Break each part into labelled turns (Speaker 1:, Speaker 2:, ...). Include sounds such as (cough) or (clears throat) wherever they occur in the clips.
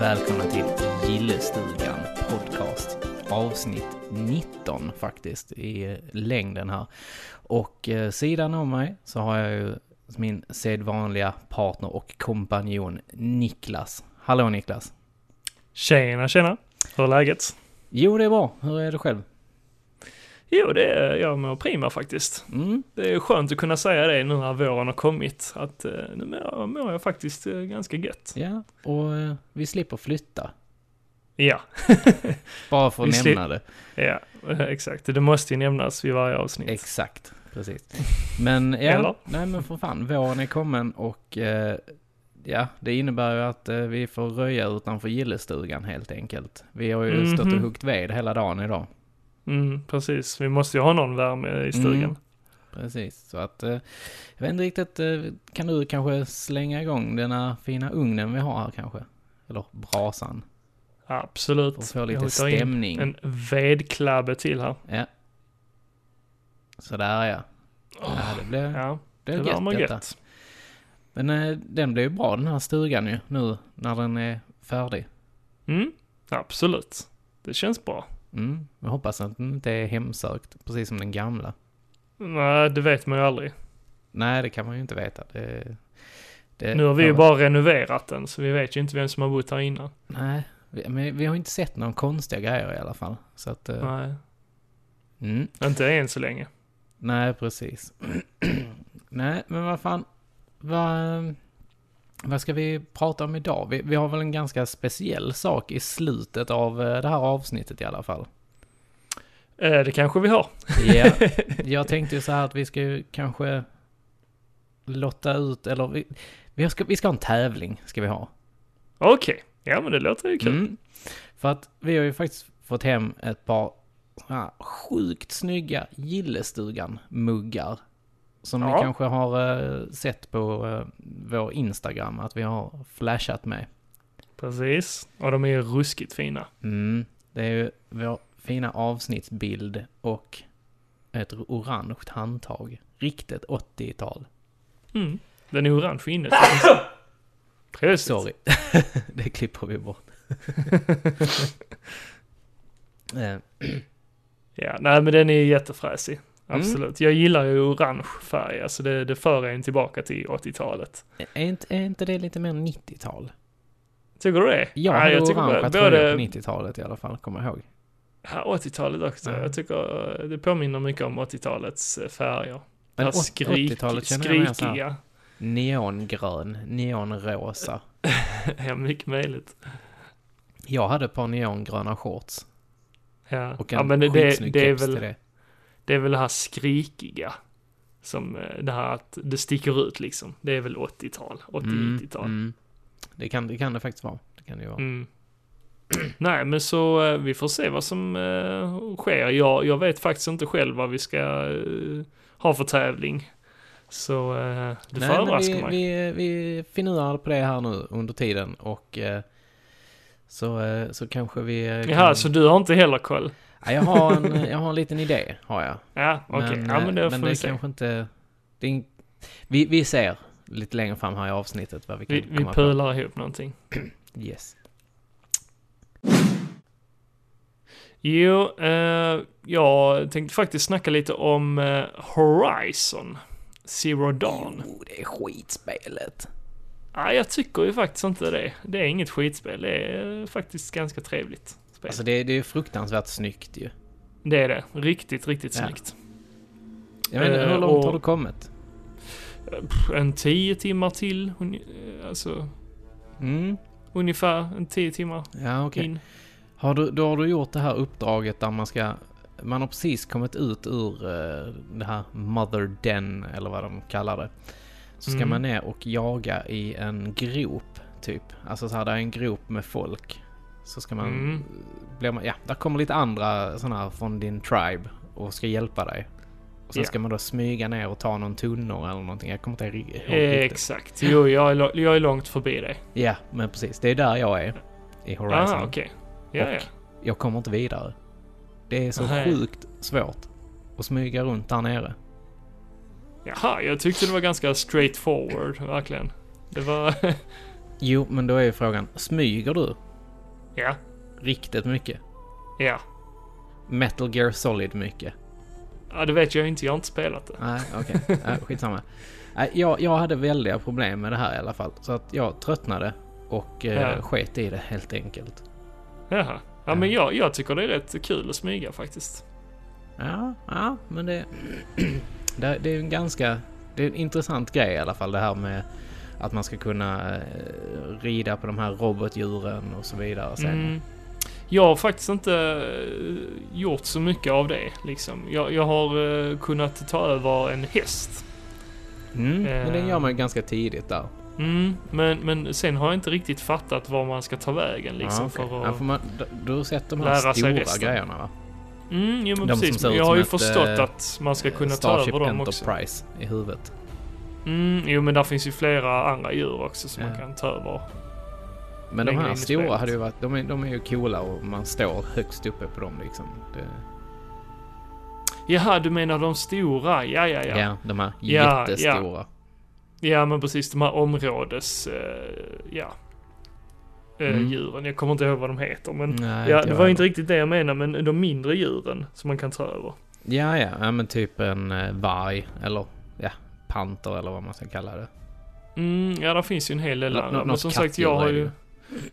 Speaker 1: välkomna till Gillestugan Podcast. Avsnitt 19 faktiskt i längden här. Och eh, sidan om mig så har jag ju min sedvanliga partner och kompanjon Niklas. Hallå Niklas!
Speaker 2: Tjena, tjena! Hur är läget?
Speaker 1: Jo, det är bra. Hur är det själv?
Speaker 2: Jo, det är, jag mår prima faktiskt.
Speaker 1: Mm,
Speaker 2: Det är skönt att kunna säga det nu när våren har kommit, att eh, nu mår, mår jag faktiskt eh, ganska gött.
Speaker 1: ja. Och eh, vi slipper flytta.
Speaker 2: Ja,
Speaker 1: Bara för
Speaker 2: Vi
Speaker 1: att
Speaker 2: sli-
Speaker 1: nämna det.
Speaker 2: ja, eh, exakt. Det måste ju nämnas vid varje avsnitt.
Speaker 1: Exakt,
Speaker 2: (laughs)
Speaker 1: precis. Men ja,
Speaker 2: Eller?
Speaker 1: nej men för fan, våren är kommen och eh, ja, det innebär ju att eh, vi får röja utanför gillestugan helt enkelt. Vi har ju
Speaker 2: Mhm.
Speaker 1: stått och huggt ved hela dagen idag.
Speaker 2: Mm, precis, vi måste ju ha någon värme i stugan.
Speaker 1: Mm. Precis, så att eh, jag vet inte riktigt, eh, kan du kanske slänga igång den här fina ugnen vi har här kanske? Eller brasan,
Speaker 2: Absolut.
Speaker 1: för att få
Speaker 2: Jag
Speaker 1: lite
Speaker 2: tar in
Speaker 1: stämning.
Speaker 2: En vedklabbe till här.
Speaker 1: Ja. Sådär ja. ja det blev,
Speaker 2: Ja,
Speaker 1: det
Speaker 2: det
Speaker 1: blev gött
Speaker 2: värmer
Speaker 1: detta.
Speaker 2: gött.
Speaker 1: Men eh, den blir ju bra den här stugan ju nu när den är färdig.
Speaker 2: Mm, absolut. Det känns bra.
Speaker 1: Mm. Jag hoppas att den inte är hemsökt, precis som den gamla.
Speaker 2: Nej, det vet man ju aldrig.
Speaker 1: Nej, det kan man ju inte veta. Det, det,
Speaker 2: Nu har vi ju bara renoverat den, så vi vet ju inte vem som har bott här innan.
Speaker 1: Nej, vi, men vi har ju inte sett några konstiga grejer i alla fall. Så att... eh,
Speaker 2: Nej,
Speaker 1: Mm.
Speaker 2: inte än så länge.
Speaker 1: Nej, precis. (clears throat) Nej, men vad fan. Vad, eh, vad ska vi prata om idag? Vi, vi har väl en ganska speciell sak i slutet av eh, det här avsnittet i alla fall.
Speaker 2: Eh, det kanske vi har.
Speaker 1: Ja, (laughs) jag tänkte ju så här att vi ska ju kanske lotta ut, eller vi, vi, ska, vi ska ha en tävling, ska vi ha.
Speaker 2: Okej, ja men det låter ju kul.
Speaker 1: Mm. För att vi har ju faktiskt fått hem ett par såna här sjukt snygga Gillestugan-muggar. Som ni
Speaker 2: Ja.
Speaker 1: kanske har eh, sett på eh, vår Instagram, att vi har flashat med.
Speaker 2: Precis. Och de är ju ruskigt fina.
Speaker 1: Mm. Det är ju vår fina avsnittsbild och ett orange handtag. Riktigt 80-tal.
Speaker 2: Mm. Den är orange
Speaker 1: (laughs)
Speaker 2: inuti. Precis.
Speaker 1: Sorry. (laughs) det klipper vi bort.
Speaker 2: (laughs)
Speaker 1: Eh,
Speaker 2: Ja, nej men den är ju jättefräsig.
Speaker 1: Mm.
Speaker 2: Absolut. Jag gillar ju orange färg, alltså det, det för en tillbaka till 80-talet.
Speaker 1: är, inte, är inte det lite mer 90-tal?
Speaker 2: Tycker du det?
Speaker 1: Jag
Speaker 2: Nej,
Speaker 1: hade
Speaker 2: jag tycker
Speaker 1: orangea
Speaker 2: bara-
Speaker 1: tröjor
Speaker 2: både
Speaker 1: på 90-talet i alla fall, kommer jag ihåg.
Speaker 2: ja, 80-talet också.
Speaker 1: Mm.
Speaker 2: Jag tycker eh, det påminner mycket om 80-talets eh, färger.
Speaker 1: Men
Speaker 2: Ja,
Speaker 1: åt- 80-talet känner jag mer så här
Speaker 2: skrikiga.
Speaker 1: neongrön, neonrosa.
Speaker 2: (laughs) Ja, mycket möjligt.
Speaker 1: Jag hade ett par neongröna shorts
Speaker 2: Ja,
Speaker 1: och en
Speaker 2: ja men det, det,
Speaker 1: skitsnygg
Speaker 2: det är
Speaker 1: keps
Speaker 2: väl...
Speaker 1: till det.
Speaker 2: Det är väl det här skrikiga. Som eh, det här att det sticker ut liksom. Det är väl 80-tal, 80-90-tal. Mm,
Speaker 1: mm. Det, kan, det kan det faktiskt vara. Det kan det ju vara.
Speaker 2: (clears throat) Nej, men så eh, vi får se vad som eh, sker. Jag, jag vet faktiskt inte själv vad vi ska eh, ha för tävling. Så eh, det får
Speaker 1: Nej, men
Speaker 2: överraska
Speaker 1: vi, vi,
Speaker 2: mig.
Speaker 1: vi finurar på det här nu under tiden och eh, så, eh, så kanske vi eh, kan...
Speaker 2: Jaha, så du har inte heller koll?
Speaker 1: ja, jag, har en, jag har en liten idé, har jag.
Speaker 2: Ja, (laughs) okej.
Speaker 1: Men,
Speaker 2: Ja, men
Speaker 1: eh,
Speaker 2: det
Speaker 1: men
Speaker 2: får vi
Speaker 1: det
Speaker 2: se.
Speaker 1: kanske inte... Det är, in- vi, vi ser lite längre fram här i avsnittet vad vi kan
Speaker 2: Vi, vi
Speaker 1: komma på.
Speaker 2: pular ihop någonting.
Speaker 1: Yes.
Speaker 2: Jo, eh, jag tänkte faktiskt snacka lite om eh, Horizon Zero Dawn.
Speaker 1: Jo, det är skitspelet.
Speaker 2: Nej, jag tycker ju faktiskt inte det. Det är inget skitspel. Det är eh, faktiskt ganska trevligt. Spel.
Speaker 1: Alltså det, det är ju fruktansvärt snyggt ju.
Speaker 2: det är det. Riktigt, riktigt
Speaker 1: Ja.
Speaker 2: snyggt.
Speaker 1: Jag vet inte, hur
Speaker 2: Eh,
Speaker 1: långt
Speaker 2: och-
Speaker 1: har du kommit?
Speaker 2: Pff, En tio timmar till. uni- eh, Alltså,
Speaker 1: Mm.
Speaker 2: ungefär en tio timmar
Speaker 1: Ja, okej.
Speaker 2: in.
Speaker 1: Har du, då har du gjort det här uppdraget där man ska... Man har precis kommit ut ur eh, det här Mother Den, eller vad de kallar det. Så ska
Speaker 2: Mm.
Speaker 1: man ner och jaga i en grop, typ. Alltså så här, där är en grop med folk. Så ska man...
Speaker 2: Mm.
Speaker 1: Blir man ja, där kommer lite andra sådana här från din tribe och ska hjälpa dig. Och sen
Speaker 2: Ja.
Speaker 1: ska man då smyga ner och ta någon tunnor eller någonting. Jag kommer inte ihåg riktigt.
Speaker 2: Exakt. Jo, jag är, lo- jag är långt förbi det.
Speaker 1: Ja, men precis. Det är där jag är. I Horizon.
Speaker 2: Aha, okej. Ja, ja.
Speaker 1: Jag kommer inte vidare. Det är så
Speaker 2: Nej.
Speaker 1: sjukt svårt att smyga runt där nere.
Speaker 2: Jaha, jag tyckte det var ganska straight forward, verkligen. Det var... (laughs)
Speaker 1: Jo, men då är ju frågan, smyger du?
Speaker 2: Ja,
Speaker 1: Riktigt mycket.
Speaker 2: ja.
Speaker 1: Metal Gear Solid mycket.
Speaker 2: Ja, det vet jag inte. Jag har inte spelat det.
Speaker 1: Nej, okej.
Speaker 2: (laughs)
Speaker 1: Nej, skitsamma. Nej, jag, jag hade väldiga problem med det här i alla fall. Så att jag tröttnade och eh,
Speaker 2: Ja.
Speaker 1: sket i det helt enkelt.
Speaker 2: Jaha. Ja, men jag, jag tycker det är rätt kul att smyga faktiskt.
Speaker 1: Ja, ja men det, (clears throat) det, det är ju en ganska... Det är en intressant grej i alla fall det här med att man ska kunna eh, rida på de här robotdjuren och så vidare sen.
Speaker 2: Mm. Jag har faktiskt inte eh, gjort så mycket av det. Liksom. Jag, jag har eh, kunnat ta över en häst.
Speaker 1: Mm, Men den
Speaker 2: Eh.
Speaker 1: gör man ju ganska tidigt där.
Speaker 2: Mm, men, men sen har jag inte riktigt fattat var man ska ta vägen liksom
Speaker 1: ja, okej.
Speaker 2: för att...
Speaker 1: ja, för man, d- du har sett de
Speaker 2: lära sig
Speaker 1: här stora
Speaker 2: resten.
Speaker 1: grejerna va?
Speaker 2: Mm, jo, men
Speaker 1: De som
Speaker 2: precis.
Speaker 1: ser
Speaker 2: Men
Speaker 1: ut
Speaker 2: jag
Speaker 1: som
Speaker 2: har ju
Speaker 1: ett,
Speaker 2: förstått
Speaker 1: eh,
Speaker 2: att man ska kunna ta
Speaker 1: Starship
Speaker 2: över dem också.
Speaker 1: Enterprise i huvudet.
Speaker 2: Mm, jo, men där finns ju flera andra djur också som
Speaker 1: Ja.
Speaker 2: man kan ta över.
Speaker 1: Men de
Speaker 2: Längre
Speaker 1: här
Speaker 2: in i spelet.
Speaker 1: stora hade ju varit, de är, de är ju coola och man står högst uppe på dem liksom. Det,
Speaker 2: Jaha, du menar de stora? Ja, ja,
Speaker 1: ja.
Speaker 2: ja. Ja,
Speaker 1: de här
Speaker 2: Ja,
Speaker 1: jättestora.
Speaker 2: men precis. De här områdes... eh, ja. Eh,
Speaker 1: Mm.
Speaker 2: Djuren. Jag kommer inte ihåg vad de heter, men...
Speaker 1: Nej,
Speaker 2: ja,
Speaker 1: inte jag
Speaker 2: det var
Speaker 1: heller.
Speaker 2: inte riktigt det jag menade, men de mindre djuren som man kan ta över.
Speaker 1: Ja, ja, ja, men typ en eh, varg eller ja, panter eller vad man ska kalla det.
Speaker 2: Mm, ja, där finns ju en hel del
Speaker 1: Nå-
Speaker 2: andra.
Speaker 1: nå-
Speaker 2: men
Speaker 1: något
Speaker 2: som sagt,
Speaker 1: kattdjur
Speaker 2: jag har
Speaker 1: är det
Speaker 2: ju...
Speaker 1: ju.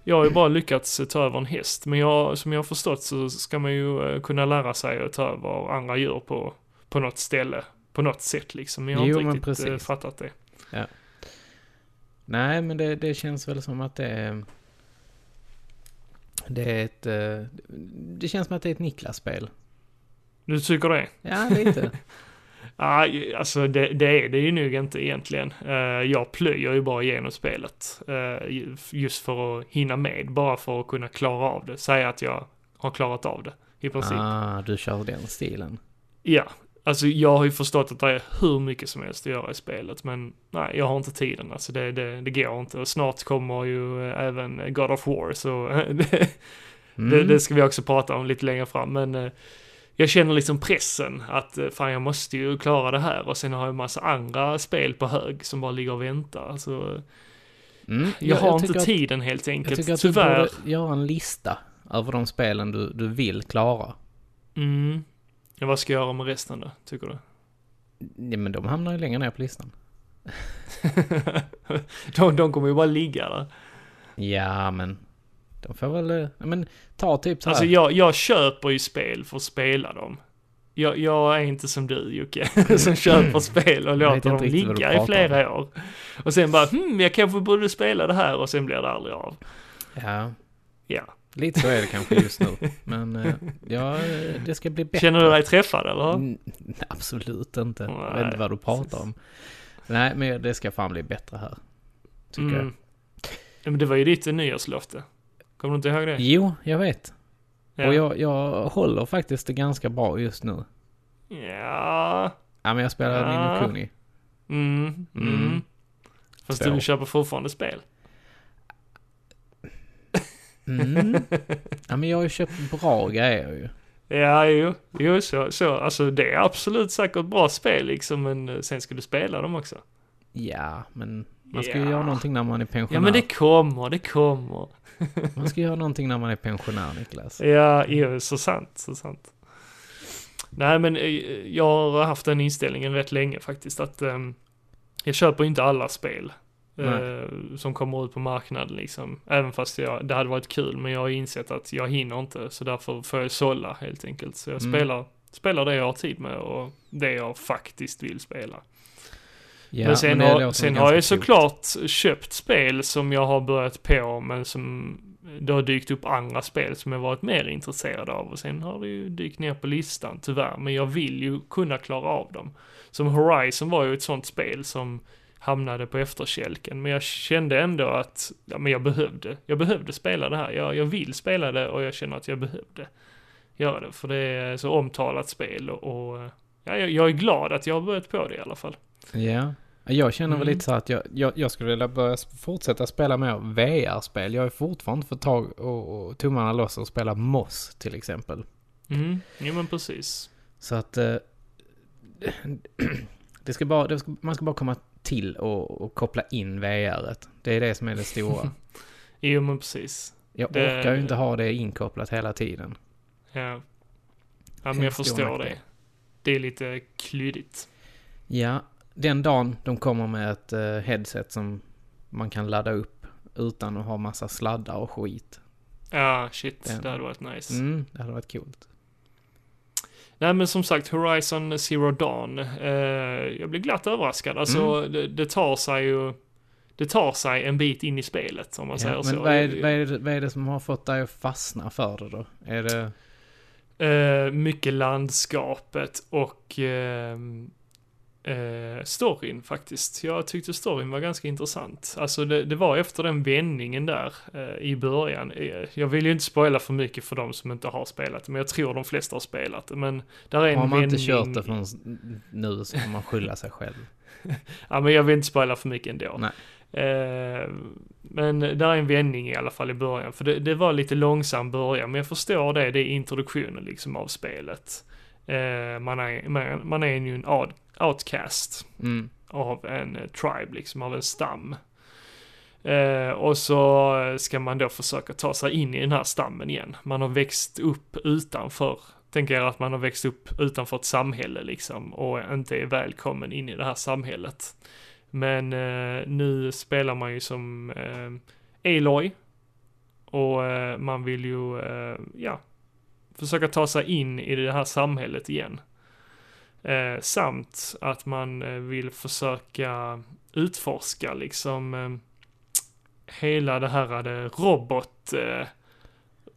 Speaker 2: Jag har ju bara lyckats eh, ta över en häst, men jag, som jag har förstått så ska man ju eh, kunna lära sig att ta över andra djur på, på något ställe, på något sätt liksom. Men jag har
Speaker 1: Jo,
Speaker 2: inte
Speaker 1: men
Speaker 2: riktigt eh,
Speaker 1: precis.
Speaker 2: fattat det.
Speaker 1: Nej, men det, det känns väl som att det är... Det är ett... eh, Det känns som att det är ett Niklas-spel.
Speaker 2: Du tycker det?
Speaker 1: Ja, (laughs) lite.
Speaker 2: Nej, alltså det, det är det ju nog inte egentligen. Eh, Jag plöjer ju bara igenom spelet, eh, ju- just för att hinna med, bara för att kunna klara av det. Säga att jag har klarat av det, i princip.
Speaker 1: ah, du kör den stilen.
Speaker 2: Ja, alltså jag har ju förstått att det är hur mycket som helst att göra i spelet, men nej, jag har inte tiden. Alltså det, det, det går inte. Och snart kommer ju eh, även God of War, så (laughs) det,
Speaker 1: Mm.
Speaker 2: det, det ska vi också prata om lite längre fram. Men eh, jag känner liksom pressen att eh, fan, jag måste ju klara det här och sen har jag en massa andra spel på hög som bara ligger och väntar. Alltså, eh,
Speaker 1: Mm.
Speaker 2: jag har
Speaker 1: tycker
Speaker 2: inte
Speaker 1: att-
Speaker 2: tiden helt
Speaker 1: Jag
Speaker 2: enkelt,
Speaker 1: tycker att
Speaker 2: tyvärr.
Speaker 1: du borde göra en lista över de spelen du, du vill klara.
Speaker 2: Mm. Ja, vad ska jag göra med resten då, tycker du? (laughs)
Speaker 1: Nej, men de hamnar ju längre ner på listan.
Speaker 2: de, de kommer ju bara ligga där.
Speaker 1: Ja, men... De får väl... eh, ja, Men ta typ så här.
Speaker 2: Alltså jag, jag köper ju spel för att spela dem. Jag, jag är inte som du Jocke, (laughs) som köper spel och
Speaker 1: Mm. Jag vet
Speaker 2: låter dem
Speaker 1: inte riktigt vad du
Speaker 2: ligga i
Speaker 1: pratar
Speaker 2: flera år. Och sen bara, hmm, jag kanske borde spela det här och sen blir det aldrig av.
Speaker 1: Ja,
Speaker 2: Ja.
Speaker 1: lite så är det kanske just nu. Men eh, ja, eh, det ska bli bättre.
Speaker 2: Känner du dig träffad eller?
Speaker 1: Mm, (laughs) absolut inte. Jag
Speaker 2: Nej,
Speaker 1: vet inte vad du pratar
Speaker 2: precis.
Speaker 1: om. Nej, men det ska fan bli bättre här. Tycker jag.
Speaker 2: Mm. Ja, Men det var ju ditt nyårslöfte. Kommer du inte ihåg det?
Speaker 1: Jo, jag vet.
Speaker 2: Ja.
Speaker 1: Och jag, jag håller faktiskt det ganska bra just nu.
Speaker 2: ja.
Speaker 1: Ja, men jag spelar
Speaker 2: Ja.
Speaker 1: Nino Kuni.
Speaker 2: Mm. Mm.
Speaker 1: Mm.
Speaker 2: Fast
Speaker 1: Två.
Speaker 2: du köper fortfarande spel. (laughs)
Speaker 1: Mm. Ja, men jag har ju köpt bra grejer ju.
Speaker 2: Ja, jo, jo så, så, alltså det är absolut säkert bra spel liksom, men eh, sen ska du spela dem också.
Speaker 1: Ja, men man ska
Speaker 2: Ja.
Speaker 1: ju göra någonting när man är
Speaker 2: Ja
Speaker 1: pensionär.
Speaker 2: men det kommer, det kommer.
Speaker 1: Man ska göra någonting när man är pensionär, Niklas.
Speaker 2: Ja, jo, så sant, så sant. Nej men eh, jag har haft den inställningen rätt länge faktiskt att ehm, jag köper inte alla spel eh, som kommer ut på marknaden liksom. Även fast jag, det hade varit kul men jag har insett att jag hinner inte så därför får jag sålla helt enkelt. Så jag
Speaker 1: Mm.
Speaker 2: spelar, spelar det jag har tid med och det jag faktiskt vill spela.
Speaker 1: Ja,
Speaker 2: men sen,
Speaker 1: det
Speaker 2: har,
Speaker 1: låter
Speaker 2: sen
Speaker 1: ganska
Speaker 2: har jag
Speaker 1: klokt.
Speaker 2: såklart köpt spel som jag har börjat på, men som det har dykt upp andra spel som jag varit mer intresserad av och sen har det ju dykt ner på listan tyvärr, men jag vill ju kunna klara av dem. Som Horizon var ju ett sånt spel som hamnade på efterkälken, men jag kände ändå att ja, men jag behövde, jag behövde spela det här, jag, jag vill spela det och jag känner att jag behövde göra det, för det är så omtalat spel och, och ja, jag, jag är glad att jag har börjat på det i alla fall.
Speaker 1: Ja. Jag känner väl
Speaker 2: Mm.
Speaker 1: lite så att jag, jag, jag skulle vilja börja sp- fortsätta spela mer VR-spel. Jag har fortfarande inte fått tag och, och tummarna loss och spela Moss till exempel.
Speaker 2: Mm, ja men precis.
Speaker 1: Så att... eh, (clears throat) Det ska bara, det ska, man ska bara komma
Speaker 2: (laughs)
Speaker 1: till och, och koppla in VR. -et. Det är det som är det stora.
Speaker 2: Jo men precis.
Speaker 1: Jag
Speaker 2: Det-
Speaker 1: orkar ju inte ha det inkopplat hela tiden.
Speaker 2: Ja. Ja, men jag
Speaker 1: Stor
Speaker 2: förstår
Speaker 1: nackdel.
Speaker 2: det. Det är lite klyddigt.
Speaker 1: Ja, den dagen de kommer med ett eh, headset som man kan ladda upp utan att ha massa sladdar och skit.
Speaker 2: Ja, shit.
Speaker 1: Den-
Speaker 2: Det hade varit nice.
Speaker 1: Mm, det hade varit coolt.
Speaker 2: Nej men som sagt, Horizon Zero Dawn. Eh, jag blir glatt överraskad. Alltså,
Speaker 1: Mm.
Speaker 2: det, det tar sig ju... Det tar sig en bit in i spelet, om man
Speaker 1: Ja,
Speaker 2: säger så.
Speaker 1: men vad är, vad, är det, vad är det som har fått dig att fastna för det då? Är det...
Speaker 2: Eh, mycket landskapet och ehm, eh, storyn faktiskt. Jag tyckte storyn var ganska intressant. Alltså det, det var efter den vändningen där eh, i början. Eh, Jag vill ju inte spoila för mycket för de som inte har spelat det, men jag tror de flesta har spelat det. Men där är en
Speaker 1: Har man inte
Speaker 2: vändning-
Speaker 1: kört det förrän nu så får man skylla sig själv.
Speaker 2: Ja, men jag vill inte spoila för mycket ändå.
Speaker 1: Nej.
Speaker 2: Eh, men där är en vändning i alla fall i början, för det, det var lite långsam början, men jag förstår det, det är introduktionen liksom av spelet. Eh, man, är, man, man är ju en out, outcast
Speaker 1: Mm.
Speaker 2: av en eh, tribe, liksom av en stam. Eh, och så eh, ska man då försöka ta sig in i den här stammen igen. Man har växt upp utanför, tänker jag att man har växt upp utanför ett samhälle liksom och inte är välkommen in i det här samhället. Men eh, nu spelar man ju som eh, Aloy och eh, man vill ju, eh, ja, försöka ta sig in i det här samhället igen. Eh, samt att man eh, vill försöka utforska liksom eh, hela det här eh, robot, eh,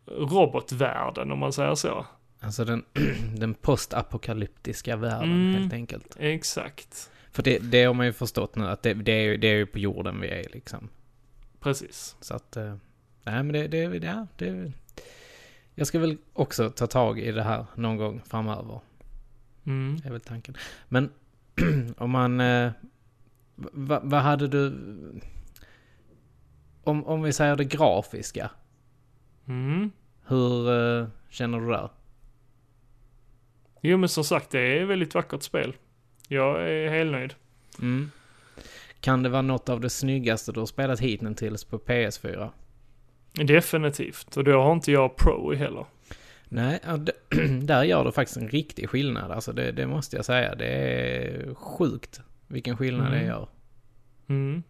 Speaker 2: robotvärlden om man säger så.
Speaker 1: Alltså den, (clears throat) den postapokalyptiska världen
Speaker 2: Mm.
Speaker 1: helt enkelt.
Speaker 2: Exakt,
Speaker 1: För det, det har man ju förstått nu att det, det, är, ju, det är ju på jorden vi är liksom.
Speaker 2: precis.
Speaker 1: Så att, eh, nej men det, det, ja, det... Jag ska väl också ta tag i det här någon gång framöver,
Speaker 2: Mm.
Speaker 1: är väl tanken. Men (clears throat) om man, eh, va- vad hade du... Om, om vi säger det grafiska,
Speaker 2: Mm.
Speaker 1: hur eh, känner du där?
Speaker 2: Jo men som sagt det är ett väldigt vackert spel. Jag är helt nöjd.
Speaker 1: Mm. Kan det vara något av det snyggaste du har spelat hittills på PS4?
Speaker 2: Definitivt. Och då har inte jag Pro heller.
Speaker 1: Nej, ja, d- (clears throat) där gör det faktiskt en riktig skillnad. Alltså det, det måste jag säga. Det är sjukt vilken skillnad det
Speaker 2: Mm.
Speaker 1: gör.
Speaker 2: Mm.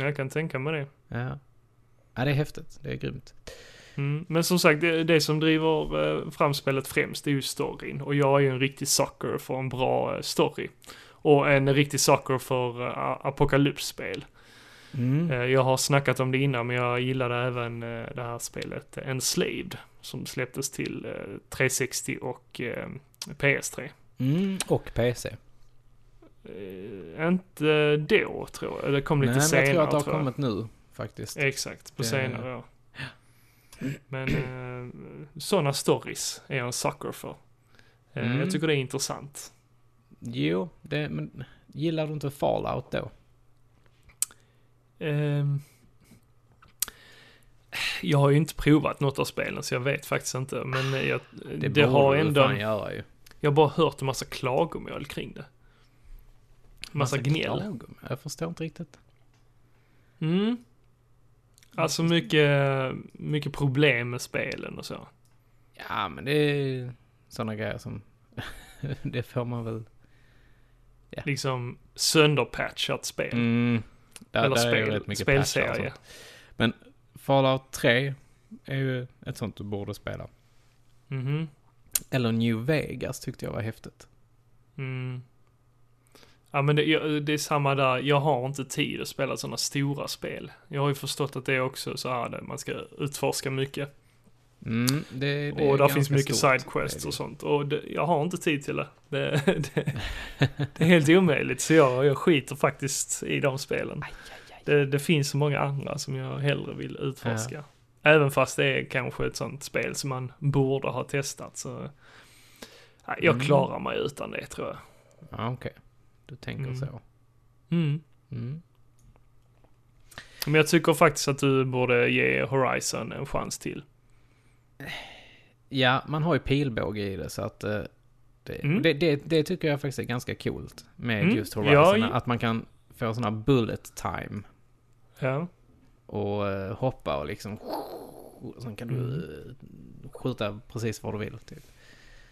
Speaker 2: Jag kan tänka mig det.
Speaker 1: Ja. ja, det är häftigt. Det är grymt.
Speaker 2: Mm. Men som sagt, det, det som driver eh, fram spelet främst är ju storyn. Och jag är ju en riktig sucker för en bra eh, story. Och en riktig sucker för eh, a- apokalypsspel.
Speaker 1: Mm.
Speaker 2: Eh, jag har snackat om det innan, men jag gillade även eh, det här spelet eh, Enslaved. Som släpptes till eh, 360 och eh, PS3.
Speaker 1: Mm. Och PC.
Speaker 2: Eh, inte då, tror jag. Det kom lite
Speaker 1: Nej, men
Speaker 2: senare,
Speaker 1: jag tror att det har
Speaker 2: jag.
Speaker 1: kommit nu faktiskt.
Speaker 2: Exakt, på
Speaker 1: Det-
Speaker 2: senare år.
Speaker 1: (clears throat)
Speaker 2: Men eh, sådana stories är jag en sucker för. Eh,
Speaker 1: Mm.
Speaker 2: Jag tycker det är intressant.
Speaker 1: Jo, det, men gillar du inte Fallout då?
Speaker 2: Ehm, jag har ju inte provat något av spelen så jag vet faktiskt inte. Men eh, jag, det,
Speaker 1: Ah, borde
Speaker 2: har
Speaker 1: du
Speaker 2: ändå...
Speaker 1: fan göra ju.
Speaker 2: Jag har bara hört en massa klagomål kring det. Massa, gnäll.
Speaker 1: klagom. Jag förstår inte riktigt.
Speaker 2: Mm. Alltså mycket, mycket problem med spelen och så.
Speaker 1: Ja, men det är sådana grejer som... (laughs) det får man väl...
Speaker 2: Liksom sönderpatchat spel.
Speaker 1: Mm. Där,
Speaker 2: Eller
Speaker 1: där är ju
Speaker 2: spel,
Speaker 1: rätt mycket patchar och sånt.
Speaker 2: spelserie.
Speaker 1: Fallout 3 är ju ett sånt du borde spela.
Speaker 2: Mhm.
Speaker 1: Eller New Vegas tyckte jag var häftigt.
Speaker 2: Mm. Ja men det, jag, det är samma där, jag har inte tid att spela sådana stora spel. Jag har ju förstått att det är också så här där man ska utforska mycket.
Speaker 1: Mm, det, det är
Speaker 2: och där
Speaker 1: ganska
Speaker 2: finns mycket
Speaker 1: stort.
Speaker 2: sidequests
Speaker 1: Det är
Speaker 2: och sånt. Och det, jag har inte tid till det. Det, (laughs) det, det är helt omöjligt, så jag, jag skiter faktiskt i de spelen. Det, det finns så många andra som jag hellre vill utforska. Även fast det är kanske ett sånt spel som man borde ha testat så... Nej, Jag
Speaker 1: Mm.
Speaker 2: klarar mig utan det tror jag.
Speaker 1: det. Ja, okej. Du tänker
Speaker 2: Mm.
Speaker 1: så.
Speaker 2: Mm.
Speaker 1: Mm.
Speaker 2: Men jag tycker faktiskt att du borde ge Horizon en chans till.
Speaker 1: Ja, man har ju pilbåge i det så att eh, det,
Speaker 2: Mm.
Speaker 1: det, det, det tycker jag faktiskt är ganska coolt med
Speaker 2: Mm.
Speaker 1: just Horizon.
Speaker 2: Jag-
Speaker 1: Att man kan få sådana bullet time
Speaker 2: Ja.
Speaker 1: och eh, hoppa och liksom sk- sen kan du eh, skjuta precis var du vill. Typ.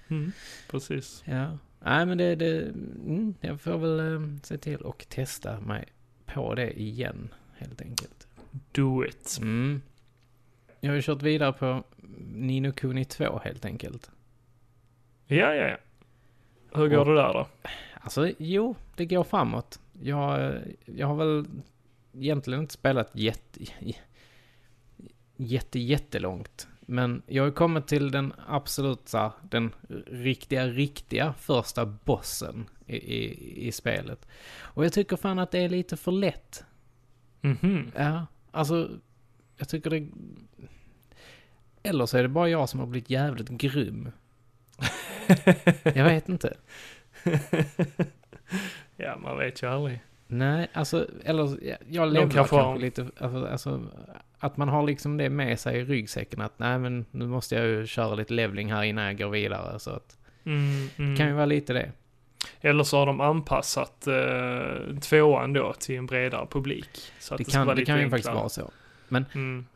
Speaker 2: Mm, precis.
Speaker 1: Ja. Nej men det, det mm, jag får väl eh, se till och testa mig på det igen helt enkelt.
Speaker 2: Do it.
Speaker 1: Mm. Jag har ju kört vidare på Nino Kuni 2 helt enkelt.
Speaker 2: Ja, ja, ja. Hur går
Speaker 1: Och-
Speaker 2: det där då?
Speaker 1: Alltså jo, det går framåt. Jag, eh, jag har väl egentligen inte spelat jätte, jätte, jättelångt. Men jag har kommit till den absolut så här, den riktiga, riktiga första bossen i, i, i spelet. Och jag tycker fan att det är lite för lätt.
Speaker 2: Mhm.
Speaker 1: Ja, alltså jag tycker det... Eller så är det bara jag som har blivit jävligt grym. jag vet inte.
Speaker 2: Ja, man vet ju aldrig.
Speaker 1: Nej, alltså, eller jag- jag
Speaker 2: De
Speaker 1: levlar
Speaker 2: kanske
Speaker 1: kanske,
Speaker 2: har-
Speaker 1: lite, alltså, alltså, att man har liksom det med sig i ryggsäcken att nej men nu måste jag ju köra lite levling här innan jag går vidare så att
Speaker 2: Mm, mm.
Speaker 1: det kan ju vara lite det.
Speaker 2: Eller så har de anpassat eh, tvåan då till en bredare publik. Så att
Speaker 1: Det
Speaker 2: det, ska
Speaker 1: kan,
Speaker 2: vara
Speaker 1: det
Speaker 2: lite
Speaker 1: kan ju
Speaker 2: enklare.
Speaker 1: faktiskt vara så.
Speaker 2: Mm.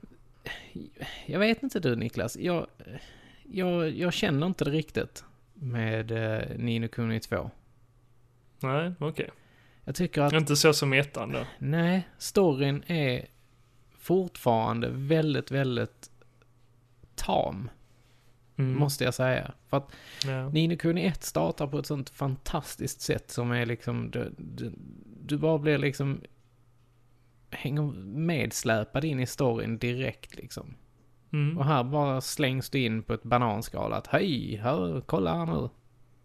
Speaker 1: Jag vet inte du Niklas, jag, jag, jag känner inte det riktigt med eh, Nino Kuni 2.
Speaker 2: Nej, okej.
Speaker 1: Jag tycker att, Mm.
Speaker 2: Inte så som ettan då.
Speaker 1: nej, storyn är fortfarande väldigt, väldigt tam,
Speaker 2: Mm.
Speaker 1: måste jag säga. För att
Speaker 2: Ja.
Speaker 1: Nino Kuni 1 startar på ett sånt fantastiskt sätt som är liksom, du, du, du bara blir liksom, hänger medsläpad in i storyn direkt liksom.
Speaker 2: Mm.
Speaker 1: Och här bara slängs du in på ett bananskal att hej, här, kolla här nu.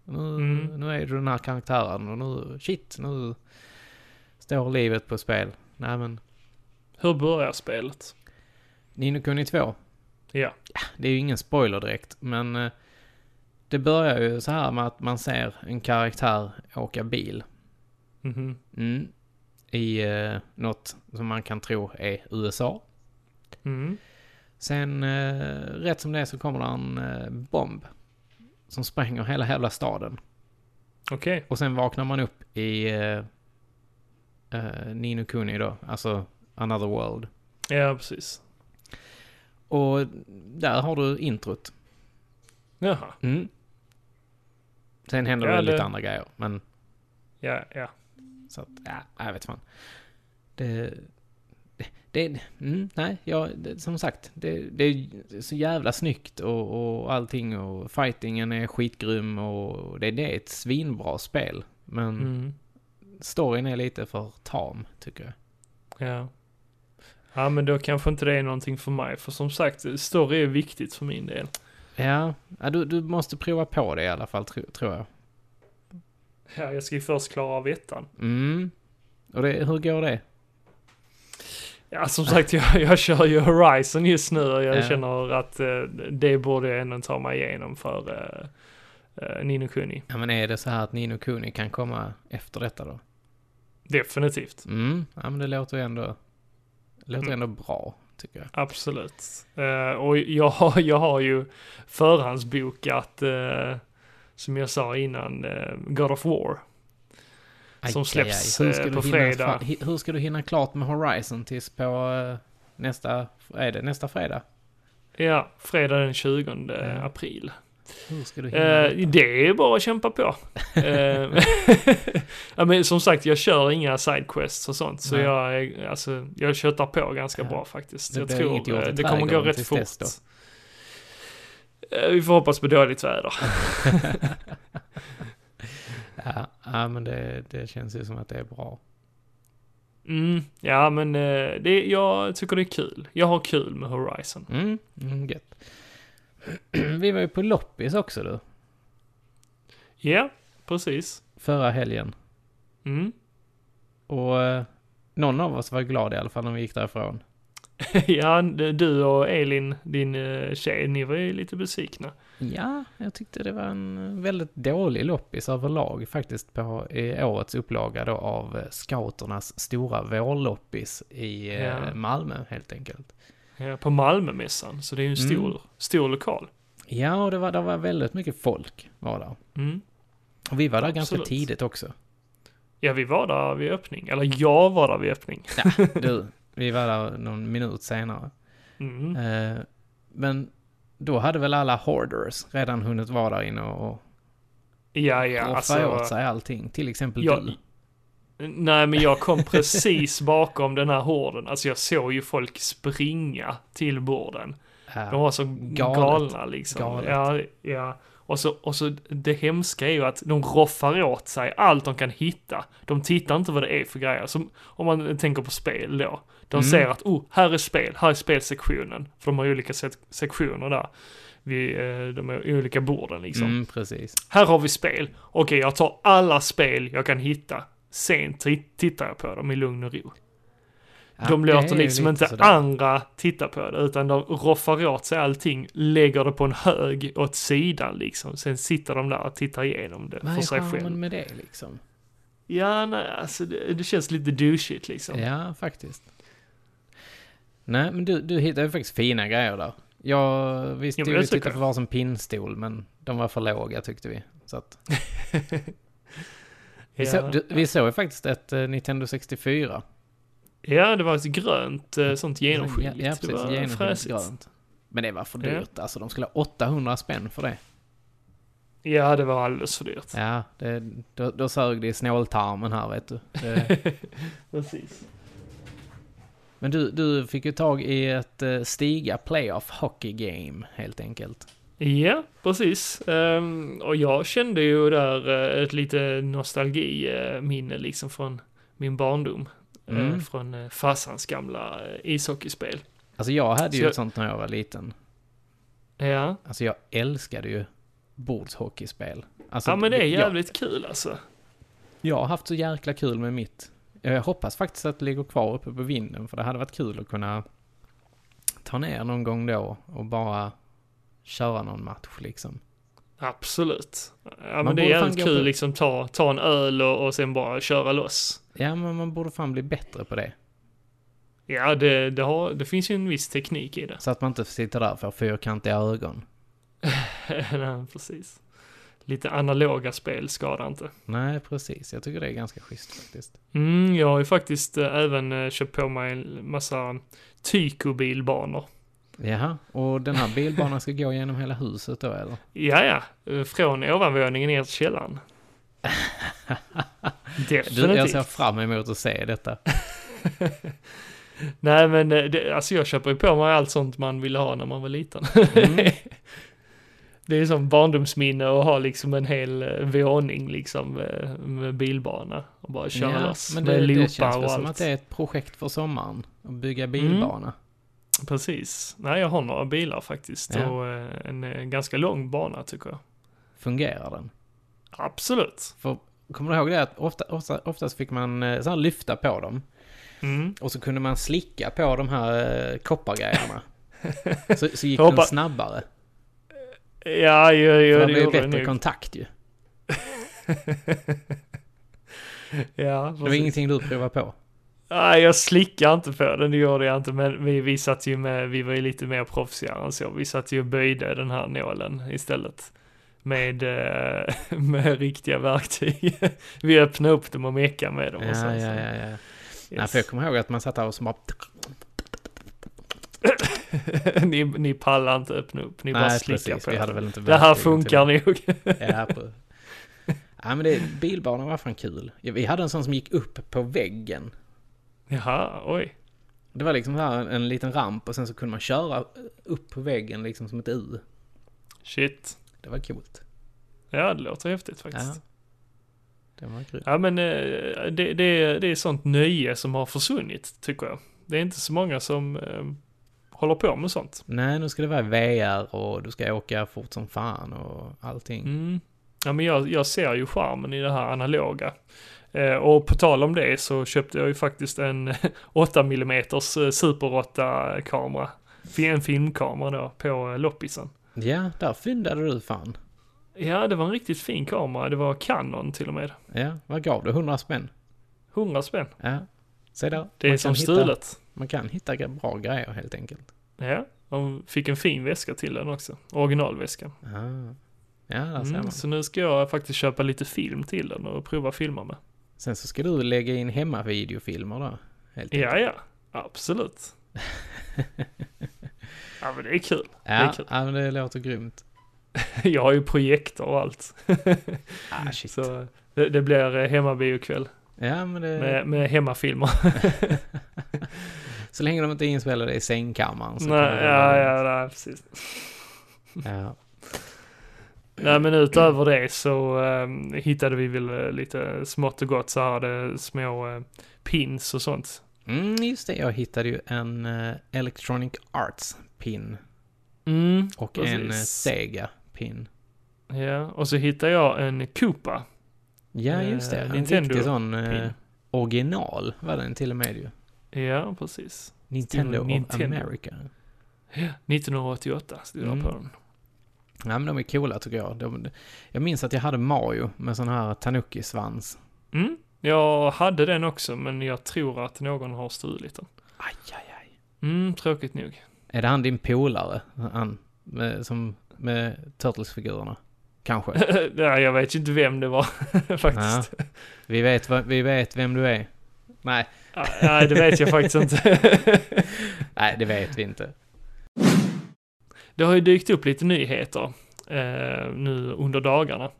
Speaker 1: Nu,
Speaker 2: Mm.
Speaker 1: nu är du den här karaktären och nu, shit, nu står livet på spel. Nej men,
Speaker 2: Hur börjar spelet?
Speaker 1: Nino Kuni 2,
Speaker 2: Ja.
Speaker 1: det är ju ingen spoiler direkt, men eh, det börjar ju så här med att man ser en karaktär åka bil.
Speaker 2: Mhm.
Speaker 1: Mm. I eh, något som man kan tro är USA.
Speaker 2: Mm.
Speaker 1: Sen eh, rätt som det är så kommer det en eh, bomb. Som spränger hela jävla staden.
Speaker 2: Okej.
Speaker 1: Och sen vaknar man upp i eh, eh, Nino Kuni då. Alltså Another World.
Speaker 2: Ja, precis.
Speaker 1: Och där har du introt.
Speaker 2: Jaha.
Speaker 1: Mm. Sen händer
Speaker 2: Ja,
Speaker 1: det lite
Speaker 2: det-
Speaker 1: andra grejer. Men
Speaker 2: Ja, ja.
Speaker 1: Så att, ja, jag vet fan. Det... Det, det mm, nej, ja, det, som sagt, det, det är så jävla snyggt och, och allting och fightingen är skitgrym och det, det är ett svinbra spel. Men
Speaker 2: Mm.
Speaker 1: storyn är lite för tam, tycker jag.
Speaker 2: Ja. Ja, men då kanske inte det är någonting för mig. För som sagt, story är viktigt för min del.
Speaker 1: Ja, ja du, du måste prova på det i alla fall, tro, tror jag.
Speaker 2: Ja, jag ska ju först klara av ettan.
Speaker 1: Mm. Och det, hur går det?
Speaker 2: Ja, som sagt, jag, jag kör ju Horizon just nu och jag
Speaker 1: Ja.
Speaker 2: känner att eh, det borde jag ändå ta mig igenom för eh, eh, Nino Kuni.
Speaker 1: Ja, men är det så här att Nino Kuni kan komma efter detta då?
Speaker 2: Definitivt.
Speaker 1: Mm, ja men det låter ju ändå, låter
Speaker 2: Mm.
Speaker 1: ändå bra, tycker jag.
Speaker 2: Absolut. Eh, och jag, har- jag har ju förhandsbokat, eh, som jag sa innan, eh, God of War. som släpps,
Speaker 1: Hur ska
Speaker 2: eh,
Speaker 1: du
Speaker 2: på
Speaker 1: hinna
Speaker 2: fredag.
Speaker 1: fa- hi- hur ska du hinna klart med Horizon tills på eh, nästa, är det nästa fredag?
Speaker 2: Ja, fredag den 20
Speaker 1: Ja.
Speaker 2: april.
Speaker 1: Hur ska du hinna?
Speaker 2: Eh,
Speaker 1: detta?
Speaker 2: det är bara att kämpa på. Eh, (laughs) ja, men som sagt, jag kör inga sidequests och sånt. Så
Speaker 1: Nej.
Speaker 2: jag, är- alltså, jag köttar på ganska
Speaker 1: Ja.
Speaker 2: bra faktiskt.
Speaker 1: Det
Speaker 2: jag
Speaker 1: blir inget
Speaker 2: tror
Speaker 1: gjort i
Speaker 2: eh, det kommer gå
Speaker 1: trädgården
Speaker 2: rätt
Speaker 1: tills
Speaker 2: fort.
Speaker 1: dess då.
Speaker 2: Eh, vi får hoppas på dåligt väder.
Speaker 1: (laughs) ja, ja, men det, det känns ju som att det är bra.
Speaker 2: Mm, ja, men eh, det, jag tycker det är kul. Jag har kul med Horizon.
Speaker 1: Mm, mm gött. (clears throat) Vi var ju på loppis också du,
Speaker 2: Ja, precis.
Speaker 1: förra helgen.
Speaker 2: Mm. (laughs)
Speaker 1: Och eh, någon av oss var glad i alla fall när vi gick därifrån.
Speaker 2: ja, du och Elin, din eh, tjej, ni var ju lite besvikna.
Speaker 1: Ja, jag tyckte det var en väldigt dålig loppis överlag faktiskt på i årets upplaga då av eh, scouternas stora vårloppis i eh,
Speaker 2: Ja.
Speaker 1: Malmö helt enkelt.
Speaker 2: Ja, eh, på Malmömässan, så det är ju en
Speaker 1: Mm.
Speaker 2: stor, stor lokal.
Speaker 1: Ja, och det var, det var väldigt mycket folk var där.
Speaker 2: Mm.
Speaker 1: Och vi var där
Speaker 2: Absolut.
Speaker 1: ganska tidigt också.
Speaker 2: Ja, vi var där vid öppning. Eller jag var där vid öppning.
Speaker 1: Du, vi var där någon minut senare.
Speaker 2: Mm.
Speaker 1: Eh, Men då hade väl alla hoarders redan hunnit vara där inne och
Speaker 2: Ja, ja,
Speaker 1: roffa
Speaker 2: alltså.
Speaker 1: åt sig allting. Till exempel
Speaker 2: Ja,
Speaker 1: du.
Speaker 2: Nej, men
Speaker 1: (laughs)
Speaker 2: jag kom precis bakom den här horden. Alltså jag såg ju folk springa till borden.
Speaker 1: Ja.
Speaker 2: De var så
Speaker 1: Galet.
Speaker 2: galna liksom.
Speaker 1: Galet.
Speaker 2: Ja, ja. Och så, och så det hemska är ju att de roffar åt sig allt de kan hitta. De tittar inte vad det är för grejer. Som, om man tänker på spel då. De
Speaker 1: Mm.
Speaker 2: ser att, oh, här är spel, här är spelsektionen. För de har olika se- sektioner där. Vid eh, de har olika borden liksom.
Speaker 1: Mm, precis.
Speaker 2: Här har vi spel. Okej, jag tar alla spel jag kan hitta. Sen ti- tittar jag på dem i lugn och ro.
Speaker 1: Ja,
Speaker 2: De
Speaker 1: det är
Speaker 2: låter
Speaker 1: ju
Speaker 2: liksom
Speaker 1: lite
Speaker 2: inte
Speaker 1: sådär.
Speaker 2: andra titta på det, utan de roffar åt sig allting, lägger det på en hög åt sidan liksom. Sen sitter de där och tittar igenom det
Speaker 1: Vad
Speaker 2: för
Speaker 1: är
Speaker 2: sig
Speaker 1: charmen
Speaker 2: själv.
Speaker 1: med det liksom?
Speaker 2: Ja, nej, alltså det, det känns lite douchigt liksom.
Speaker 1: Ja, faktiskt. Nej, men du, du hittade ju faktiskt fina grejer där. Jag, vi stod
Speaker 2: men
Speaker 1: och
Speaker 2: jag tycker
Speaker 1: tittade på
Speaker 2: det.
Speaker 1: varsin pinnstol, men de var för låga tyckte vi. Så att, vi,
Speaker 2: Ja.
Speaker 1: såg, du, vi såg ju faktiskt ett eh, Nintendo 64.
Speaker 2: ja, det var ett grönt eh, sånt genomskinligt.
Speaker 1: Ja, ja precis.
Speaker 2: det var
Speaker 1: Genomskinligt
Speaker 2: fräsigt.
Speaker 1: grönt. Men det var för
Speaker 2: Ja.
Speaker 1: dyrt. Alltså de skulle ha 800 spänn för det.
Speaker 2: Ja, det var alldeles för dyrt.
Speaker 1: Ja, det, då, då sög det i snåltarmen här vet du. Det,
Speaker 2: (laughs) Precis.
Speaker 1: men du, du fick ju tag i ett eh, Stiga Playoff Hockey Game helt enkelt.
Speaker 2: Ja, precis. Ehm, och jag kände ju där eh, ett lite nostalgiminne liksom från min barndom. Eh,
Speaker 1: Mm.
Speaker 2: från eh, farsans gamla eh, ishockeyspel.
Speaker 1: Alltså jag hade
Speaker 2: Så
Speaker 1: ju
Speaker 2: jag-
Speaker 1: ett sånt när jag var liten.
Speaker 2: Ja.
Speaker 1: Alltså jag älskade ju bordshockeyspel. Alltså,
Speaker 2: ja, men det är
Speaker 1: jag-
Speaker 2: jävligt kul alltså.
Speaker 1: Jag har haft så jäkla kul med mitt. Jag hoppas faktiskt att det ligger kvar uppe på vinden för det hade varit kul att kunna ta ner någon gång då och bara köra någon match liksom.
Speaker 2: Absolut. Ja,
Speaker 1: Man
Speaker 2: men det är
Speaker 1: borde fan gå
Speaker 2: jävligt kul
Speaker 1: på-
Speaker 2: liksom ta, ta en öl och, och sen bara köra loss.
Speaker 1: Ja, men man borde fan bli bättre på det.
Speaker 2: Ja, det, det, har, det finns ju en viss teknik i det. (laughs)
Speaker 1: Så att man inte sitter där och får fyrkantiga ögon.
Speaker 2: Nej, precis. Lite analoga spel skadar inte.
Speaker 1: Nej, precis. Jag tycker det är ganska schysst faktiskt.
Speaker 2: Mm, jag har ju faktiskt eh, även eh, köpt på mig en massa Tyco-bilbanor.
Speaker 1: Jaha, och den här bilbanan ska gå genom hela huset då eller?
Speaker 2: Ja, ja. Från ovanvåningen ner till källaren.
Speaker 1: (laughs) Du, jag
Speaker 2: Definitivt.
Speaker 1: ser fram emot att se detta.
Speaker 2: (laughs) Nej, men eh, det, alltså jag köper ju på mig allt sånt man ville ha när man var liten.
Speaker 1: Mm.
Speaker 2: (laughs) Det är som barndomsminne att ha liksom en hel eh, våning liksom eh, med bilbana och bara köra loss
Speaker 1: men
Speaker 2: med
Speaker 1: det, det
Speaker 2: loopar
Speaker 1: känns
Speaker 2: och
Speaker 1: väl som att
Speaker 2: allt.
Speaker 1: det är ett projekt för sommaren. Att
Speaker 2: Mm.
Speaker 1: bygga bilbana.
Speaker 2: Precis. Nej, jag har några bilar faktiskt
Speaker 1: Ja.
Speaker 2: och eh, en eh, ganska lång bana tycker jag.
Speaker 1: Fungerar den?
Speaker 2: Absolut.
Speaker 1: För kommer du ihåg det att ofta, ofta, oftast fick man eh, så här lyfta på dem.
Speaker 2: Mm.
Speaker 1: Och så kunde man slicka på de här eh,
Speaker 2: (laughs)
Speaker 1: koppargrejerna. Så, så gick
Speaker 2: Jag
Speaker 1: den
Speaker 2: hoppas-
Speaker 1: snabbare.
Speaker 2: Ja, jo,
Speaker 1: För
Speaker 2: jo,
Speaker 1: det
Speaker 2: det
Speaker 1: blev
Speaker 2: gjorde
Speaker 1: bättre
Speaker 2: jag nog.
Speaker 1: kontakt ju.
Speaker 2: Ja,
Speaker 1: Det var ingenting du provade på.
Speaker 2: Nej, jag slickar inte på den, det gjorde jag inte. Men vi, vi satt ju med, vi var ju lite mer proffsigare än så. Vi satt ju och böjde den här nålen istället. Med, eh, (laughs) med riktiga verktyg. Vi öppnade upp dem och mekade med dem.
Speaker 1: Ja,
Speaker 2: och
Speaker 1: ja, ja.
Speaker 2: sen, så-
Speaker 1: ja. Nej,
Speaker 2: Yes.
Speaker 1: för jag kommer ihåg att man satt där och så bara...
Speaker 2: (laughs) ni, ni pallar inte öppna upp, ni bara
Speaker 1: Nej,
Speaker 2: slickar
Speaker 1: precis.
Speaker 2: på
Speaker 1: Vi hade
Speaker 2: den.
Speaker 1: väl inte
Speaker 2: Det här
Speaker 1: verktygen till
Speaker 2: funkar nog. (laughs)
Speaker 1: Ja, på... ja men det, bilbanan var fan kul. Ja, Vi hade en sån som gick upp på väggen.
Speaker 2: Jaha, oj.
Speaker 1: Det var liksom så här en liten ramp och sen så kunde man köra upp på väggen liksom som ett U.
Speaker 2: Shit.
Speaker 1: Det var coolt.
Speaker 2: Ja, det låter häftigt
Speaker 1: Ja.
Speaker 2: faktiskt.
Speaker 1: Det var grymt.
Speaker 2: Ja, men eh, det, det, det är sånt nöje som har försvunnit, tycker jag. Det är inte så många som eh, håller på med sånt.
Speaker 1: Nej, nu ska det vara VR och du ska åka fort som fan och allting.
Speaker 2: Mm. Ja, men jag, jag ser ju charmen i det här analoga. Eh, och på tal om det så köpte jag ju faktiskt en (laughs) 8 mm eh, Super 8-kamera. En filmkamera då, på eh, loppisen.
Speaker 1: Ja, där fyndade du fan.
Speaker 2: Ja, det var en riktigt fin kamera. Det var Canon till och med.
Speaker 1: Ja, vad gav du? 100 spänn?
Speaker 2: 100 spänn.
Speaker 1: Ja, se där.
Speaker 2: Det är
Speaker 1: Man kan
Speaker 2: som
Speaker 1: hitta-
Speaker 2: stulet.
Speaker 1: Man kan hitta bra grejer helt enkelt.
Speaker 2: Ja, de fick en fin väska till den också. Originalväskan.
Speaker 1: Ah. Ja, där ser
Speaker 2: Mm,
Speaker 1: man.
Speaker 2: så nu ska jag faktiskt köpa lite film till den och prova att filma med.
Speaker 1: Sen så ska du lägga in (laughs) hemmavideofilmer då. Helt enkelt.
Speaker 2: Ja, ja. Absolut. Ja, men det är kul.
Speaker 1: Ja,
Speaker 2: är kul.
Speaker 1: ja men det låter grymt.
Speaker 2: Jag har ju projektor och allt.
Speaker 1: Ah, shit.
Speaker 2: Så det, det blir eh, hemmabiokväll
Speaker 1: Ja, men det,
Speaker 2: med, med hemmafilmer.
Speaker 1: (laughs) så länge de inte är inspelade i sängkammaren så kan det
Speaker 2: Nej, ja,
Speaker 1: vara
Speaker 2: ja, nej, precis.
Speaker 1: lugnt. ja.
Speaker 2: Nej, men utöver det så eh, hittade vi väl eh, lite smått och gott så här, det, små eh, pins och sånt.
Speaker 1: Mm, just det, jag hittade ju en eh, Electronic Arts pin
Speaker 2: Mm,
Speaker 1: och en eh,
Speaker 2: Precis.
Speaker 1: Sega pin.
Speaker 2: ja. Och så hittade jag en Koopa.
Speaker 1: Ja, just det.
Speaker 2: Eh,
Speaker 1: En
Speaker 2: Nintendo
Speaker 1: riktig sån eh,
Speaker 2: pin.
Speaker 1: original var den till och med ju.
Speaker 2: Ja, precis.
Speaker 1: Nintendo of
Speaker 2: Nintendo.
Speaker 1: America.
Speaker 2: 1988 stod det
Speaker 1: Mm.
Speaker 2: på den.
Speaker 1: Ja, men de är coola tycker jag. De, jag minns att jag hade Mario med sån här Tanuki-svans.
Speaker 2: Mm. Jag hade den också, men jag tror att någon har stulit den.
Speaker 1: Aj, aj, aj.
Speaker 2: Mm, tråkigt nog. (laughs)
Speaker 1: Är det han din polare? Han med, som, med Turtles-figurerna? Kanske.
Speaker 2: Nej, jag vet ju inte vem det var (laughs) faktiskt.
Speaker 1: Vi vet, vad- vi vet vem du är.
Speaker 2: (laughs)
Speaker 1: Nej,
Speaker 2: Ah, Nej, det vet jag faktiskt inte.
Speaker 1: nej, det vet vi inte.
Speaker 2: Det har ju dykt upp lite nyheter eh, nu under dagarna.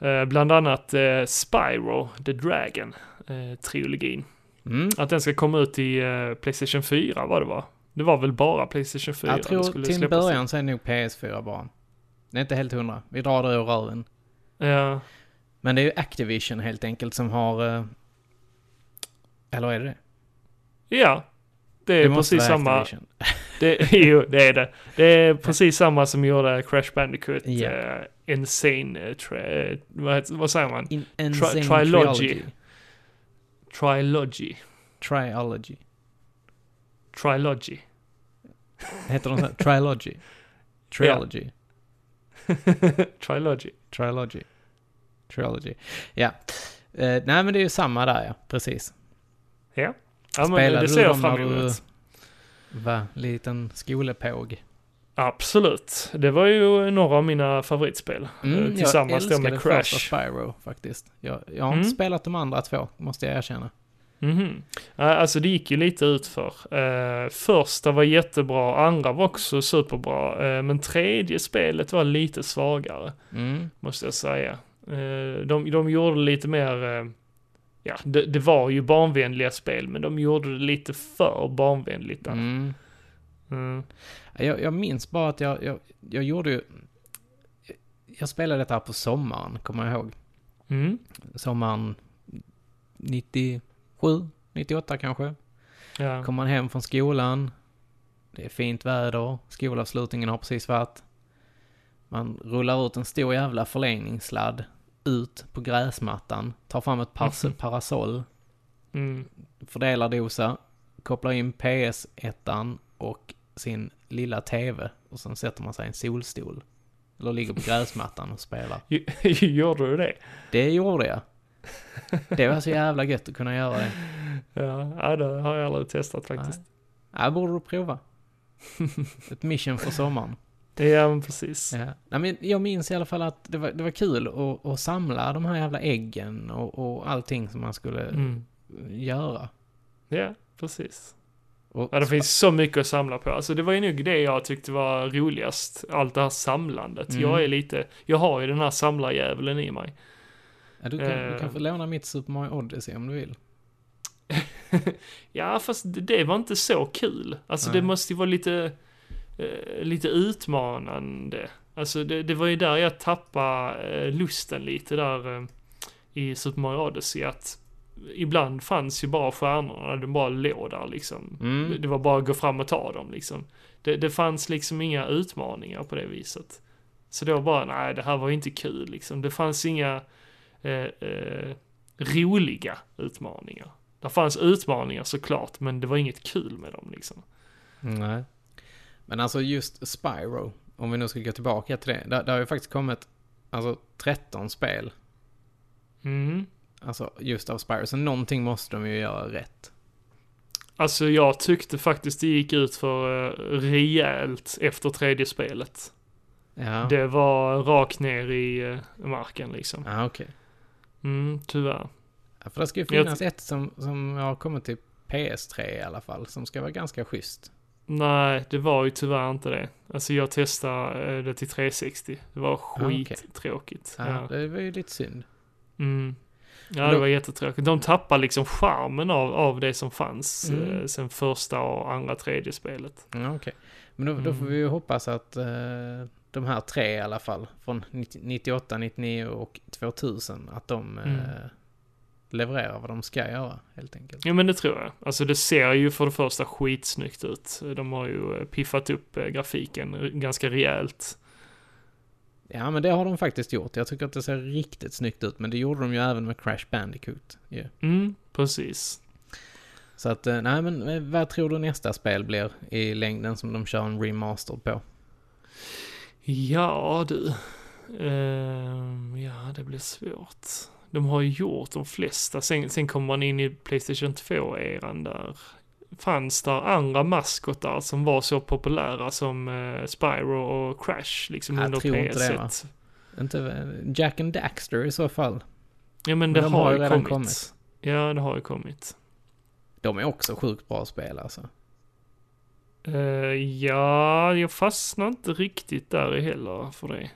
Speaker 2: Eh, bland annat eh, Spyro the Dragon eh, trilogin.
Speaker 1: Mm.
Speaker 2: Att den ska komma ut i eh, Playstation 4 var det va? Det var väl bara Playstation 4?
Speaker 1: Jag
Speaker 2: det
Speaker 1: tror
Speaker 2: skulle
Speaker 1: till en
Speaker 2: släppas.
Speaker 1: början så är det nog PS4 bara. Det är inte helt hundra. Vi drar det ur röven.
Speaker 2: Ja,
Speaker 1: Men det är ju Activision helt enkelt som har... eh, Eller är det det?
Speaker 2: ja. Det är
Speaker 1: måste
Speaker 2: precis
Speaker 1: vara
Speaker 2: samma.
Speaker 1: Activision.
Speaker 2: Det, (laughs) jo, det är det. Det är precis samma som gjorde Crash Bandicoot.
Speaker 1: Ja.
Speaker 2: eh, Insane... eh, tra, eh, vad, heter- vad säger man?
Speaker 1: In, en
Speaker 2: Tri-
Speaker 1: Zane
Speaker 2: Trilogy.
Speaker 1: Trilogy. Trilogy.
Speaker 2: Trilogy. Trilogy. (laughs)
Speaker 1: Heter de så? (laughs) här? Trilogy? Trilogy?
Speaker 2: Trilogy.
Speaker 1: Trilogy? Trilogy? Ja. Eh, nej men det är ju samma där ja, precis.
Speaker 2: Ja, men
Speaker 1: Spelade
Speaker 2: det
Speaker 1: du
Speaker 2: ser jag
Speaker 1: dem när
Speaker 2: fram
Speaker 1: du-
Speaker 2: emot.
Speaker 1: Va? Liten skolepåg.
Speaker 2: Absolut. Det var ju några av mina favoritspel. Eh, Tillsammans då
Speaker 1: Mm, jag
Speaker 2: med
Speaker 1: älskade
Speaker 2: Crash.
Speaker 1: första Spyro faktiskt. Jag, jag har
Speaker 2: Mm.
Speaker 1: inte spelat de andra två, måste jag erkänna.
Speaker 2: Mhm. Ja, Alltså det gick ju lite utför. Eh, första var jättebra, andra var också superbra. Eh, men tredje spelet var lite svagare,
Speaker 1: Mm.
Speaker 2: måste jag säga. Eh, de, de gjorde lite mer, eh, ja det, det var ju barnvänliga spel, men de gjorde det lite för barnvänligt där.
Speaker 1: Mm.
Speaker 2: Mm.
Speaker 1: Jag, jag minns bara att jag, jag, jag gjorde ju... Jag spelade detta på sommaren, kommer jag ihåg.
Speaker 2: Mm.
Speaker 1: Sommaren 97, 98 kanske.
Speaker 2: Ja.
Speaker 1: Kommer man hem från skolan. Det är fint väder. Skolavslutningen har precis varit. Man rullar ut en stor jävla förlängningssladd. Ut på gräsmattan. Tar fram ett pars-
Speaker 2: Mhm.
Speaker 1: parasoll.
Speaker 2: Mm. (laughs)
Speaker 1: Fördelar dosa. Kopplar in PS1 och sin lilla TV. Och sen sätter man sig i en solstol. Eller ligger på gräsmattan och spelar.
Speaker 2: gjorde du det?
Speaker 1: Det gjorde jag. Det var så jävla gött att kunna göra det.
Speaker 2: Ja, ja, det har jag aldrig testat faktiskt.
Speaker 1: Ja, det borde du prova.
Speaker 2: (laughs)
Speaker 1: Ett mission för sommaren.
Speaker 2: Ja, men precis.
Speaker 1: Ja. Nej, men jag minns i alla fall att det var, det var kul att, att samla de här jävla äggen och, och allting som man skulle
Speaker 2: Mm.
Speaker 1: göra.
Speaker 2: Ja, precis.
Speaker 1: Och,
Speaker 2: Ja, det finns så mycket att samla på. Alltså det var ju nog det jag tyckte var roligast. Allt det här samlandet.
Speaker 1: Mm.
Speaker 2: Jag är lite, jag har ju den här samlarjävulen i mig.
Speaker 1: ja, du, kan, du
Speaker 2: eh,
Speaker 1: kan få låna mitt Super Mario Odyssey om du vill.
Speaker 2: Ja, fast det, det var inte så kul. Alltså det
Speaker 1: Nej.
Speaker 2: måste ju vara lite, eh, lite utmanande. Alltså det, det var ju där jag tappade eh, lusten lite där eh, i Super Mario Odyssey. Att ibland fanns ju bara stjärnorna, de bara låg där liksom. Det-
Speaker 1: Mm.
Speaker 2: Det var bara att gå fram och ta dem liksom. Det, det fanns liksom inga utmaningar på det viset. Så då bara, nej det här var ju inte kul liksom. Det fanns inga eh, eh, roliga utmaningar. Det fanns utmaningar såklart, men det var inget kul med dem liksom.
Speaker 1: Nej. Men alltså just Spyro, om vi nu ska gå tillbaka till det. Där, där har ju faktiskt kommit alltså, 13 spel.
Speaker 2: Mm.
Speaker 1: Alltså just av Spyro. Så någonting måste de ju göra rätt.
Speaker 2: Alltså jag tyckte faktiskt det gick ut för eh, rejält efter tredje spelet.
Speaker 1: Ja,
Speaker 2: Det var rakt ner i eh, marken liksom.
Speaker 1: ah, okej.
Speaker 2: Mm, tyvärr.
Speaker 1: Ja, för det ska ju
Speaker 2: Jag
Speaker 1: finnas ett som, som har kommit till PS3 i alla fall, som ska vara ganska schysst.
Speaker 2: Nej, det var ju tyvärr inte det. Alltså jag testade eh, det till 360. Det
Speaker 1: Ah,
Speaker 2: var skittråkigt.
Speaker 1: Ja,
Speaker 2: ja.
Speaker 1: eh, Det var ju lite synd. Ah,
Speaker 2: Mm.
Speaker 1: Men
Speaker 2: Ja, det
Speaker 1: då-
Speaker 2: var jättetråkigt. De tappar liksom charmen av, av det som fanns
Speaker 1: Mm.
Speaker 2: eh, sen första och andra tredje spelet.
Speaker 1: Ja, okej. Men då, då får vi ju hoppas att eh, de här tre i alla fall, från 90, 98, 99 och 2000, att de eh, levererar vad de ska göra helt enkelt.
Speaker 2: Ja men det tror jag. Alltså det ser ju för det första skitsnyggt ut. De har ju eh, piffat upp eh, grafiken r- ganska rejält.
Speaker 1: Ja, men det har de faktiskt gjort. Jag tycker att det ser riktigt snyggt ut, men det gjorde de ju även med Crash Bandicoot. ju.
Speaker 2: Mm, precis.
Speaker 1: Så att, eh, nej men eh, vad tror du nästa spel blir i längden som de kör en remaster på?
Speaker 2: Ja du. Ehm, ja, det blir svårt. De har ju gjort de flesta. Sen, sen kommer man in i Playstation 2-eran där. Fanns där andra maskotar som var så populära som eh, Spyro och Crash liksom
Speaker 1: Jag
Speaker 2: under
Speaker 1: tror inte det, va?
Speaker 2: PS1?
Speaker 1: Inte eh, Jack and Daxter i så fall.
Speaker 2: Ja men
Speaker 1: Men
Speaker 2: det
Speaker 1: de
Speaker 2: har,
Speaker 1: har ju
Speaker 2: ju
Speaker 1: redan
Speaker 2: kommit.
Speaker 1: kommit.
Speaker 2: Ja, det har ju kommit.
Speaker 1: De är också sjukt bra spel alltså.
Speaker 2: Eh, ja, jag fastnar inte riktigt där heller för det.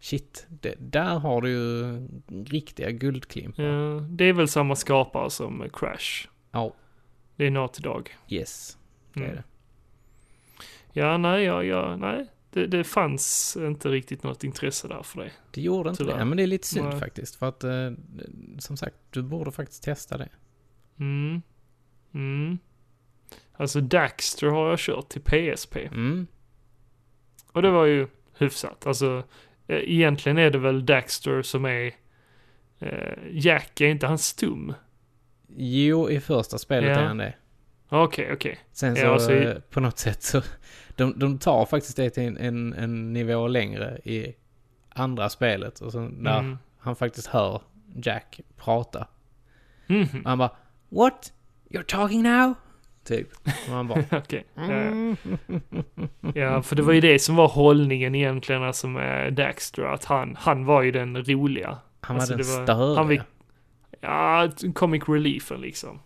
Speaker 1: Shit, det, där har du ju riktiga guldklimpar.
Speaker 2: Eh, det är väl samma skapare som eh, Crash.
Speaker 1: Ja,
Speaker 2: Det är Naughty Dog.
Speaker 1: yes. Det
Speaker 2: Mm.
Speaker 1: är det.
Speaker 2: Ja, nej, ja, ja, nej. Det, det fanns inte riktigt något intresse där för det.
Speaker 1: Det gjorde inte
Speaker 2: Tyvärr.
Speaker 1: det. Ja, men det är lite synd
Speaker 2: Nej.
Speaker 1: faktiskt. För att, eh, som sagt, du borde faktiskt testa det.
Speaker 2: Mm. Mm. Alltså Daxter har jag kört till PSP.
Speaker 1: Mm.
Speaker 2: Och det var ju hyfsat. Alltså, eh, egentligen är det väl Daxter som är... Eh, Jack, är inte han stum?
Speaker 1: Jo, i första spelet
Speaker 2: Ja.
Speaker 1: är han det.
Speaker 2: Okej, okej.
Speaker 1: Sen så,
Speaker 2: Ja, så i-
Speaker 1: eh, på något sätt så, de, de tar faktiskt det till en, en, en nivå längre i andra spelet. Och så när
Speaker 2: Mm.
Speaker 1: han faktiskt hör Jack prata.
Speaker 2: Mhm. (laughs)
Speaker 1: Och han bara, What? You're talking now? Typ. Och man
Speaker 2: (laughs)
Speaker 1: bara,
Speaker 2: Okej.
Speaker 1: Mm.
Speaker 2: Ja. Ja, för det var ju det som var hållningen egentligen, alltså med Daxter, att han, han var ju den roliga.
Speaker 1: han var
Speaker 2: Alltså,
Speaker 1: den
Speaker 2: det var-
Speaker 1: störiga.
Speaker 2: han fick- Ja, comic reliefen liksom.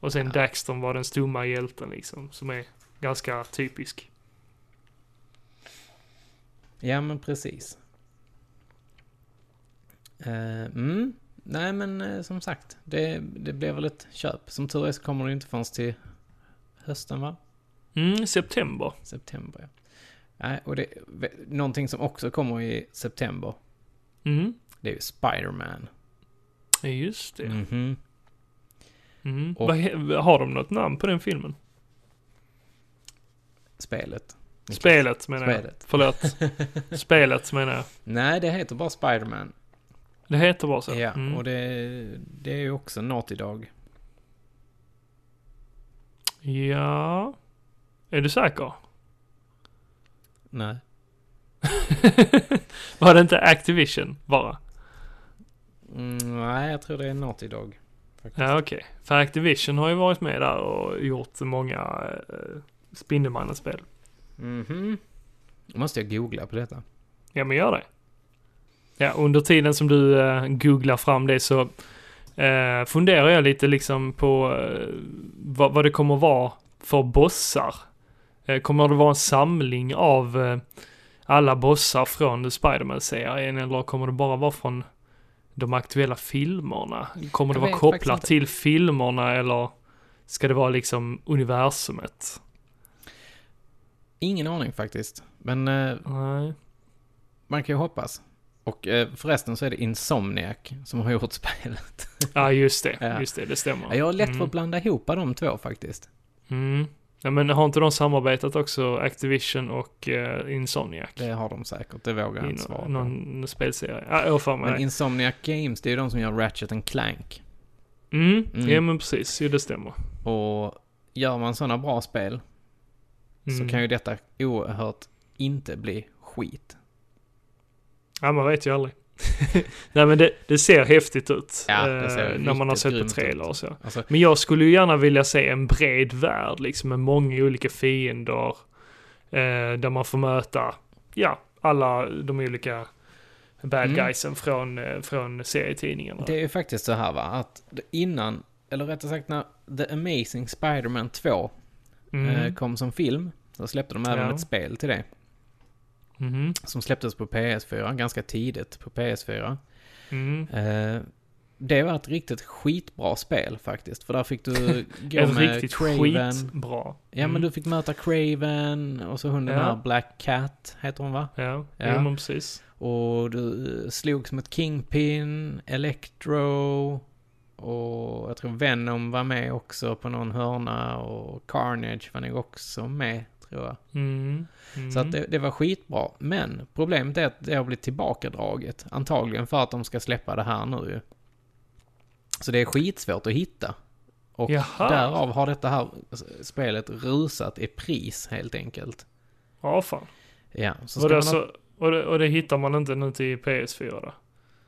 Speaker 2: Och sen
Speaker 1: Ja.
Speaker 2: Daxton var den stumma hjälten liksom, som är ganska typisk.
Speaker 1: Ja, men precis. Eh, mm. Nej, men eh, som sagt, det, det blir väl ett köp. Som tur är så kommer det inte förrän till hösten, va?
Speaker 2: Mm, september.
Speaker 1: September, ja. Nej, och det, ve- någonting som också kommer i september,
Speaker 2: Mm,
Speaker 1: det är ju Spider-Man.
Speaker 2: Ja, just det.
Speaker 1: Mhm.
Speaker 2: Mm.
Speaker 1: Och-
Speaker 2: Vad he- har de något namn på den filmen?
Speaker 1: Spelet.
Speaker 2: Spelet menar jag.
Speaker 1: Spelet. (laughs)
Speaker 2: Förlåt. Spelet menar jag.
Speaker 1: Nej, det heter bara Spider-Man.
Speaker 2: Det heter bara så.
Speaker 1: Ja,
Speaker 2: Mm.
Speaker 1: och det, det är ju också Naughty Dog.
Speaker 2: ja. Är du säker?
Speaker 1: Nej.
Speaker 2: Var det inte Activision bara?
Speaker 1: Mm, nej, jag tror det är Naughty Dog. Faktiskt.
Speaker 2: Ja, okej. För Activision har ju varit med där och gjort många eh, Spindelmannen-spel. Mm-hmm.
Speaker 1: Mhm. Då måste jag googla på detta.
Speaker 2: Ja, men gör det. Ja, under tiden som du eh, googlar fram det så eh, funderar jag lite liksom på eh, vad, vad det kommer vara för bossar. Eh, kommer det vara en samling av eh, alla bossar från Spiderman-serien eller kommer det bara vara från de aktuella filmerna? Kommer det
Speaker 1: Jag
Speaker 2: vara
Speaker 1: vet faktiskt
Speaker 2: kopplat
Speaker 1: inte.
Speaker 2: till filmerna eller ska det vara liksom universumet?
Speaker 1: Ingen aning faktiskt. Men eh,
Speaker 2: Nej.
Speaker 1: man kan ju hoppas. Och eh, förresten så är det Insomniac som har gjort (laughs) spelet.
Speaker 2: Ja, just det.
Speaker 1: Ja.
Speaker 2: Just det, det stämmer.
Speaker 1: Jag har lätt för
Speaker 2: Mm.
Speaker 1: att blanda ihop de två faktiskt.
Speaker 2: Mm. Ja, men har inte de samarbetat också, Activision och eh, Insomniac?
Speaker 1: Det har de säkert, det vågar jag
Speaker 2: I
Speaker 1: inte svara
Speaker 2: nå-
Speaker 1: på.
Speaker 2: någon spelserie? Ja, jag har för
Speaker 1: Men
Speaker 2: mig.
Speaker 1: Insomniac Games, det är ju de som gör Ratchet and Clank.
Speaker 2: Mm.
Speaker 1: Mm.
Speaker 2: Ja, men precis. Jo, det stämmer.
Speaker 1: Och gör man sådana bra spel
Speaker 2: Mm.
Speaker 1: så kan ju detta oerhört inte bli skit.
Speaker 2: Ja, man vet ju aldrig. (laughs) Nej, men det, det ser häftigt ut.
Speaker 1: Ja, det ser
Speaker 2: eh, när man har
Speaker 1: riktigt
Speaker 2: sett på
Speaker 1: grymt
Speaker 2: trailer
Speaker 1: ut.
Speaker 2: och så.
Speaker 1: Alltså,
Speaker 2: Men jag skulle ju gärna vilja se en bred värld, liksom med många olika fiender. Eh, där man får möta, ja, alla de olika bad
Speaker 1: Mm.
Speaker 2: guysen från, eh, från serietidningarna.
Speaker 1: Det är ju faktiskt så här va, att det- innan, eller rättare sagt när The Amazing Spider-Man 2
Speaker 2: Mm.
Speaker 1: eh, kom som film. Så släppte de även
Speaker 2: Ja.
Speaker 1: ett spel till det.
Speaker 2: Mhm.
Speaker 1: Som släpptes på PS4, ganska tidigt på PS4.
Speaker 2: Mm.
Speaker 1: Eh, det var ett riktigt skitbra spel faktiskt. För där fick
Speaker 2: (laughs)
Speaker 1: du gå
Speaker 2: Ett
Speaker 1: med
Speaker 2: riktigt
Speaker 1: Craven.
Speaker 2: skitbra.
Speaker 1: Ja men du fick möta Craven och så hunden
Speaker 2: Ja.
Speaker 1: här Black Cat heter hon va?
Speaker 2: Ja,
Speaker 1: Ja.
Speaker 2: Jo, men precis.
Speaker 1: Och du eh, slogs mot Kingpin, Electro och jag tror Venom var med också på någon hörna och Carnage var nog också med tror jag.
Speaker 2: Mm. Mm.
Speaker 1: Så att det, det var skitbra. Men problemet är att det har blivit tillbakadraget. Antagligen för att de ska släppa det här nu ju. Så det är skitsvårt att hitta. Och
Speaker 2: Jaha.
Speaker 1: därav har detta här spelet rusat i pris helt enkelt.
Speaker 2: Ja, fan.
Speaker 1: Ja, så ska
Speaker 2: Och det,
Speaker 1: man
Speaker 2: alltså, och, det, och det hittar man inte nu till PS4 då?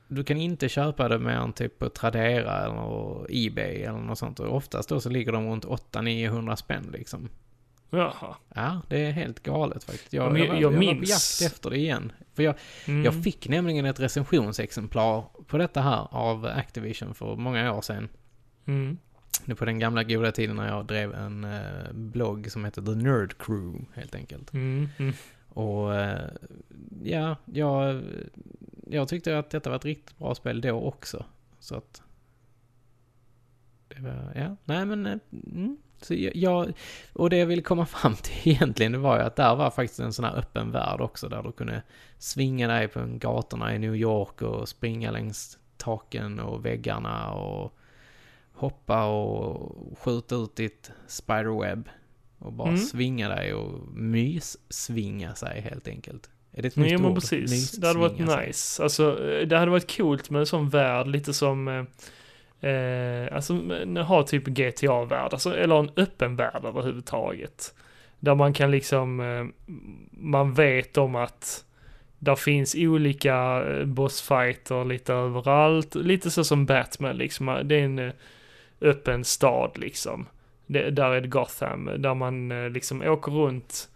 Speaker 1: Du kan inte köpa det mer än typ på Tradera eller Ebay eller något sånt. Och oftast då så ligger de runt 800-900 spänn liksom.
Speaker 2: Jaha.
Speaker 1: Ja, det är helt galet faktiskt. Jag,
Speaker 2: Ja, men
Speaker 1: jag,
Speaker 2: jag-
Speaker 1: var-
Speaker 2: jag
Speaker 1: jag, var på
Speaker 2: minns-
Speaker 1: jakt efter det igen. För jag,
Speaker 2: Mm.
Speaker 1: jag fick nämligen ett recensionsexemplar på detta här av Activision för många år sedan.
Speaker 2: Mm.
Speaker 1: Nu på den gamla goda tiden när jag drev en eh, blogg som hette The Nerd Crew helt enkelt.
Speaker 2: Mm. Mm.
Speaker 1: Och eh, ja, jag, jag tyckte att detta var ett riktigt bra spel då också. Så att... Det var, ja, nej men... eh, Mm, så jag- jag, och det jag ville komma (laughs) fram till egentligen, det var ju att där var faktiskt en sån här öppen värld också, där du kunde svinga dig på gatorna i New York och springa längs taken och väggarna och hoppa och skjuta ut ditt spiderweb. Och bara
Speaker 2: Mm.
Speaker 1: svinga dig och mys-svinga sig helt enkelt. Är det ett
Speaker 2: Nej,
Speaker 1: nytt
Speaker 2: men
Speaker 1: ord?
Speaker 2: precis. Det
Speaker 1: Mys-svinga
Speaker 2: hade varit
Speaker 1: sig.
Speaker 2: nice. Alltså, eh, det hade varit coolt med en sån värld, lite som... eh, Eh, alltså, men ha typ GTA-värld, alltså, eller en öppen värld överhuvudtaget. Där man kan liksom, eh, man vet om att där finns olika eh, bossfighter lite överallt. Lite så som Batman liksom, det är en eh, öppen stad liksom. Det, där är det Gotham, där man eh, liksom åker runt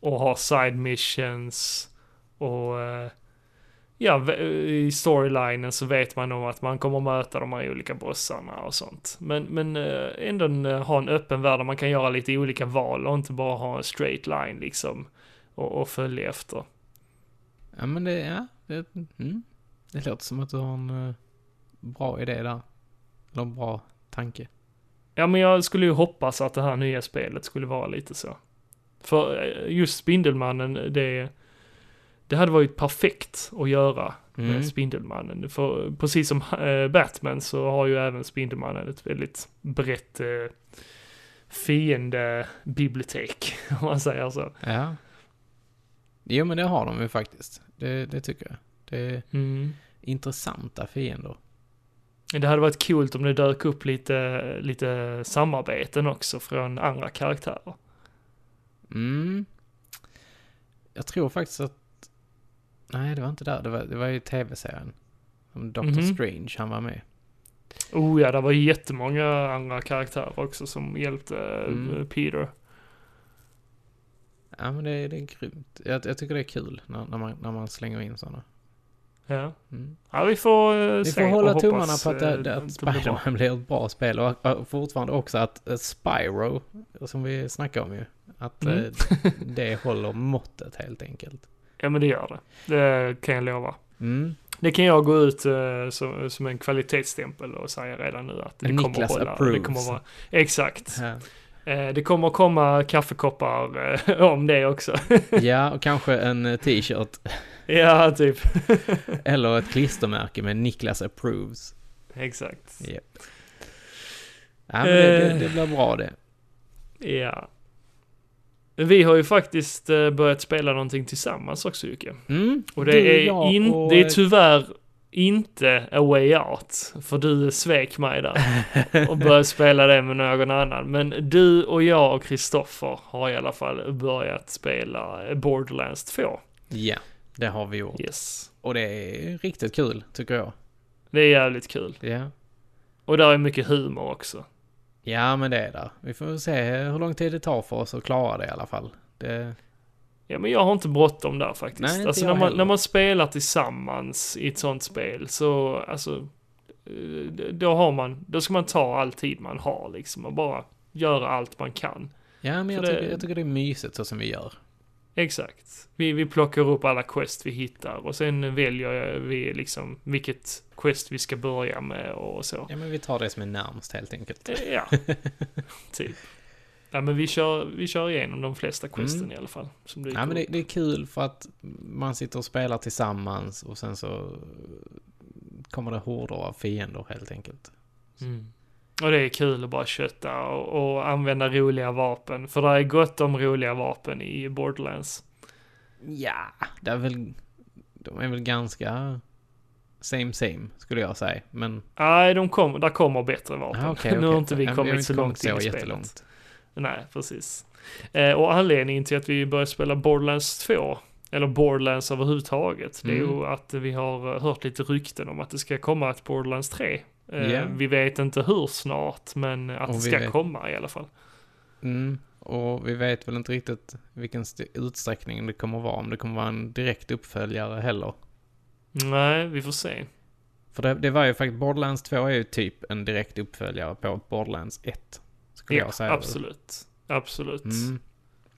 Speaker 2: och har side missions och eh, ja, v- i storylinen så vet man om att man kommer möta de här olika bossarna och sånt. Men, men eh, ändå en, eh, ha en öppen värld där man kan göra lite olika val och inte bara ha en straight line liksom och, och följa efter.
Speaker 1: Ja, men det, ja, det, mm. det låter som att du har en eh, bra idé där. Eller en bra tanke.
Speaker 2: Ja, men jag skulle ju hoppas att det här nya spelet skulle vara lite så. För eh, just Spindelmannen, det, det hade varit perfekt att göra med
Speaker 1: Mm.
Speaker 2: eh, Spindelmannen. För precis som eh, Batman så har ju även Spindelmannen ett väldigt brett eh, fiendebibliotek, (laughs) om man säger så.
Speaker 1: Ja. Jo, men det har de ju faktiskt. Det, det tycker jag. Det är
Speaker 2: Mm.
Speaker 1: intressanta fiender.
Speaker 2: Det hade varit coolt om det dök upp lite, lite samarbeten också från andra karaktärer.
Speaker 1: Mm. Jag tror faktiskt att... Nej, det var inte där. Det var, det var ju tv-serien. Som Doctor
Speaker 2: Mhm.
Speaker 1: Strange, han var med.
Speaker 2: Oh ja, det var jättemånga andra karaktärer också som hjälpte eh,
Speaker 1: Mm.
Speaker 2: Peter.
Speaker 1: Ja, men det, det är grymt. Jag, jag tycker det är kul när, när, man, när man slänger in sådana.
Speaker 2: Ja.
Speaker 1: Mm.
Speaker 2: ja, vi får eh,
Speaker 1: Vi
Speaker 2: se
Speaker 1: får hålla
Speaker 2: och
Speaker 1: tummarna
Speaker 2: hoppas,
Speaker 1: på att, det,
Speaker 2: eh,
Speaker 1: (laughs) det, att
Speaker 2: det blir bra.
Speaker 1: Spiderman blir ett bra spel och eh, fortfarande också att eh, Spyro, som vi snackade om ju, att
Speaker 2: Mm.
Speaker 1: eh,
Speaker 2: (laughs)
Speaker 1: det håller måttet helt enkelt.
Speaker 2: Ja, men det gör det. Det kan jag lova.
Speaker 1: Mm.
Speaker 2: Det kan jag gå ut eh, som, som en kvalitetsstämpel och säga redan nu att det kommer
Speaker 1: Niklas
Speaker 2: att hålla. Det
Speaker 1: approves.
Speaker 2: kommer att vara, exakt.
Speaker 1: Ja.
Speaker 2: Eh, det kommer att komma kaffekoppar eh, (laughs) om det också.
Speaker 1: Ja, och kanske en eh, t-shirt
Speaker 2: ja, typ. (laughs)
Speaker 1: eller ett klistermärke med Niklas approves.
Speaker 2: Exakt.
Speaker 1: Japp. Ja, men det, det,
Speaker 2: Eh.
Speaker 1: det blir bra det.
Speaker 2: Ja. Vi har ju faktiskt eh, börjat spela någonting tillsammans också Jocke.
Speaker 1: Mm.
Speaker 2: Och det
Speaker 1: Du,
Speaker 2: är,
Speaker 1: jag
Speaker 2: in,
Speaker 1: och- eh,
Speaker 2: det är tyvärr inte A Way Out, för du svek mig där
Speaker 1: (laughs)
Speaker 2: och började spela det med någon annan. Men du och jag och Kristoffer har i alla fall börjat spela Borderlands 2.
Speaker 1: Ja, det har vi gjort.
Speaker 2: Yes.
Speaker 1: Och det är riktigt kul, tycker jag.
Speaker 2: Det är jävligt kul.
Speaker 1: Ja.
Speaker 2: Och där är mycket humor också.
Speaker 1: Ja, men det är där. Vi får se hur lång tid det tar för oss att klara det i alla fall. Det,
Speaker 2: Ja, men jag har inte bråttom där faktiskt.
Speaker 1: Nej, inte
Speaker 2: alltså
Speaker 1: jag
Speaker 2: när man,
Speaker 1: heller.
Speaker 2: när man spelar tillsammans i ett sånt spel så, alltså, eh, då har man, då ska man ta all tid man har liksom och bara göra allt man kan.
Speaker 1: Ja, men jag,
Speaker 2: Så det-
Speaker 1: Tycker, jag tycker det är mysigt så som vi gör.
Speaker 2: Exakt. Vi, vi plockar upp alla quest vi hittar och sen väljer jag- vi liksom vilket quest vi ska börja med och så.
Speaker 1: Ja, men vi tar det som är närmst helt enkelt.
Speaker 2: Eh, Ja,
Speaker 1: (laughs)
Speaker 2: typ. Ja, men vi kör, vi kör igenom de flesta questen
Speaker 1: Mm.
Speaker 2: i alla fall. Som dyker
Speaker 1: Ja, men det,
Speaker 2: upp.
Speaker 1: det är kul för att man sitter och spelar tillsammans och sen så kommer det horder av fiender helt enkelt.
Speaker 2: Mm. Och det är kul att bara kötta och, och använda roliga vapen. För det är gott om roliga vapen i Borderlands.
Speaker 1: Ja, det är väl... De är väl ganska same same, skulle jag säga. Men...
Speaker 2: Nej, de kom, där kommer bättre vapen.
Speaker 1: Ah, okej,
Speaker 2: nu har
Speaker 1: okej.
Speaker 2: inte vi
Speaker 1: Ja, men
Speaker 2: kommit
Speaker 1: har inte
Speaker 2: så långt in i spelet.
Speaker 1: jättelångt.
Speaker 2: Nej, precis. Eh, och anledningen till att vi började spela Borderlands 2, eller Borderlands överhuvudtaget, det är
Speaker 1: Mm.
Speaker 2: ju att vi har eh, hört lite rykten om att det ska komma ett Borderlands 3. Eh,
Speaker 1: Ja.
Speaker 2: Vi vet inte hur snart, men att
Speaker 1: Och
Speaker 2: det
Speaker 1: vi
Speaker 2: ska
Speaker 1: vet-
Speaker 2: komma i alla fall.
Speaker 1: Mm, och vi vet väl inte riktigt vilken st- utsträckning det kommer vara. Om det kommer vara en direkt uppföljare heller.
Speaker 2: Nej, vi får se.
Speaker 1: För det, det var ju faktiskt, Borderlands 2 är ju typ en direkt uppföljare på Borderlands 1. Skulle
Speaker 2: Ja,
Speaker 1: jag säga.
Speaker 2: absolut. Absolut.
Speaker 1: Mm.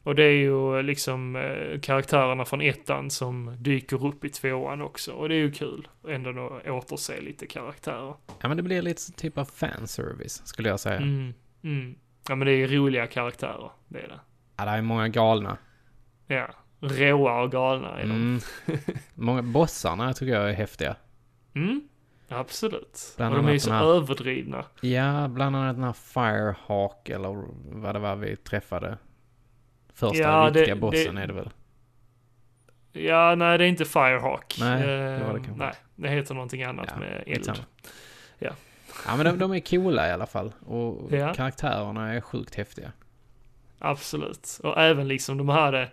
Speaker 2: Och det är ju liksom eh, karaktärerna från ettan som dyker upp i tvåan också. Och det är ju kul. Ändå då återse lite karaktärer.
Speaker 1: Ja men det blir lite så typ av fanservice skulle jag säga.
Speaker 2: Mm, mm. Ja men det är roliga karaktärer, det är det.
Speaker 1: Ja, det är många galna.
Speaker 2: Ja, råa och galna är de.
Speaker 1: Mm. (laughs) många bossarna tycker jag är häftiga.
Speaker 2: Mm, absolut.
Speaker 1: Bland
Speaker 2: och de är ju
Speaker 1: annat
Speaker 2: så
Speaker 1: den här-
Speaker 2: överdrivna.
Speaker 1: Ja, bland annat den här Firehawk eller vad det var vi träffade. Första
Speaker 2: Ja, det-
Speaker 1: riktiga bossen
Speaker 2: det-
Speaker 1: är det väl?
Speaker 2: Ja, nej det är inte Firehawk.
Speaker 1: Nej,
Speaker 2: Eh,
Speaker 1: det var det kanske.
Speaker 2: Nej, det heter någonting annat
Speaker 1: Ja,
Speaker 2: med eld.
Speaker 1: Skitsamma.
Speaker 2: Ja.
Speaker 1: ja men de, de är coola i alla fall. Och
Speaker 2: Ja.
Speaker 1: karaktärerna är sjukt häftiga.
Speaker 2: Absolut. Och även liksom de här,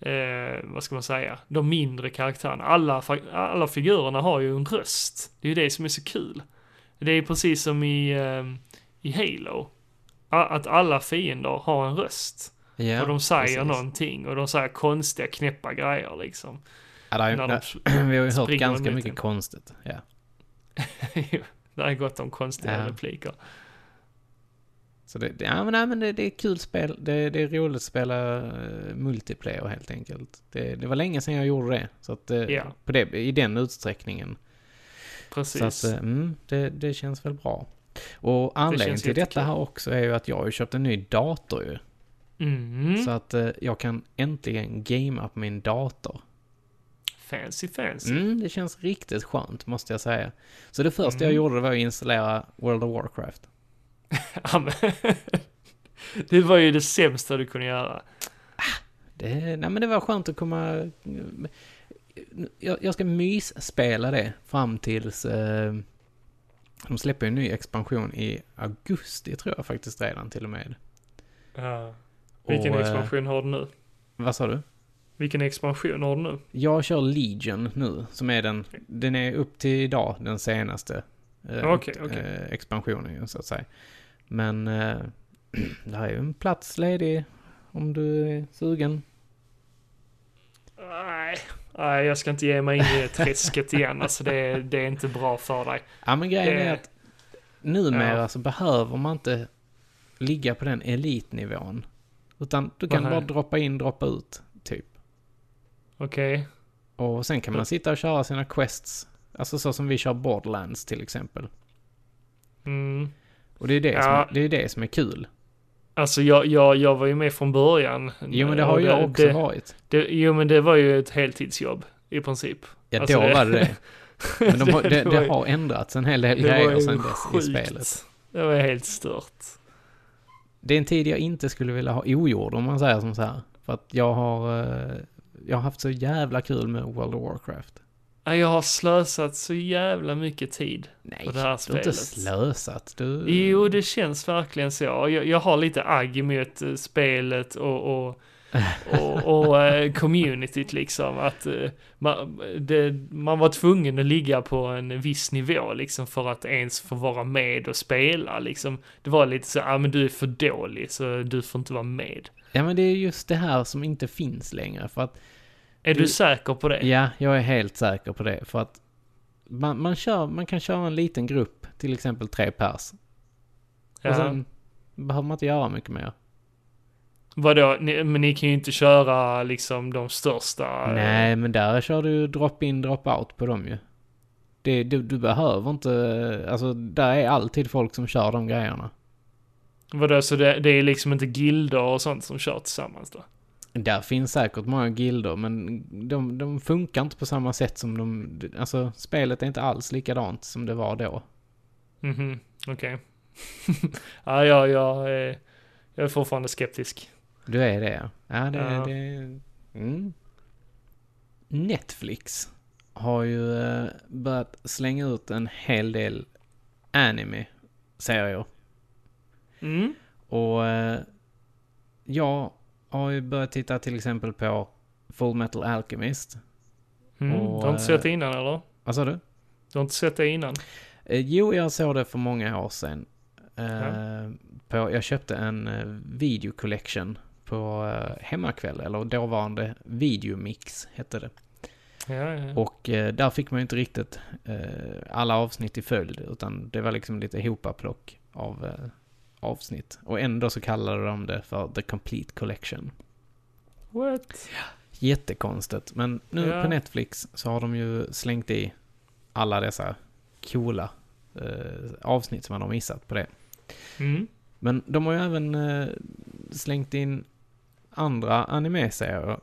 Speaker 2: eh, vad ska man säga, de mindre karaktärerna. Alla, fa- alla figurerna har ju en röst. Det är ju det som är så kul. Det är precis som i, eh, i Halo. A- Att alla fiender har en röst.
Speaker 1: Ja,
Speaker 2: och de säger
Speaker 1: precis.
Speaker 2: någonting och de säger konstiga knäppa grejer liksom.
Speaker 1: Ja, det är,
Speaker 2: när de
Speaker 1: det, (clears throat) vi har ju hört
Speaker 2: springer
Speaker 1: ganska
Speaker 2: runt
Speaker 1: mycket
Speaker 2: en.
Speaker 1: konstigt. Ja.
Speaker 2: (laughs) Jo, det är gott om konstiga
Speaker 1: Ja.
Speaker 2: repliker.
Speaker 1: Så det, det- ja, men, nej, men det, det är kul spel. Det, det är roligt att spela eh, multiplayer helt enkelt. Det, det var länge sedan jag gjorde det. Så att, eh,
Speaker 2: Ja.
Speaker 1: på det, i den utsträckningen.
Speaker 2: Precis.
Speaker 1: Så att, eh, mm, det, det känns väl bra. Och anledningen
Speaker 2: känns
Speaker 1: till detta
Speaker 2: jättekul.
Speaker 1: här också är ju att jag har ju köpt en ny dator ju.
Speaker 2: mm.
Speaker 1: Så att eh, jag kan äntligen gamea på min dator.
Speaker 2: Fancy fancy.
Speaker 1: Mm, det känns riktigt skönt måste jag säga. Så det första jag
Speaker 2: Mm.
Speaker 1: gjorde var att installera World of Warcraft.
Speaker 2: Ja, men (laughs) det var ju det sämsta du kunde göra.
Speaker 1: Det, nej men det var skönt att komma... Jag, jag ska mysspela det fram tills... Eh, de släpper en ny expansion i augusti tror jag faktiskt redan till och med.
Speaker 2: Ja. Vilken
Speaker 1: Och, eh,
Speaker 2: expansion har du nu?
Speaker 1: Vad sa du?
Speaker 2: Vilken expansion har du nu?
Speaker 1: Jag kör Legion nu, som är den... Den är upp till idag, den senaste eh,
Speaker 2: Okej, okej.
Speaker 1: eh, expansionen ju, så att säga. Men eh, (clears throat) det här är ju en plats ledig om du är sugen.
Speaker 2: Nej, nej, jag ska inte ge mig in i det träsket igen. Alltså det, är- det är inte bra för dig.
Speaker 1: Ja men grejen
Speaker 2: Det-
Speaker 1: är att numera
Speaker 2: Eh, Ja.
Speaker 1: så behöver man inte ligga på den elitnivån. Utan du kan
Speaker 2: Nej.
Speaker 1: bara droppa in, droppa ut, typ.
Speaker 2: Okej,
Speaker 1: Och sen kan man sitta och köra sina quests. Alltså så som vi kör Borderlands till exempel.
Speaker 2: mm.
Speaker 1: Och det är det,
Speaker 2: Ja.
Speaker 1: som, det, är det som är kul.
Speaker 2: Alltså jag, jag, jag var ju med från början.
Speaker 1: Jo men det
Speaker 2: Och
Speaker 1: har ju jag också
Speaker 2: det,
Speaker 1: varit.
Speaker 2: det, Jo men det var ju ett heltidsjobb i princip.
Speaker 1: Ja
Speaker 2: alltså
Speaker 1: då
Speaker 2: det-
Speaker 1: var det
Speaker 2: (laughs)
Speaker 1: det. Men de har, det,
Speaker 2: var
Speaker 1: det
Speaker 2: ju-
Speaker 1: har ändrats en hel del
Speaker 2: det var
Speaker 1: grejer
Speaker 2: ju
Speaker 1: sen dess i
Speaker 2: sjukt.
Speaker 1: spelet.
Speaker 2: Det var helt stört.
Speaker 1: Det är en tid jag inte skulle vilja ha ogjord om man säger som så här. För att jag har, eh, jag har haft så jävla kul med World of Warcraft.
Speaker 2: Nej, Jag har slösat så jävla mycket tid.
Speaker 1: Nej,
Speaker 2: på det här
Speaker 1: du har inte
Speaker 2: spelet.
Speaker 1: slösat. Du...
Speaker 2: Jo, det känns verkligen så. Jag, jag har lite agg mot eh, spelet och,
Speaker 1: (laughs)
Speaker 2: och, och, och eh, communityt liksom. Att eh, man, det, man var tvungen att ligga på en viss nivå liksom för att ens få vara med och spela liksom. Det var lite så, ja ah, men du är för dålig så du får inte vara med.
Speaker 1: Ja, men det är just det här som inte finns längre. För att,
Speaker 2: Är du,
Speaker 1: Du-
Speaker 2: säker på det?
Speaker 1: ja, jag är helt säker på det. För att man, man, kör, man kan köra en liten grupp, till exempel tre pers. Och
Speaker 2: Ja.
Speaker 1: sen behöver man inte göra mycket mer.
Speaker 2: Vadå, ni, men ni kan ju inte köra liksom de största. eh,
Speaker 1: Nej, men där kör du drop-in, drop-out på dem ju. Det, du, du behöver inte, alltså där är alltid folk som kör de grejerna.
Speaker 2: Vadå, så det, det är liksom inte gilder och sånt som kör tillsammans då?
Speaker 1: Där finns säkert många gilder, men de, de funkar inte på samma sätt som de... Alltså, spelet är inte alls likadant som det var då.
Speaker 2: Mhm, okej. (laughs) ja, ja, ja, eh, jag är fortfarande skeptisk.
Speaker 1: Du är det, ja. Ja, det...
Speaker 2: Ja.
Speaker 1: det mm. Netflix har ju eh, börjat slänga ut en hel del anime-serier.
Speaker 2: Mm.
Speaker 1: Och eh, jag har ju börjat titta till exempel på Full Metal Alchemist.
Speaker 2: Mm.
Speaker 1: Och,
Speaker 2: du har inte
Speaker 1: eh,
Speaker 2: sett det innan eller?
Speaker 1: Vad sa du?
Speaker 2: Du har inte sett det innan?
Speaker 1: Eh, Jo, jag såg det för många år sedan. Eh,
Speaker 2: Ja.
Speaker 1: på, jag köpte en eh, video collection på eh, Hemmakväll, eller dåvarande Videomix hette det.
Speaker 2: Ja, ja.
Speaker 1: Och eh, där fick man ju inte riktigt eh, alla avsnitt i följd, utan det var liksom lite hopaplock av eh, avsnitt. Och ändå så kallade de det för The Complete Collection.
Speaker 2: What?
Speaker 1: Jättekonstigt, men nu
Speaker 2: Ja.
Speaker 1: på Netflix så har de ju slängt i alla dessa coola eh, avsnitt som man har missat på det.
Speaker 2: Mm.
Speaker 1: Men de har ju även eh, slängt in andra anime-serier.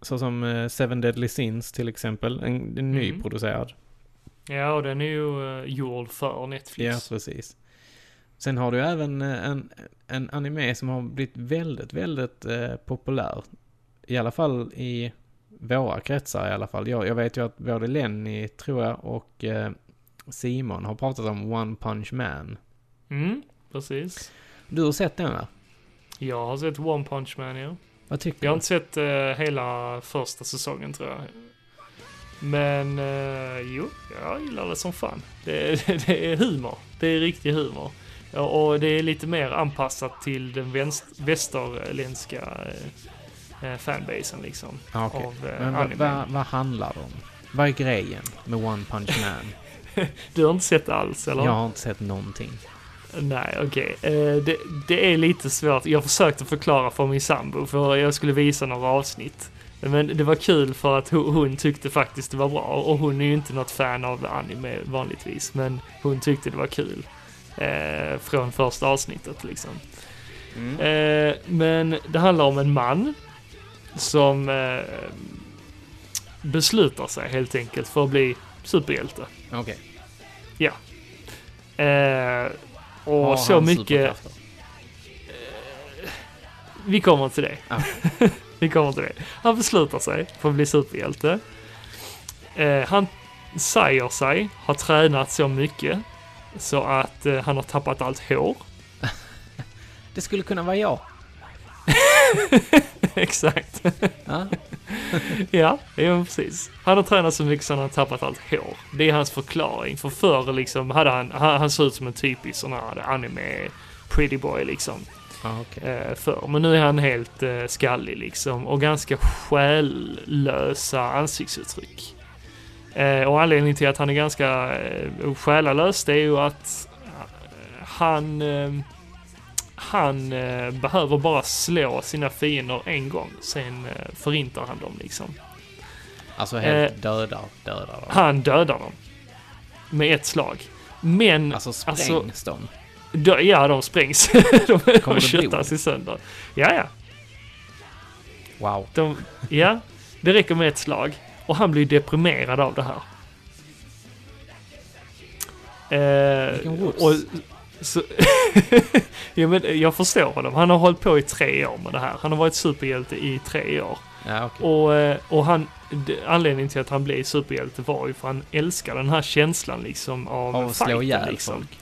Speaker 1: Såsom eh, Seven Deadly Sins till exempel, en, en
Speaker 2: Mm.
Speaker 1: nyproducerad.
Speaker 2: Ja, och den är ju eh, gjord för
Speaker 1: Ja,
Speaker 2: Netflix.
Speaker 1: precis. Sen har du även eh, en, en anime som har blivit väldigt, väldigt eh, populär. I alla fall i våra kretsar i alla fall. Jag, jag vet ju att både Lenny, tror jag, och eh, Simon har pratat om One Punch Man.
Speaker 2: Mm, precis.
Speaker 1: Du har sett den va?
Speaker 2: Jag har sett One Punch Man, ja.
Speaker 1: Vad tycker
Speaker 2: Jag har
Speaker 1: du?
Speaker 2: inte sett eh, hela första säsongen tror jag. Men eh, jo, jag gillar det som fan. Det, det, det är (laughs) humor. Det är riktig humor. Ja, Och det är lite mer anpassat till den vänst, västerländska eh, eh, fanbasen liksom.
Speaker 1: Ah, okej.
Speaker 2: Av eh,
Speaker 1: Men vad
Speaker 2: anime.
Speaker 1: va, vad handlar det om? Vad är grejen med One Punch Man?
Speaker 2: Du har inte sett det alls (laughs) eller?
Speaker 1: Jag har inte sett någonting.
Speaker 2: Nej, okej. Eh, det, det är lite svårt. Jag försökte förklara för min sambo, för jag skulle visa några avsnitt. Men det var kul för att ho- hon tyckte faktiskt det var bra. Och hon är ju inte något fan av anime vanligtvis, men hon tyckte det var kul. Eh, från första avsnittet liksom. Eh, men det handlar om en man som eh, beslutar sig helt enkelt för att bli superhjälte.
Speaker 1: Okej.
Speaker 2: Eh, och
Speaker 1: Har
Speaker 2: så
Speaker 1: han
Speaker 2: mycket...
Speaker 1: superkrafter?
Speaker 2: Vi kommer till det.
Speaker 1: Ah.
Speaker 2: (laughs) vi kommer till det. Han beslutar sig för att bli superhjälte. Eh, han säger sig ha tränat så mycket så att eh, han har tappat allt hår. (laughs)
Speaker 1: Det skulle kunna vara jag.
Speaker 2: Exakt. (laughs)
Speaker 1: Ja.
Speaker 2: Ja, ja, men precis. Han har tränat så mycket så han har tappat allt hår. Det är hans förklaring. För förr liksom hade han, han, han såg ut som en typisk sån här anime pretty boy liksom.
Speaker 1: Ah, okej.
Speaker 2: eh, förr. Men nu är han helt eh, skallig liksom och ganska själlösa ansiktsuttryck. Eh, och anledningen till att han är ganska eh, själalös det är ju att eh, han, eh, han eh, behöver bara slå sina fiender en gång, sen eh, förintar han dem liksom.
Speaker 1: Alltså helt dödar, dödar dem.
Speaker 2: Eh, Han dödar dem. Med ett slag. Men
Speaker 1: Alltså sprängs
Speaker 2: Alltså-
Speaker 1: de?
Speaker 2: Dö- Ja, de sprängs. (laughs) de de
Speaker 1: blod?
Speaker 2: köttas i sönder. Ja, ja.
Speaker 1: Wow.
Speaker 2: De, ja, det räcker med ett slag. Och han blir deprimerad av det här. Eh,
Speaker 1: Vilken whoops.
Speaker 2: och, så, (laughs) ja, men jag förstår honom. Han har hållit på i tre år med det här. Han har varit superhjälte i tre år.
Speaker 1: Ja, okej.
Speaker 2: Och, eh, och han, d- anledningen till att han blev superhjälte var ju för han älskar den här känslan liksom av,
Speaker 1: Av att slå
Speaker 2: fighten,
Speaker 1: ihjäl
Speaker 2: folk?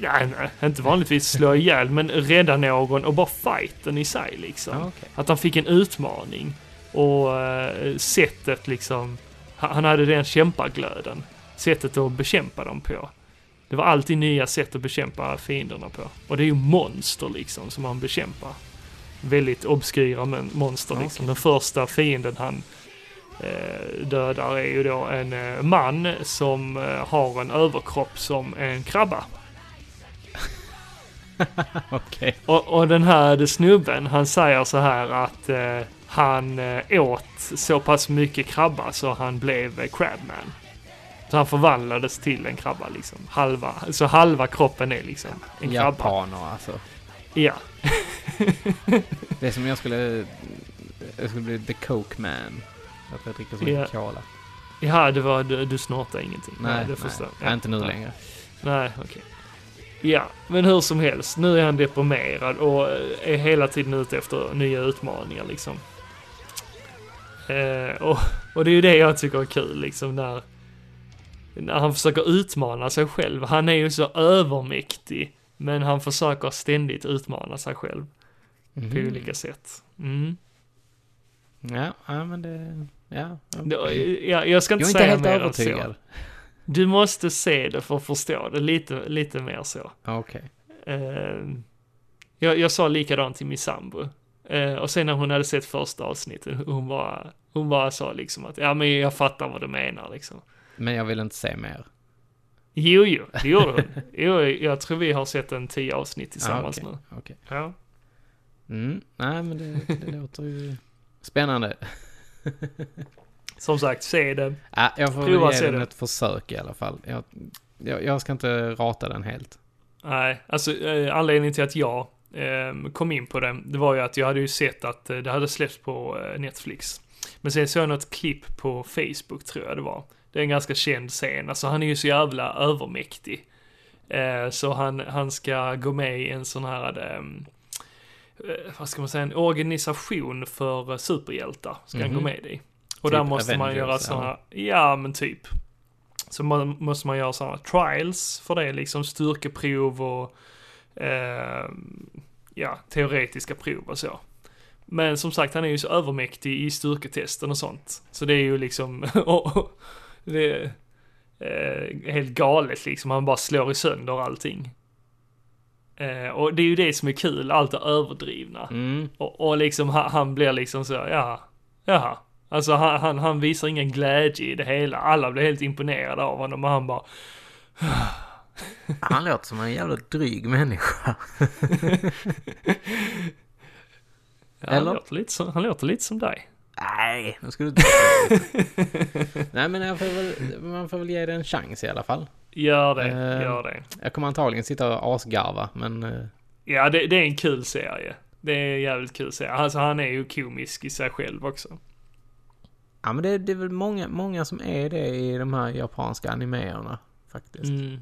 Speaker 2: nej, nej, inte vanligtvis slå ihjäl, men rädda någon och bara fighten i sig liksom.
Speaker 1: Ja, okej.
Speaker 2: Att han fick en utmaning och eh, sättet liksom, han han hade den kämpaglöden. Sättet att bekämpa dem på. Det var alltid nya sätt att bekämpa fienderna på. Och det är ju monster liksom som han bekämpar. Väldigt obskyra men- monster
Speaker 1: Okej.
Speaker 2: liksom. Den första fienden han eh, dödar är ju då en eh, man som eh, har en överkropp som en krabba.
Speaker 1: Okej.
Speaker 2: Och, och den här snubben, han säger så här att eh, han eh, åt så pass mycket krabba så han blev eh, crabman. Så han förvandlades till en krabba liksom. Halva, så halva kroppen är liksom en krabba.
Speaker 1: Japaner alltså.
Speaker 2: Ja.
Speaker 1: Det är som jag skulle... Jag skulle bli the coke man. Att jag dricker så
Speaker 2: Ja.
Speaker 1: mycket cola.
Speaker 2: Ja, det var, du, du snortar ingenting.
Speaker 1: Nej,
Speaker 2: det
Speaker 1: nej.
Speaker 2: förstår jag.
Speaker 1: nej inte nu
Speaker 2: Ja. Mm.
Speaker 1: längre.
Speaker 2: Nej, okej. Ja, men hur som helst. Nu är han deprimerad och eh, är hela tiden ute efter nya utmaningar liksom. Eh, och, och det är ju det jag tycker är kul liksom när, när han försöker utmana sig själv. Han är ju så övermäktig, men han försöker ständigt utmana sig själv på
Speaker 1: Mhm.
Speaker 2: olika sätt. Mm.
Speaker 1: Ja, ja, men det... Ja.
Speaker 2: Det- Jag, jag ska
Speaker 1: Mm. Jag
Speaker 2: inte
Speaker 1: är inte
Speaker 2: säga
Speaker 1: helt
Speaker 2: mer än
Speaker 1: övertygad.
Speaker 2: så. Du måste se det för att förstå det lite, lite mer så.
Speaker 1: Okej.
Speaker 2: Eh, jag, jag sa likadant till min sambo. Eh, och sen när hon hade sett första avsnittet, hon bara, hon bara sa liksom att ja men jag fattar vad du menar liksom.
Speaker 1: Men jag vill inte se mer.
Speaker 2: Jo, jo, det gjorde hon. Jo, jag tror vi har sett en tio avsnitt tillsammans
Speaker 1: okej.
Speaker 2: nu.
Speaker 1: Okej.
Speaker 2: Ja.
Speaker 1: Mm. Nej, men det, det låter ju... Spännande.
Speaker 2: Som sagt, se den.
Speaker 1: Ja, jag får
Speaker 2: Prova
Speaker 1: ge
Speaker 2: se
Speaker 1: den
Speaker 2: det.
Speaker 1: ett försök i alla fall. Jag, jag, jag ska inte rata den helt.
Speaker 2: Nej, alltså eh, anledningen till att jag eh, kom in på den, det var ju att jag hade ju sett att eh, det hade släppts på eh, Netflix. Men sen såg jag något klipp på Facebook, tror jag det var. Det är en ganska känd scen, alltså han är ju så jävla övermäktig. Eh, så han, han ska gå med i en sån här, ehm, eh, vad ska man säga, en organisation för eh, superhjältar. Ska han
Speaker 1: Mhm.
Speaker 2: gå med i. Och
Speaker 1: Typ
Speaker 2: där måste man
Speaker 1: Avengers,
Speaker 2: göra såna, ja men typ. Så man, måste man göra sådana trials för det, liksom styrkeprov och eh, ja, teoretiska prov och så. Men som sagt, han är ju så övermäktig i styrketesten och sånt. Så det är ju liksom, (laughs) det är eh, helt galet liksom. Han bara slår i sönder allting. Eh, och det är ju det som är kul, allt det överdrivna.
Speaker 1: Mm.
Speaker 2: Och, och liksom han, han blir liksom så, ja, ja. Alltså han, han, han visar ingen glädje i det hela. Alla blir helt imponerade av honom och han bara,
Speaker 1: Han låter som en jävla dryg människa.
Speaker 2: ja,
Speaker 1: Eller?
Speaker 2: han, låter lite som, han låter lite som dig.
Speaker 1: Nej, nu ska du inte... (laughs) Nej, men jag får väl, man får väl ge det en chans i alla fall.
Speaker 2: Gör det,
Speaker 1: Eh.
Speaker 2: gör det.
Speaker 1: Jag kommer antagligen sitta och asgarva, men... eh,
Speaker 2: Ja, det, det är en kul serie. Det är en jävligt kul serie. Alltså han är ju komisk i sig själv också.
Speaker 1: Ja, men det, det är väl många, många som är det i de här japanska animéerna, faktiskt.
Speaker 2: Mm.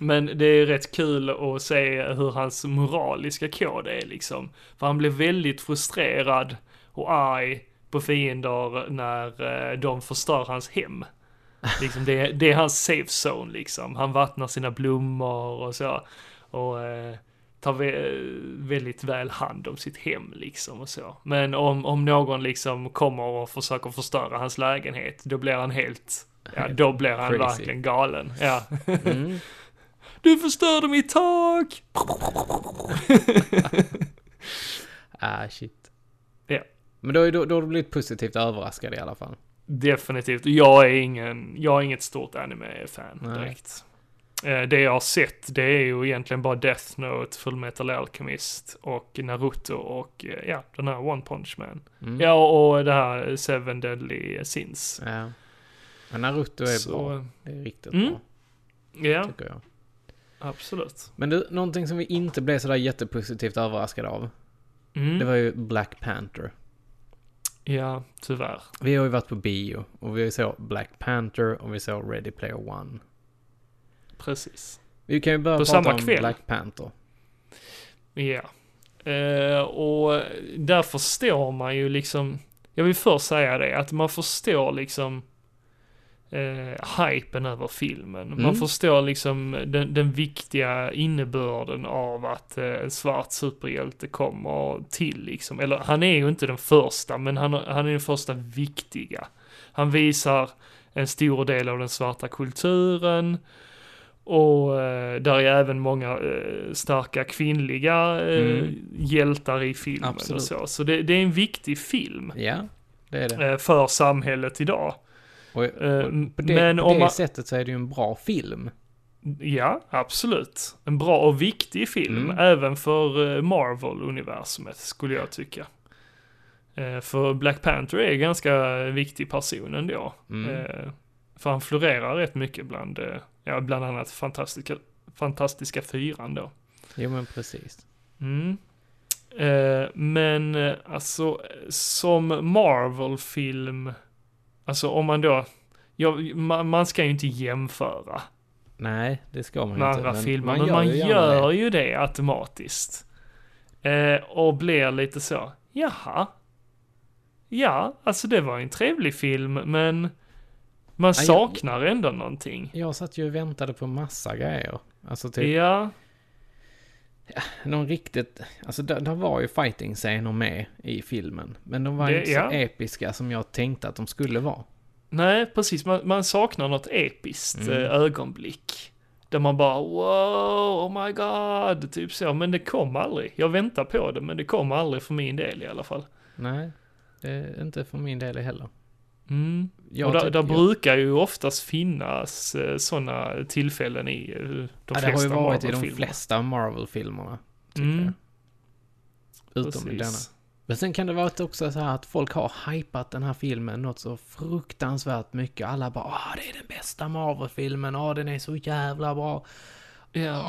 Speaker 2: Men det är rätt kul att se hur hans moraliska kod är liksom. För han blir väldigt frustrerad och arg på fiender när eh, de förstör hans
Speaker 1: (laughs)
Speaker 2: hem. Liksom det, det är hans safe zone liksom. Han vattnar sina blommor och så. Och eh, tar vä- väldigt väl hand om sitt hem liksom och så. Men om, om någon liksom kommer och försöker förstöra hans lägenhet, då blir han helt, ja då blir han
Speaker 1: Crazy.
Speaker 2: verkligen galen. Ja.
Speaker 1: Mm.
Speaker 2: Du förstörde mitt tak!
Speaker 1: (laughs) Ah, shit.
Speaker 2: Ja.
Speaker 1: Men då, är- då, då har du blivit positivt överraskad i alla fall.
Speaker 2: Definitivt. Jag är ingen, jag är inget stort anime-fan
Speaker 1: Nej.
Speaker 2: direkt. Eh, Det jag har sett, det är ju egentligen bara Death Note, Full Metal Alchemist och Naruto och eh, ja, den här One Punch Man.
Speaker 1: Mm.
Speaker 2: Ja, och det här Seven Deadly Sins.
Speaker 1: Ja. Men Naruto är
Speaker 2: Så,
Speaker 1: bra.
Speaker 2: eh,
Speaker 1: Det är riktigt
Speaker 2: Mm.
Speaker 1: bra,
Speaker 2: Ja,
Speaker 1: tycker jag.
Speaker 2: absolut.
Speaker 1: Men du, någonting som vi inte blev sådär jättepositivt överraskade av,
Speaker 2: Mm.
Speaker 1: det var ju Black Panther.
Speaker 2: Ja, tyvärr.
Speaker 1: Vi har ju varit på bio och vi såg Black Panther och vi såg Ready Player One.
Speaker 2: Precis.
Speaker 1: Vi kan ju börja
Speaker 2: På
Speaker 1: prata
Speaker 2: samma
Speaker 1: om
Speaker 2: kväll?
Speaker 1: Black Panther.
Speaker 2: Ja. Eh, och där förstår man ju liksom, jag vill först säga det, att man förstår liksom eh, hypen över filmen.
Speaker 1: Mm.
Speaker 2: Man förstår liksom den, den viktiga innebörden av att eh, en svart superhjälte kommer till liksom. Eller han är ju inte den första, men han, han är den första viktiga. Han visar en stor del av den svarta kulturen. Och eh, där är även många eh, starka kvinnliga eh,
Speaker 1: Mm.
Speaker 2: hjältar i filmen.
Speaker 1: Absolut.
Speaker 2: Och så så det, det är en viktig film
Speaker 1: Ja, det är det.
Speaker 2: eh, för samhället idag.
Speaker 1: Och,
Speaker 2: Eh,
Speaker 1: och på det,
Speaker 2: men
Speaker 1: på
Speaker 2: om
Speaker 1: det
Speaker 2: man-
Speaker 1: sättet så är det ju en bra film.
Speaker 2: Ja, absolut. En bra och viktig film,
Speaker 1: Mm.
Speaker 2: även för eh, Marvel-universumet skulle jag tycka. Eh, För Black Panther är en ganska viktig person ändå.
Speaker 1: Mm.
Speaker 2: Eh, För han florerar rätt mycket bland, eh, ja, bland annat Fantastiska, Fantastiska Fyran då.
Speaker 1: Jo, men precis.
Speaker 2: Mm. Eh, men eh, alltså eh, som Marvel-film, alltså om man då, ja, man, man ska ju inte jämföra
Speaker 1: Nej, det ska man
Speaker 2: med
Speaker 1: ju inte.
Speaker 2: andra filmer, men man
Speaker 1: gärna
Speaker 2: gör ju det automatiskt. Eh, och blir lite så, jaha. Ja, alltså det var en trevlig film, men man
Speaker 1: jag-
Speaker 2: saknar ändå någonting.
Speaker 1: det. Jag satt ju och väntade på massa grejer. Alltså typ
Speaker 2: Ja,
Speaker 1: någon riktigt... Alltså där, där var ju fighting-scener med i filmen. Men de var
Speaker 2: Det-
Speaker 1: ju inte
Speaker 2: ja.
Speaker 1: så episka som jag tänkte att de skulle vara.
Speaker 2: nej precis, man, man saknar något episkt
Speaker 1: Mm.
Speaker 2: eh, ögonblick. Där man bara wow, oh my god, typ så. Men det kom aldrig. Jag väntar på det, men det kom aldrig för min del i alla fall.
Speaker 1: Nej, det är inte för min del heller.
Speaker 2: Mm.
Speaker 1: Jag
Speaker 2: och där,
Speaker 1: tycker-
Speaker 2: där brukar ju oftast finnas sådana tillfällen i eh, de
Speaker 1: ja,
Speaker 2: flesta
Speaker 1: det har ju varit i de
Speaker 2: Marvel-filmer.
Speaker 1: flesta Marvel-filmerna. tycker
Speaker 2: Mm,
Speaker 1: jag. Utom i denna.
Speaker 2: precis.
Speaker 1: Men sen kan det vara också så här att folk har hypat den här filmen något så fruktansvärt mycket. Alla bara ah det är den bästa Marvel-filmen, ah den är så jävla bra.
Speaker 2: Ja.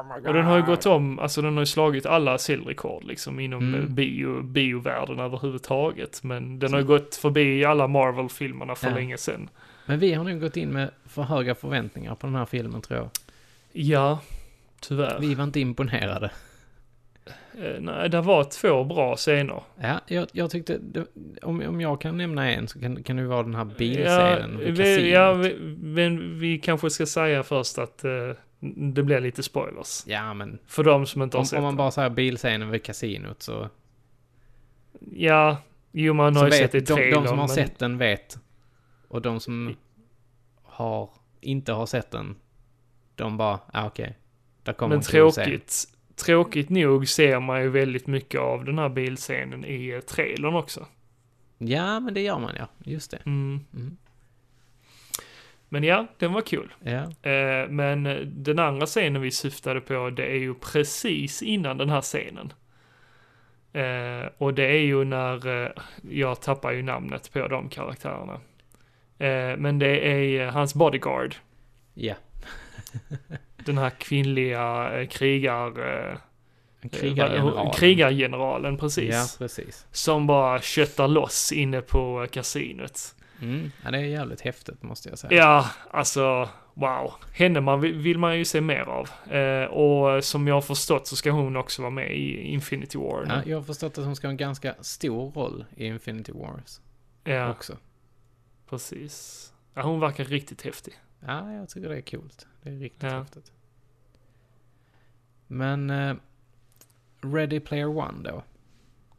Speaker 1: Oh
Speaker 2: Och den har ju gått om, alltså den har ju slagit alla säljrekord liksom inom
Speaker 1: Mm.
Speaker 2: mm. bio, biovärlden överhuvudtaget. Men den har ju gått förbi alla Marvel-filmerna för
Speaker 1: Ja.
Speaker 2: länge sedan.
Speaker 1: Men vi har nu gått in med för höga förväntningar på den här filmen tror jag.
Speaker 2: Ja, tyvärr.
Speaker 1: Vi var inte imponerade.
Speaker 2: Eh, nej, det var två bra scener.
Speaker 1: Ja, jag, jag tyckte, det- om, om jag kan nämna en så kan, kan det vara den här
Speaker 2: Ja,
Speaker 1: bilscenen vid
Speaker 2: vi, ja,
Speaker 1: kasinot.
Speaker 2: vi, men vi kanske ska säga först att eh, det blir lite spoilers.
Speaker 1: Ja, men
Speaker 2: För de som inte har
Speaker 1: om,
Speaker 2: sett
Speaker 1: om man
Speaker 2: den.
Speaker 1: bara säger bilscenen vid kasinot så,
Speaker 2: Ja, jo man har
Speaker 1: så
Speaker 2: ju sett
Speaker 1: vet
Speaker 2: det i
Speaker 1: de,
Speaker 2: trailern.
Speaker 1: de som har
Speaker 2: men,
Speaker 1: sett den vet. Och de som har, inte har sett den, de bara, ah, okej. Där kommer
Speaker 2: men
Speaker 1: en cool scen.
Speaker 2: tråkigt, tråkigt nog ser man ju väldigt mycket av den här bilscenen i eh, trailern också.
Speaker 1: Ja, men det gör man ja. Just det.
Speaker 2: Mm.
Speaker 1: Mm.
Speaker 2: Men ja, den var kul.
Speaker 1: Ja.
Speaker 2: Eh, men eh, den andra scenen vi syftade på, det är ju precis innan den här scenen. Eh, och det är ju när, eh, jag tappar ju namnet på de karaktärerna. Eh, men det är eh, hans bodyguard.
Speaker 1: Ja.
Speaker 2: Den här kvinnliga eh, krigar... Eh,
Speaker 1: En
Speaker 2: Eh,
Speaker 1: krigargeneral.
Speaker 2: Krigargeneralen, precis.
Speaker 1: Ja, precis.
Speaker 2: Som bara köttar loss inne på eh, kasinot.
Speaker 1: Mm. Ja, det är jävligt häftigt måste jag säga.
Speaker 2: Ja, alltså, wow. Henne man vill, vill man ju se mer av. Eh, och som jag har förstått så ska hon också vara med i Infinity War.
Speaker 1: Ja,
Speaker 2: nu.
Speaker 1: jag har förstått att hon ska ha en ganska stor roll i Infinity Wars
Speaker 2: ja
Speaker 1: också.
Speaker 2: precis. Ja, hon verkar riktigt häftig.
Speaker 1: Ja, jag tycker det är coolt. Det är riktigt
Speaker 2: Ja.
Speaker 1: häftigt. Men eh, Ready Player One då?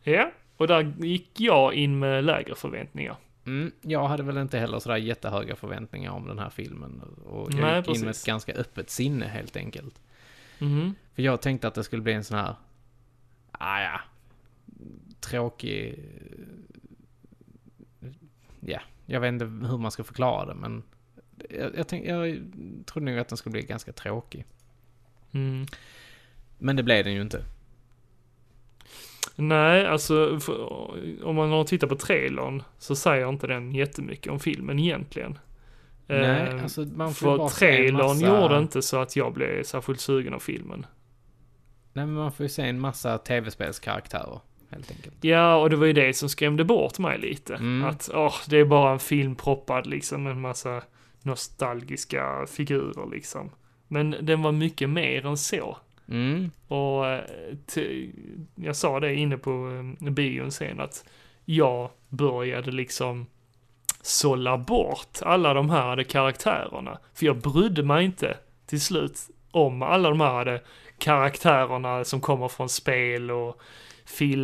Speaker 2: Ja, och där gick jag in med lägre förväntningar.
Speaker 1: Mm, jag hade väl inte heller sådär jättehöga förväntningar om den här filmen. Och jag
Speaker 2: Nej,
Speaker 1: gick in med
Speaker 2: precis.
Speaker 1: ett ganska öppet sinne helt enkelt.
Speaker 2: Mhm.
Speaker 1: För jag tänkte att det skulle bli en sån här, ah ja, tråkig, eh, ja, jag vet inte hur man ska förklara det men jag, jag, tänk, jag trodde nog att den skulle bli ganska tråkig.
Speaker 2: Mm.
Speaker 1: Men det blev den ju inte.
Speaker 2: Nej, alltså för, om man har tittat på trailern så säger inte den jättemycket om filmen egentligen.
Speaker 1: Nej,
Speaker 2: Eh,
Speaker 1: alltså man får ju
Speaker 2: för
Speaker 1: bara se en
Speaker 2: trailern
Speaker 1: massa,
Speaker 2: gjorde inte så att jag blev särskilt sugen av filmen.
Speaker 1: Nej men man får ju se en massa tv-spelskaraktärer helt enkelt.
Speaker 2: Ja, och det var ju det som skrämde bort mig lite.
Speaker 1: Mm.
Speaker 2: Att åh, det är bara en film proppad liksom med en massa nostalgiska figurer liksom. Men den var mycket mer än så.
Speaker 1: Mm,
Speaker 2: Och eh, t- jag sa det inne på eh, bion sen att jag började liksom sålla bort alla de här hade karaktärerna. För jag brydde mig inte till slut om alla de här hade karaktärerna som kommer från spel och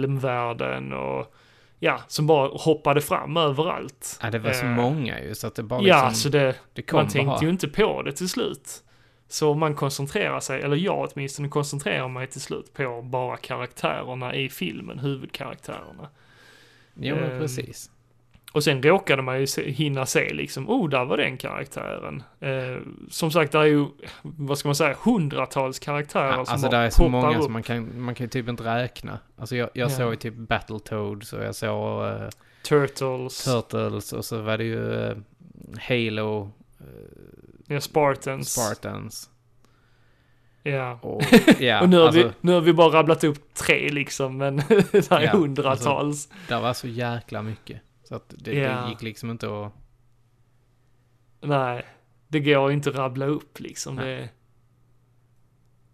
Speaker 2: filmvärlden och ja, som bara hoppade fram överallt.
Speaker 1: ja, det var så
Speaker 2: Eh,
Speaker 1: många ju så att det bara
Speaker 2: Ja,
Speaker 1: liksom,
Speaker 2: så det,
Speaker 1: det kom
Speaker 2: man tänkte
Speaker 1: bara.
Speaker 2: ju inte på det till slut. Så man koncentrerar sig, eller jag åtminstone koncentrerar mig till slut på bara karaktärerna i filmen, huvudkaraktärerna.
Speaker 1: Jo men
Speaker 2: ehm,
Speaker 1: precis.
Speaker 2: Och sen råkade man ju se, hinna se liksom, oh, där var den karaktären. Eh, som sagt, det är ju, vad ska man säga, hundratals karaktärer
Speaker 1: Ja,
Speaker 2: som
Speaker 1: alltså
Speaker 2: bara
Speaker 1: där är så
Speaker 2: poppar
Speaker 1: många
Speaker 2: upp.
Speaker 1: som man kan, man kan ju typ inte räkna. Alltså jag, jag
Speaker 2: Ja.
Speaker 1: såg ju typ Battletoads och jag såg eh,
Speaker 2: Turtles,
Speaker 1: Turtles och så var det ju eh, Halo,
Speaker 2: ja, Spartans.
Speaker 1: Spartans
Speaker 2: Ja. (laughs)
Speaker 1: och ja,
Speaker 2: och nu har,
Speaker 1: alltså,
Speaker 2: vi, nu har vi bara rabblat upp tre liksom, men (laughs) det är
Speaker 1: Ja, alltså-
Speaker 2: hundratals.
Speaker 1: där var så jäkla mycket. Så att det,
Speaker 2: Ja.
Speaker 1: det gick liksom inte att...
Speaker 2: Nej, det går inte att rabbla upp liksom.
Speaker 1: Nej.
Speaker 2: Det,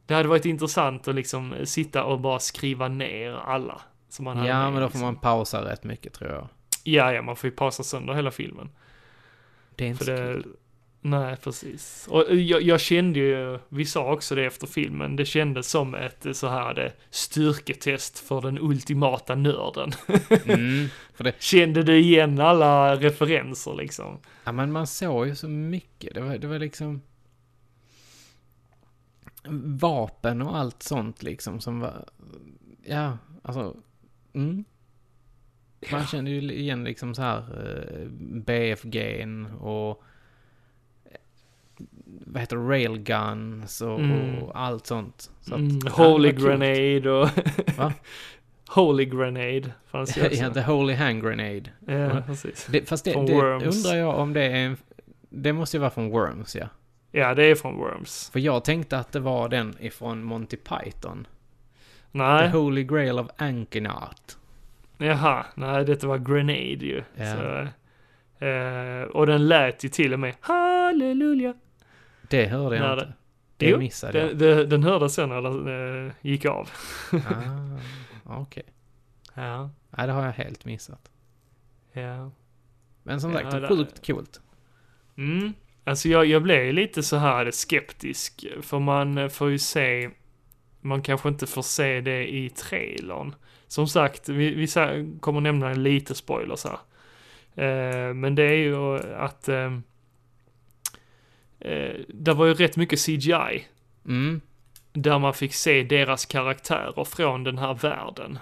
Speaker 2: det hade varit intressant att liksom sitta och bara skriva ner alla. Som man hade
Speaker 1: Ja,
Speaker 2: med,
Speaker 1: men då får
Speaker 2: liksom.
Speaker 1: man pausa rätt mycket tror jag.
Speaker 2: Ja, ja, man får ju pausa sönder hela filmen.
Speaker 1: Det är inte
Speaker 2: För
Speaker 1: så kul.
Speaker 2: det... Nej, precis. Och eh, jag, jag kände ju, vi sa också det efter filmen, det kändes som ett eh, så här det, styrketest för den ultimata nörden. (laughs)
Speaker 1: Mm, för det,
Speaker 2: Kände du igen alla referenser liksom?
Speaker 1: ja, men man såg ju så mycket. Det var, det var liksom... Vapen och allt sånt liksom som var... Ja, alltså... Mm. Man kände ju igen liksom så här eh, BFG och... eh, Vad heter det? Railguns och,
Speaker 2: Mm.
Speaker 1: och allt sånt. Så att-
Speaker 2: Mm,
Speaker 1: ja, det
Speaker 2: holy
Speaker 1: var kul.
Speaker 2: grenade och...
Speaker 1: (laughs) Va?
Speaker 2: holy grenade fanns ju också.
Speaker 1: (laughs) Ja, the holy hand grenade.
Speaker 2: Ja,
Speaker 1: Mm.
Speaker 2: precis.
Speaker 1: Det, fast det,
Speaker 2: Från
Speaker 1: det
Speaker 2: Worms.
Speaker 1: undrar jag om det är en... Det måste ju vara från Worms, ja.
Speaker 2: Ja, det är från Worms.
Speaker 1: För jag tänkte att det var den ifrån Monty Python.
Speaker 2: Nej,
Speaker 1: The Holy Grail of Ankenart.
Speaker 2: jaha, nej, detta var grenade ju.
Speaker 1: Ja.
Speaker 2: Så, eh, och den lät ju till och med halleluja.
Speaker 1: Det hörde jag
Speaker 2: Nej,
Speaker 1: inte. Det,
Speaker 2: Jo,
Speaker 1: missade jag.
Speaker 2: Den, den, den hördes sen när den eh, gick av.
Speaker 1: Ah, Okej.
Speaker 2: Ja,
Speaker 1: Nej, det har jag helt missat.
Speaker 2: ja.
Speaker 1: Men som
Speaker 2: Ja,
Speaker 1: sagt,
Speaker 2: det-
Speaker 1: sjukt coolt.
Speaker 2: Mm. Alltså jag, jag blev ju lite så här skeptisk, för man får ju se, man kanske inte får se det i trailern. Som sagt, vi, vi sa- kommer nämna lite spoilers här. Eh, men det är ju att eh, eh, det var ju rätt mycket CGI,
Speaker 1: Mm.
Speaker 2: där man fick se deras karaktärer från den här världen.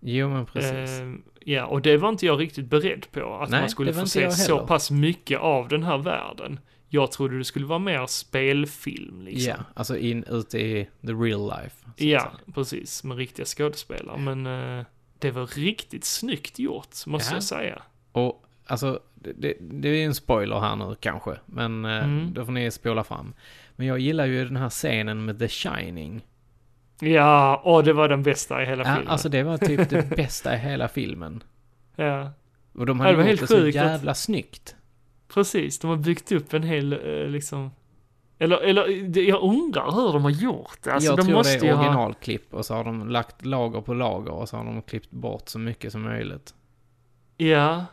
Speaker 1: Jo, men precis.
Speaker 2: Eh, ja, och det var inte jag riktigt beredd på. Att
Speaker 1: Nej,
Speaker 2: man skulle
Speaker 1: det var
Speaker 2: få
Speaker 1: inte
Speaker 2: se
Speaker 1: jag
Speaker 2: så
Speaker 1: heller.
Speaker 2: pass mycket av den här världen. Jag trodde det skulle vara mer spelfilm
Speaker 1: Ja,
Speaker 2: liksom.
Speaker 1: alltså in, ute i the real life. så att
Speaker 2: ja,
Speaker 1: säga.
Speaker 2: precis. Med riktiga skådespelare. Men eh, det var riktigt snyggt gjort, måste
Speaker 1: Ja.
Speaker 2: jag säga.
Speaker 1: Och alltså, det, det, det är ju en spoiler här nu kanske. Men eh,
Speaker 2: Mm.
Speaker 1: då får ni spola fram. Men jag gillar ju den här scenen med The Shining.
Speaker 2: Ja, och det var den bästa i hela
Speaker 1: Ja,
Speaker 2: filmen.
Speaker 1: alltså det var typ det bästa i hela filmen.
Speaker 2: Ja,
Speaker 1: Och de
Speaker 2: Ja,
Speaker 1: hade
Speaker 2: det var
Speaker 1: gjort
Speaker 2: helt
Speaker 1: det så
Speaker 2: sjukt att-
Speaker 1: jävla snyggt.
Speaker 2: precis. De har byggt upp en hel, eh, liksom... Eller, eller det- jag undrar hur de har gjort det. Alltså,
Speaker 1: jag
Speaker 2: de
Speaker 1: tror
Speaker 2: måste
Speaker 1: det
Speaker 2: ju
Speaker 1: är
Speaker 2: ha-
Speaker 1: originalklipp och så har de lagt lager på lager och så har de klippt bort så mycket som möjligt.
Speaker 2: Ja.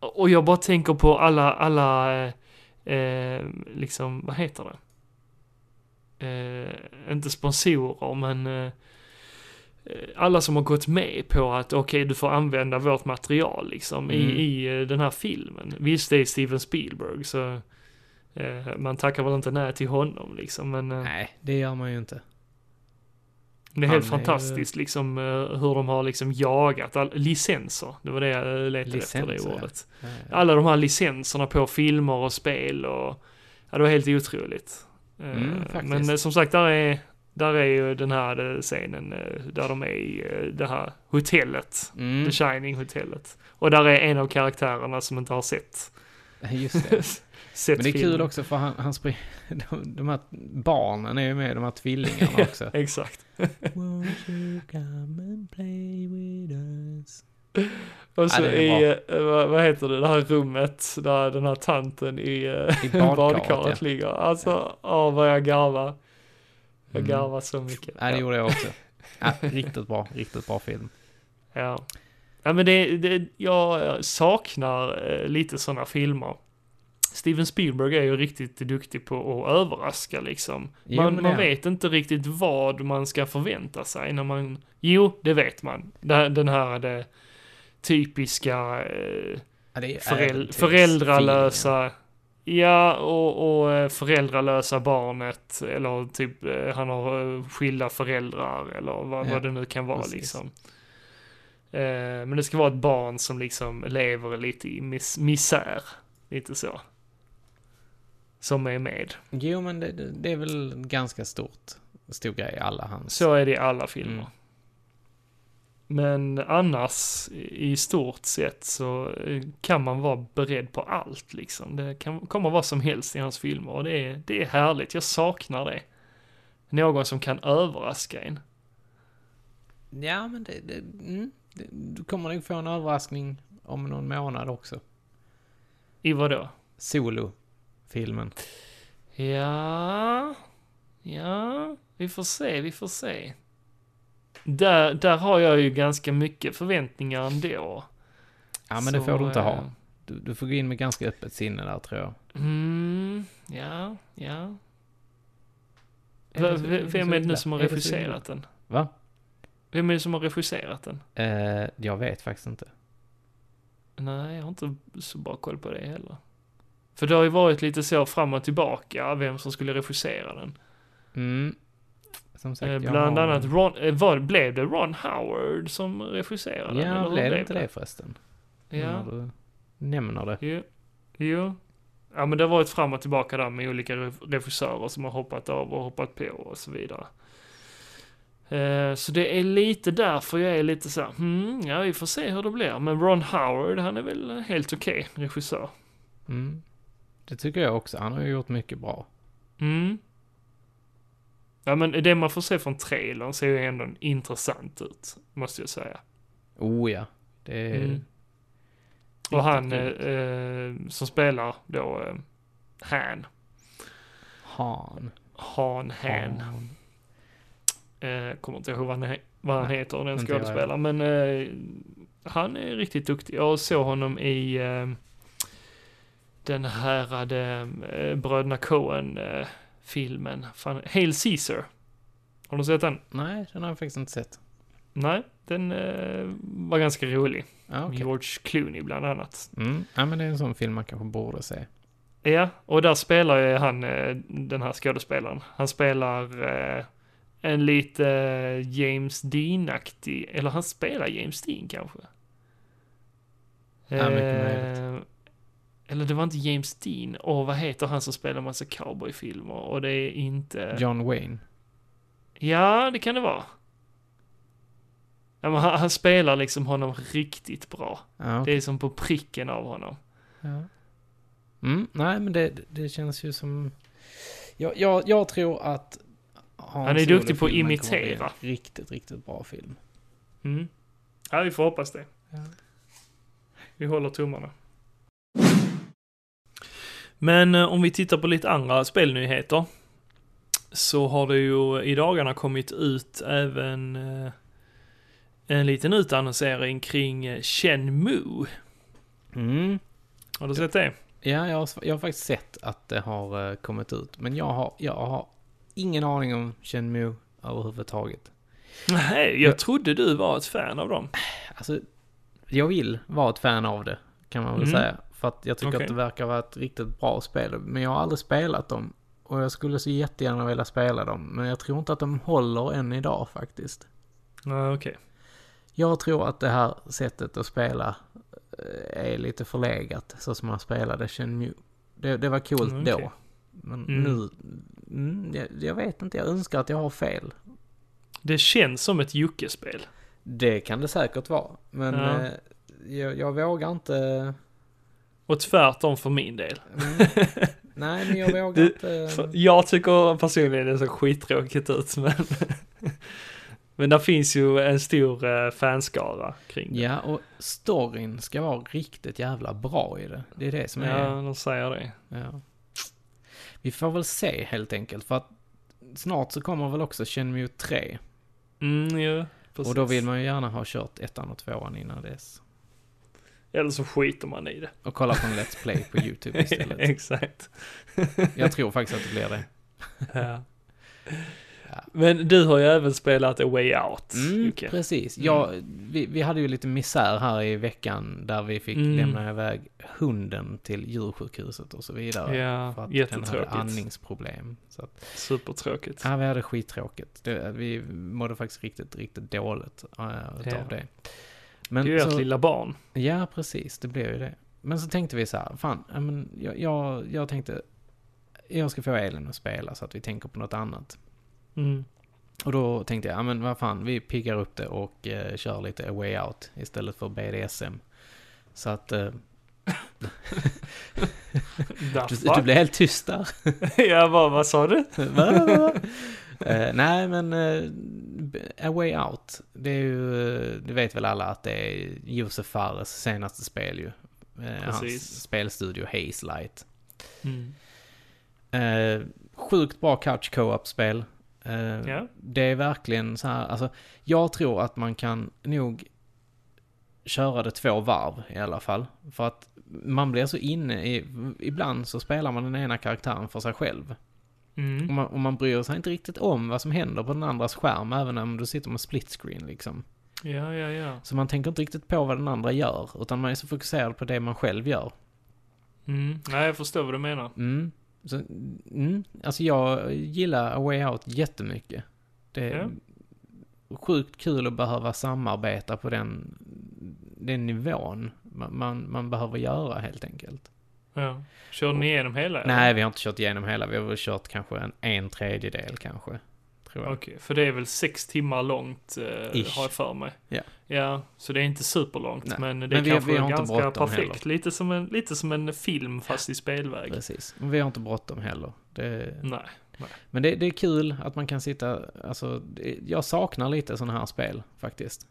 Speaker 2: Och jag bara tänker på alla, alla, eh, eh, liksom, vad heter det? Eh, inte sponsorer, men eh, eh, alla som har gått med på att okej, du får använda vårt material liksom i,
Speaker 1: Mm.
Speaker 2: i eh, den här filmen. Visst, det är Steven Spielberg, så eh, man tackar väl inte nej till honom liksom, men eh,
Speaker 1: Nej, det gör man ju inte.
Speaker 2: det är helt
Speaker 1: han är ju-
Speaker 2: fantastiskt liksom eh, hur de har liksom jagat all, licenser. Det var det jag eh, letade efter
Speaker 1: Licenser,
Speaker 2: det
Speaker 1: ja.
Speaker 2: ordet.
Speaker 1: Eh,
Speaker 2: Alla de här licenserna på filmer och spel och... Ja, det var helt otroligt. Eh,
Speaker 1: Mm, faktiskt.
Speaker 2: Men eh, som sagt, där är, där är ju den här eh, scenen eh, där de är i eh, det här hotellet.
Speaker 1: Mm,
Speaker 2: The Shining-hotellet. Och där är en av karaktärerna som inte har sett, (laughs) eh,
Speaker 1: just det.
Speaker 2: sett
Speaker 1: Men det är kul
Speaker 2: filmen.
Speaker 1: också för han, han spring, (laughs) de, de här barnen är ju med, de här
Speaker 2: (laughs)
Speaker 1: tvillingarna också.
Speaker 2: Exakt.
Speaker 1: Won't you come and play with us?
Speaker 2: Och så
Speaker 1: det är
Speaker 2: i, eh, vad, vad heter det, det här rummet där den här tanten i, eh, (laughs)
Speaker 1: I
Speaker 2: badkaret,
Speaker 1: badkaret, ja.
Speaker 2: ligger. Alltså, åh vad jag garvar. Jag
Speaker 1: Mm.
Speaker 2: garvar så mycket.
Speaker 1: Nej, det
Speaker 2: Ja.
Speaker 1: gjorde jag också.
Speaker 2: (laughs)
Speaker 1: Ja, riktigt bra, riktigt bra film.
Speaker 2: Ja. ja men det, det, jag saknar eh, lite sådana filmer. Steven Spielberg är ju riktigt duktig på att överraska liksom.
Speaker 1: Jo,
Speaker 2: Man,
Speaker 1: men det
Speaker 2: man
Speaker 1: är han.
Speaker 2: vet inte riktigt vad man ska förvänta sig när man... Jo, det vet man. Det- Den här det typiska eh,
Speaker 1: Ja, det är
Speaker 2: föräl
Speaker 1: äventyrs-
Speaker 2: föräldralösa... Ja, och, och eh, föräldralösa barnet. Eller typ eh, han har eh, skilda föräldrar eller vad,
Speaker 1: Ja,
Speaker 2: vad det nu kan vara
Speaker 1: precis.
Speaker 2: liksom. Eh, Men det ska vara ett barn som liksom lever lite i mis misär. Lite så. Som är med.
Speaker 1: Jo, men det, det det är väl ganska stort. Stor grej i alla hans.
Speaker 2: Så är det i alla filmer.
Speaker 1: Mm.
Speaker 2: Men annars i stort sett så eh, kan man vara beredd på allt liksom. Det kan komma vad som helst i hans filmer och det är, det är härligt. Jag saknar det. Någon som kan överraska en.
Speaker 1: Ja, men det, det, mm, det, du kommer nog få en överraskning om någon månad också.
Speaker 2: I vadå?
Speaker 1: Solo-filmen.
Speaker 2: Ja, ja, vi får se, vi får se. Där, där har jag ju ganska mycket förväntningar ändå.
Speaker 1: Ja, men det
Speaker 2: Så,
Speaker 1: får du inte
Speaker 2: eh,
Speaker 1: ha. Du, du får gå in med ganska öppet sinne där, tror jag.
Speaker 2: Mm, ja, ja.
Speaker 1: Är det
Speaker 2: V-
Speaker 1: så-
Speaker 2: v-
Speaker 1: är det
Speaker 2: vem
Speaker 1: så
Speaker 2: är det nu
Speaker 1: illa?
Speaker 2: som har
Speaker 1: Är det så illa?
Speaker 2: regisserat den?
Speaker 1: Va?
Speaker 2: Vem är det som har regisserat den?
Speaker 1: Eh, jag vet faktiskt inte.
Speaker 2: Nej, jag har inte så bra koll på det heller. För det har ju varit lite så fram och tillbaka, vem som skulle regissera den.
Speaker 1: Mm. Som sagt,
Speaker 2: Eh,
Speaker 1: jag
Speaker 2: Bland
Speaker 1: har...
Speaker 2: annat Ron, eh, vad, blev det Ron Howard som regisserade den?
Speaker 1: Ja,
Speaker 2: hur
Speaker 1: blev det inte det Mm. förresten?
Speaker 2: Ja.
Speaker 1: När du nämner det.
Speaker 2: Jo. jo. Ja, men det har varit fram och tillbaka där med olika re- regissörer som har hoppat av och hoppat på och så vidare. Eh, Så det är lite därför jag är lite så här, hmm, ja vi får se hur det blir. Men Ron Howard, han är väl helt okej regissör.
Speaker 1: Mm. Det tycker jag också. Han har ju gjort mycket bra.
Speaker 2: Mm. Ja men det man får se från trailern ser ju ändå intressant ut, måste jag säga.
Speaker 1: Oh ja. Det är...
Speaker 2: Mm. Och han eh,
Speaker 1: Riktigt
Speaker 2: eh, som spelar då eh, Han,
Speaker 1: Han.
Speaker 2: Han Han.
Speaker 1: Han.
Speaker 2: Eh, kommer inte ihåg vad han, he- vad han
Speaker 1: Nej,
Speaker 2: heter, den
Speaker 1: inte jag
Speaker 2: skådespelaren. Men eh, han är riktigt duktig. Jag såg honom i eh, den här eh, Bröderna Coen-filmen. Fan, Hail Caesar. Har du sett den?
Speaker 1: Nej, den har jag faktiskt inte sett.
Speaker 2: Nej, den eh, var ganska rolig.
Speaker 1: Ah, okej.
Speaker 2: George Clooney bland annat.
Speaker 1: Mm. Ja, men det är en sån film man kanske borde se.
Speaker 2: Ja, och där spelar ju han eh, den här skådespelaren. Han spelar eh, en lite eh, James Dean-aktig, eller han spelar James Dean kanske. Eh,
Speaker 1: Ja, mycket
Speaker 2: eller det var inte James Dean, och vad heter han som spelar massa cowboyfilmer? Och det är inte...
Speaker 1: John Wayne.
Speaker 2: Ja, det kan det vara. Ja, men han, han spelar liksom honom riktigt bra.
Speaker 1: Ja,
Speaker 2: Det är som på pricken av honom.
Speaker 1: Ja. Mm, nej, men det, det känns ju som... Jag, jag, jag tror att... Hans
Speaker 2: Han är duktig på att
Speaker 1: Solo-filmen kommer bli en
Speaker 2: imitera.
Speaker 1: Riktigt, riktigt bra film.
Speaker 2: Mm. Ja, vi får hoppas det.
Speaker 1: Ja.
Speaker 2: Vi håller tummarna. Men eh, om vi tittar på lite andra spelnyheter. Så har det ju i dagarna kommit ut även eh, en liten utannonsering kring eh, Shenmue.
Speaker 1: Mm.
Speaker 2: Har du sett det?
Speaker 1: Ja, jag har, jag har faktiskt sett att det har eh, kommit ut. Men jag har, jag har ingen aning om Shenmue överhuvudtaget.
Speaker 2: Nej, jag trodde du var ett fan av dem.
Speaker 1: Alltså, jag vill vara ett fan av det, kan man väl
Speaker 2: Mm.
Speaker 1: säga. För att jag tycker
Speaker 2: Okej.
Speaker 1: att det verkar vara ett riktigt bra spel. Men jag har aldrig spelat dem. Och jag skulle så jättegärna vilja spela dem. Men jag tror inte att de håller än idag faktiskt.
Speaker 2: Ja, okej.
Speaker 1: Jag tror att det här sättet att spela eh, är lite förlegat, så som man spelade Shenmue. Det, det var coolt
Speaker 2: Mm, okej.
Speaker 1: då. Men
Speaker 2: Mm.
Speaker 1: nu, mm, jag, jag vet inte, jag önskar att jag har fel.
Speaker 2: Det känns som ett Jocke-spel.
Speaker 1: Det kan det säkert vara, men
Speaker 2: Ja.
Speaker 1: eh, jag, jag vågar inte...
Speaker 2: Och tvärtom för min del.
Speaker 1: Mm. Nej, men jag vågar
Speaker 2: Du-
Speaker 1: inte...
Speaker 2: För Jag tycker personligen det ser skittråkigt ut, men... (laughs) men där finns ju en stor eh, fanskara kring det.
Speaker 1: Ja, och storyn ska vara riktigt jävla bra i det. Det är det som är...
Speaker 2: Ja, de säger det.
Speaker 1: Ja. Vi får väl se helt enkelt, för att snart så kommer väl också Shenmue 3.
Speaker 2: Mm, ja, precis.
Speaker 1: Och då vill man ju gärna ha kört ettan och tvåan innan dess.
Speaker 2: Eller så skiter man i det.
Speaker 1: Och kolla på en Let's Play på YouTube istället.
Speaker 2: (laughs) Exakt.
Speaker 1: Jag tror faktiskt att det blir det.
Speaker 2: Ja.
Speaker 1: Ja.
Speaker 2: Men du har ju även spelat A Way Out,
Speaker 1: Mm,
Speaker 2: Jocke.
Speaker 1: precis. Ja, vi, vi hade ju lite misär här i veckan där vi fick
Speaker 2: Mm.
Speaker 1: lämna iväg hunden till djursjukhuset och så vidare. För
Speaker 2: Ja,
Speaker 1: att den hade
Speaker 2: jättetråkigt.
Speaker 1: andningsproblem. Så att,
Speaker 2: Supertråkigt.
Speaker 1: ja, vi hade skittråkigt. Det, vi mådde faktiskt riktigt, riktigt dåligt äh, eh, utav
Speaker 2: Ja.
Speaker 1: det. Men
Speaker 2: det är ju ert
Speaker 1: så-
Speaker 2: lilla barn.
Speaker 1: Ja, precis. Det blir ju det. Men så tänkte vi så här, fan, ja, men jag, jag, jag tänkte, jag ska få Elin att spela så att vi tänker på något annat.
Speaker 2: Mm.
Speaker 1: Och då tänkte jag, ja men vad fan, vi piggar upp det och eh, kör lite A Way Out istället för BDSM. Så att, eh, du, du
Speaker 2: Därför.
Speaker 1: blev helt tyst där.
Speaker 2: (laughs) ja, vad, vad sa du?
Speaker 1: (laughs) Va? Va? Eh, nej, men eh, B- A Way Out, det är ju, eh, det vet väl alla att det är Josef Fares senaste spel ju. Eh,
Speaker 2: Precis.
Speaker 1: hans spelstudio Haze Light.
Speaker 2: Mm.
Speaker 1: Eh, sjukt bra couch co-op-spel. Eh,
Speaker 2: Ja.
Speaker 1: Det är verkligen så här, alltså jag tror att man kan nog köra det två varv i alla fall. För att man blir så inne i, ibland så spelar man den ena karaktären för sig själv. Och
Speaker 2: Mm.
Speaker 1: man, och man bryr sig inte riktigt om vad som händer på den andras skärm, även om du sitter med split screen liksom.
Speaker 2: Ja, ja, ja.
Speaker 1: Så man tänker inte riktigt på vad den andra gör, utan man är så fokuserad på det man själv gör.
Speaker 2: Mm. Nej, jag förstår vad du menar.
Speaker 1: Mm. Så, mm. Alltså jag gillar A Way Out jättemycket. Det är sjukt kul att behöva samarbeta på den, den nivån man, man, man behöver göra helt enkelt.
Speaker 2: Ja. Körde ni igenom hela? eller?
Speaker 1: Nej, vi har inte kört igenom hela. Vi har väl kört kanske en, en tredjedel kanske. Tror jag.
Speaker 2: Okej, för det är väl sex timmar långt, eh,
Speaker 1: Ish.
Speaker 2: har jag för mig.
Speaker 1: Ja.
Speaker 2: Ja, så det är inte superlångt,
Speaker 1: Nej,
Speaker 2: men det
Speaker 1: men vi-
Speaker 2: kanske
Speaker 1: vi
Speaker 2: är
Speaker 1: har inte
Speaker 2: ganska
Speaker 1: bråttom
Speaker 2: perfekt. Lite som, en, lite som en film, fast i spelväg.
Speaker 1: Precis. Men vi har inte bråttom heller. Det,
Speaker 2: Nej.
Speaker 1: men det, det är kul att man kan sitta, alltså, det, jag saknar lite sådana här spel faktiskt.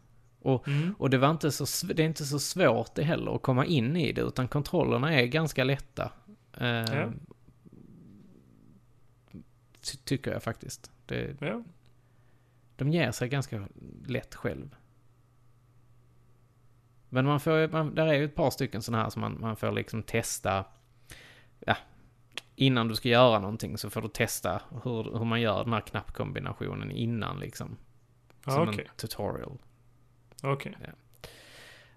Speaker 2: Mm.
Speaker 1: Och det, var inte så, sv- det är inte så svårt det heller att komma in i det, utan kontrollerna är ganska lätta. Ehm,
Speaker 2: Ja.
Speaker 1: ty- Tycker jag faktiskt. Det,
Speaker 2: Ja.
Speaker 1: de ger sig ganska lätt själv. Men man får, ju- man, där är ju ett par stycken sådana här som man, man får liksom testa. Ja, innan du ska göra någonting så får du testa hur, hur man gör den här knappkombinationen innan liksom. Som
Speaker 2: Ja, okej.
Speaker 1: en tutorial.
Speaker 2: Okej.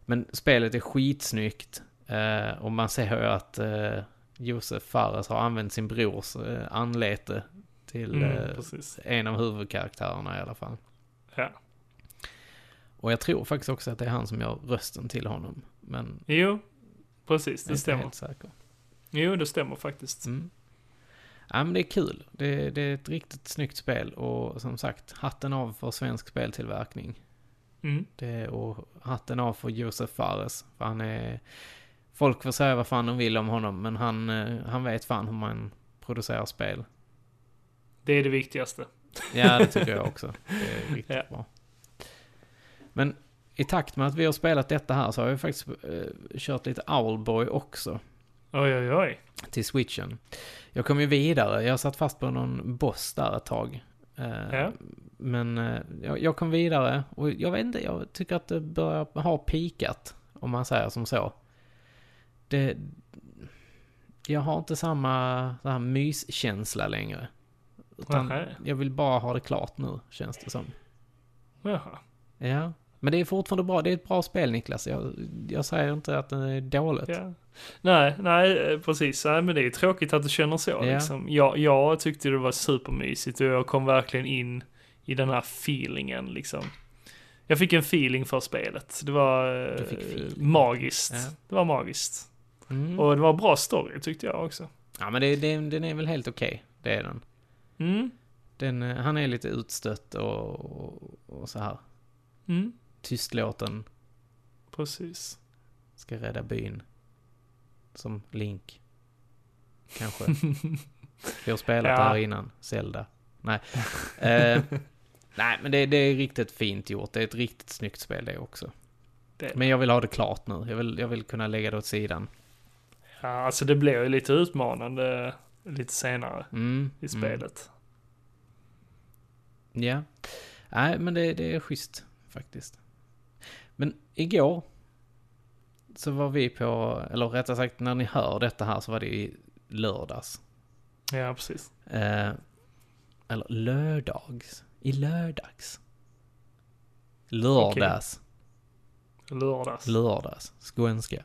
Speaker 1: Men spelet är skitsnyggt. Eh, och man ser ju att eh, Josef Fares har använt sin brors eh, anlete till
Speaker 2: Mm,
Speaker 1: eh,
Speaker 2: precis.
Speaker 1: en av huvudkaraktärerna i alla fall.
Speaker 2: Ja.
Speaker 1: Och jag tror faktiskt också att det är han som gör rösten till honom. Men jag
Speaker 2: Jo, precis.
Speaker 1: är
Speaker 2: Det
Speaker 1: inte
Speaker 2: stämmer.
Speaker 1: helt säker.
Speaker 2: Jo, det stämmer faktiskt.
Speaker 1: Mm. Ja men det är kul. Det, det är ett riktigt snyggt spel och som sagt hatten av för svensk speltillverkning.
Speaker 2: Mm.
Speaker 1: Det, och hatten av för Josef Fares. För han är... Folk får säga vad fan de vill om honom, men han, eh, han vet fan hur man producerar spel.
Speaker 2: Det är det viktigaste.
Speaker 1: Ja, det tycker jag också. Det är riktigt
Speaker 2: (laughs) Ja.
Speaker 1: bra. Men i takt med att vi har spelat detta här så har vi faktiskt eh, kört lite Owlboy också
Speaker 2: Oj, oj, oj.
Speaker 1: till switchen. Jag kom ju vidare, jag satt fast på någon boss där ett tag. Eh,
Speaker 2: Ja.
Speaker 1: Men eh, jag, jag kom vidare och jag vet inte, jag tycker att det börjar ha pikat. Om man säger som så. Det, jag har inte samma så här myskänsla längre. Utan
Speaker 2: Nähä.
Speaker 1: jag vill bara ha det klart nu, känns det som.
Speaker 2: Jaha.
Speaker 1: Ja. Men det är fortfarande bra, det är ett bra spel Niklas. Jag, jag säger inte att det är dåligt.
Speaker 2: Ja. Nej, nej, eh, precis. Nej, men det är tråkigt att du känner så.
Speaker 1: Ja.
Speaker 2: Liksom. Jag, jag tyckte det var supermysigt och jag kom verkligen in i den här feelingen. Liksom. Jag fick en feeling för spelet. Det var eh,
Speaker 1: Du fick feeling.
Speaker 2: magiskt.
Speaker 1: Ja.
Speaker 2: Det var magiskt.
Speaker 1: Mm.
Speaker 2: Och det var bra story tyckte jag också.
Speaker 1: Ja men det, det, den är väl helt okej, det är den.
Speaker 2: Mm.
Speaker 1: Den, eh, han är lite utstött och, och, och så här.
Speaker 2: Mm.
Speaker 1: Tystlåten
Speaker 2: Precis.
Speaker 1: ska rädda byn. Som Link.
Speaker 2: (laughs)
Speaker 1: Kanske. Vi har spelat
Speaker 2: Ja.
Speaker 1: det här innan. Zelda. Nej.
Speaker 2: (laughs)
Speaker 1: Eh, nej, men det, det är riktigt fint gjort. Det är ett riktigt snyggt spel det också.
Speaker 2: Det är det.
Speaker 1: Men jag vill ha det klart nu. Jag vill, jag vill kunna lägga det åt sidan.
Speaker 2: Ja, alltså det blev ju lite utmanande lite senare
Speaker 1: Mm,
Speaker 2: i
Speaker 1: mm.
Speaker 2: spelet.
Speaker 1: Ja. Nej, men det, det är schysst faktiskt. Men igår så var vi på, eller rättare sagt när ni hör detta här så var det i lördags.
Speaker 2: Ja, precis.
Speaker 1: Eh, eller lördags. I lördags. Lördags.
Speaker 2: Lördags.
Speaker 1: Lördags. Skånska.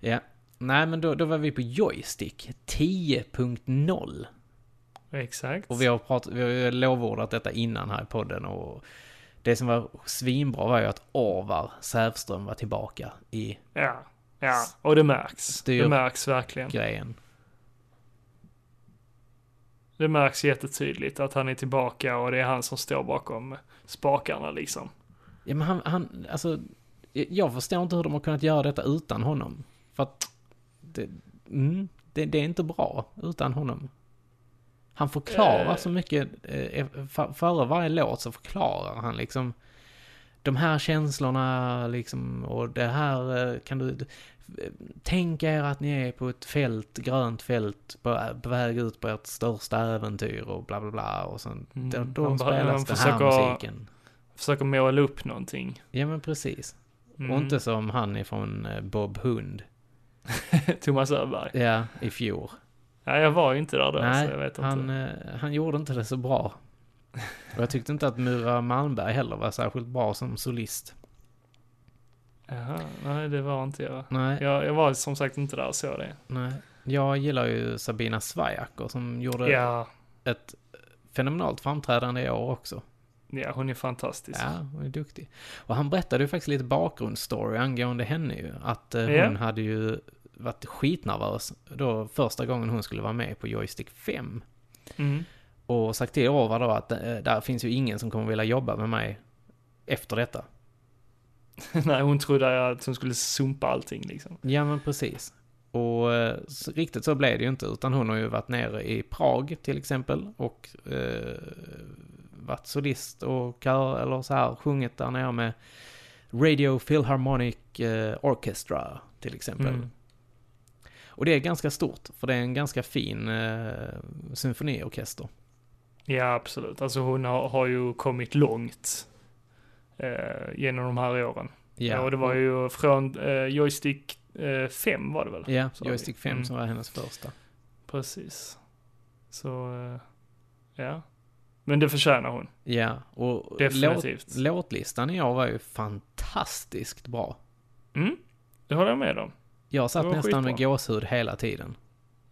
Speaker 1: Ja. Nej, men då, då var vi på Joystick 10.0.
Speaker 2: Exakt.
Speaker 1: Och vi har, prat, vi har ju lovordat detta innan här i podden och Det som var svinbra var ju att Orvar Sävström var tillbaka i
Speaker 2: Ja, ja, och det märks.
Speaker 1: Styr.
Speaker 2: Det märks verkligen.
Speaker 1: grejen.
Speaker 2: Det märks jättetydligt att han är tillbaka och det är han som står bakom spakarna liksom.
Speaker 1: Ja, men han, han, alltså, jag förstår inte hur de har kunnat göra detta utan honom. För att det, mm, det, det är inte bra utan honom. Han förklarar
Speaker 2: Eh.
Speaker 1: så mycket, eh, f- före varje låt så förklarar han liksom de här känslorna liksom och det här eh, kan du... Tänk er att ni är på ett fält, grönt fält, på, på väg ut på ert största äventyr och bla bla bla och sen...
Speaker 2: Mm,
Speaker 1: Då,
Speaker 2: han
Speaker 1: då
Speaker 2: bara- han
Speaker 1: spelas den här
Speaker 2: försöker-
Speaker 1: musiken.
Speaker 2: Försöker måla upp någonting.
Speaker 1: Ja men precis.
Speaker 2: Mm.
Speaker 1: Och inte som han ifrån eh, Bob Hund.
Speaker 2: (laughs) Thomas Öberg.
Speaker 1: Ja, i fjol.
Speaker 2: Ja, jag var ju inte där då,
Speaker 1: Nej,
Speaker 2: så jag vet
Speaker 1: Han,
Speaker 2: inte.
Speaker 1: eh, han gjorde inte det så bra. Och jag tyckte inte att Mura Malmberg heller var särskilt bra som solist.
Speaker 2: Jaha, nej, det var inte jag.
Speaker 1: Nej,
Speaker 2: jag. Jag var som sagt inte där och såg det.
Speaker 1: nej. Jag gillar ju Sabina Svajaker som gjorde
Speaker 2: Ja,
Speaker 1: ett eh, fenomenalt framträdande i år också.
Speaker 2: ja, hon är fantastisk.
Speaker 1: Ja, hon är duktig. Och han berättade ju faktiskt lite bakgrundsstory angående henne ju. Att eh, hon
Speaker 2: Ja.
Speaker 1: hade ju varit skitnervös då första gången hon skulle vara med på Joystick 5.
Speaker 2: Mm. (laughs)
Speaker 1: Och sagt till Orvar då att eh, där finns ju ingen som kommer vilja jobba med mig efter detta.
Speaker 2: nej, hon trodde att hon skulle sumpa allting liksom.
Speaker 1: Ja men precis. Och eh, så, riktigt så blev det ju inte utan hon har ju varit nere i Prag till exempel och eh, varit solist och kör eller så här sjungit där nere med Radio Philharmonic eh, Orchestra till exempel.
Speaker 2: Mm.
Speaker 1: Och det är ganska stort för det är en ganska fin eh, symfoniorkester.
Speaker 2: Ja, absolut. Alltså hon har, har ju kommit långt eh, genom de här åren. Ja, och det var ju från eh, Joystick 5 var det väl?
Speaker 1: Ja,
Speaker 2: sa vi.
Speaker 1: Joystick 5
Speaker 2: Mm.
Speaker 1: som var hennes första.
Speaker 2: Precis. Så, eh, ja. Men det förtjänar hon,
Speaker 1: Ja, och låt,
Speaker 2: definitivt.
Speaker 1: låtlistan i år var ju fantastiskt bra.
Speaker 2: Mm, det håller jag med om.
Speaker 1: Jag satt
Speaker 2: Det var
Speaker 1: nästan med
Speaker 2: skitbra.
Speaker 1: gåshud hela tiden.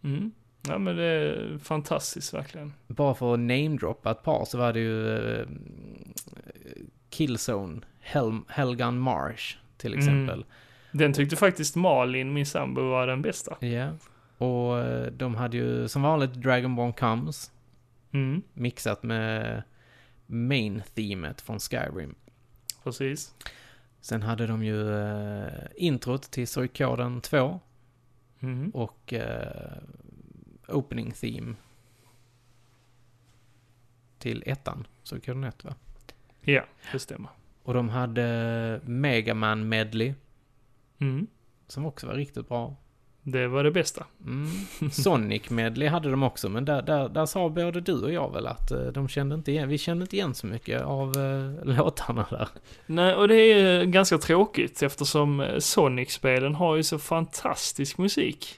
Speaker 2: Mm. Ja, men det är fantastiskt verkligen.
Speaker 1: Bara för att namedroppa ett par så var det ju eh, Killzone, Hel- Helgan Marsh till
Speaker 2: Mm.
Speaker 1: exempel.
Speaker 2: Den tyckte faktiskt Malin, min sambo, var den bästa.
Speaker 1: Ja. Och eh, de hade ju som vanligt Dragonborn Comes
Speaker 2: Mm,
Speaker 1: mixat med main themet från Skyrim.
Speaker 2: precis.
Speaker 1: Sen hade de ju eh, introt till Soykoden 2
Speaker 2: Mm.
Speaker 1: och eh, opening theme till ettan, så kunde ett va?
Speaker 2: Ja, det stämmer.
Speaker 1: Och de hade Megaman Medley,
Speaker 2: Mm.
Speaker 1: som också var riktigt bra.
Speaker 2: Det var det bästa.
Speaker 1: Mm.
Speaker 2: (laughs)
Speaker 1: Sonic Medley hade de också, men där, där, där sa både du och jag väl att eh, de kände inte igen, vi kände inte igen så mycket av eh, (laughs) låtarna där.
Speaker 2: Nej, och det är ganska tråkigt eftersom eh, Sonic-spelen har ju så fantastisk musik.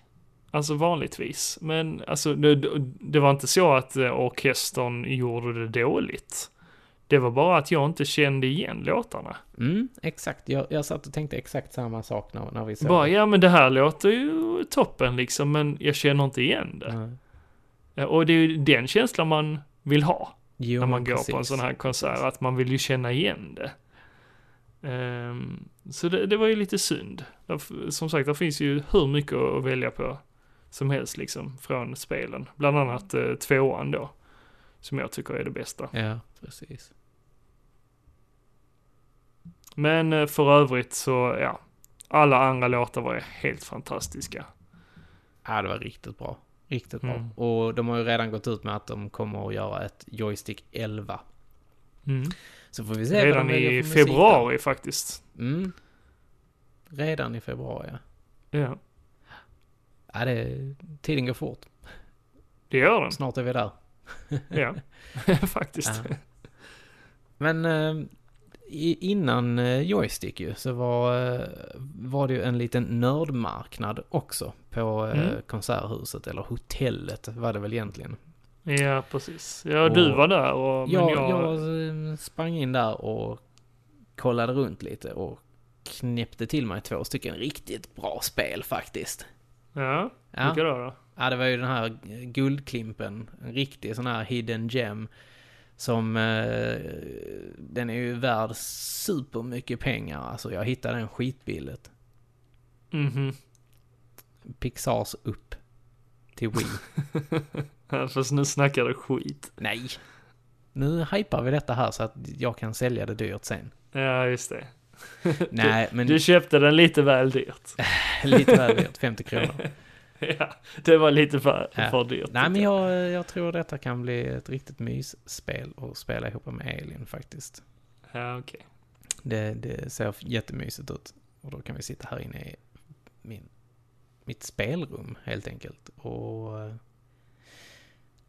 Speaker 2: Alltså vanligtvis. Men alltså, det, det var inte så att eh, orkestern gjorde det dåligt. Det var bara att jag inte kände igen låtarna.
Speaker 1: Mm, exakt. Jag, jag satt och tänkte exakt samma sak när, när vi såg
Speaker 2: Bara,
Speaker 1: det.
Speaker 2: ja men det här låter ju toppen liksom, men jag känner inte igen det.
Speaker 1: Nej.
Speaker 2: Eh, Och det är ju den känslan man vill ha.
Speaker 1: Jo,
Speaker 2: när man
Speaker 1: men
Speaker 2: går på en
Speaker 1: precis.
Speaker 2: sån här konsert, att man vill ju känna igen det. Ehm, så det, det var ju lite synd. Där f- Som sagt, det finns ju hur mycket att välja på som helst liksom från spelen. Bland annat eh, tvåan då, som jag tycker är det bästa.
Speaker 1: Ja, precis.
Speaker 2: Men eh, för övrigt så, ja, alla andra låtar var ju helt fantastiska.
Speaker 1: Ja, det var riktigt bra. Riktigt bra.
Speaker 2: Mm.
Speaker 1: Och de har ju redan gått ut med att de kommer att göra ett Joystick 11. Mm. Så får vi se vad de
Speaker 2: Redan
Speaker 1: väljer
Speaker 2: i
Speaker 1: för musik
Speaker 2: februari faktiskt.
Speaker 1: där. Mm. Redan i februari, ja.
Speaker 2: Ja,
Speaker 1: ja det, tiden går fort.
Speaker 2: det gör den.
Speaker 1: Snart är vi där. (laughs)
Speaker 2: Ja, (laughs) faktiskt.
Speaker 1: Ja. (laughs) Men eh, i- innan eh, Joystick ju, så var, eh, var det ju en liten nördmarknad också på eh,
Speaker 2: Mm.
Speaker 1: konserthuset, eller hotellet var det väl egentligen.
Speaker 2: Ja, precis. Ja, du
Speaker 1: Och-
Speaker 2: var där och... men
Speaker 1: Jag, jag eh, sprang in där och kollade runt lite och knäppte till mig två stycken riktigt bra spel faktiskt.
Speaker 2: Ja,
Speaker 1: Ja,
Speaker 2: vilka då? då?
Speaker 1: ja det var ju den här guldklimpen, en riktig sån här hidden gem Som, eh, den är ju värd supermycket pengar. Alltså jag hittade den skitbilligt.
Speaker 2: (laughs) Mhm.
Speaker 1: Pixars upp till
Speaker 2: (laughs)
Speaker 1: Wii.
Speaker 2: Fast nu snackar du skit.
Speaker 1: Nej! Nu hypar vi detta här så att jag kan sälja det dyrt
Speaker 2: (laughs)
Speaker 1: sen.
Speaker 2: Ja, just det.
Speaker 1: Nej, men
Speaker 2: Du köpte den lite väl dyrt.
Speaker 1: (laughs) lite väl dyrt. 50 kronor.
Speaker 2: (laughs) Ja, det var lite för,
Speaker 1: Ja.
Speaker 2: för dyrt.
Speaker 1: Nej, men jag, jag tror detta kan bli ett riktigt mysspel att spela ihop med Elin faktiskt.
Speaker 2: Ja, okej.
Speaker 1: Det, det ser jättemysigt ut. Och då kan vi sitta här inne i min, mitt spelrum helt enkelt och eh,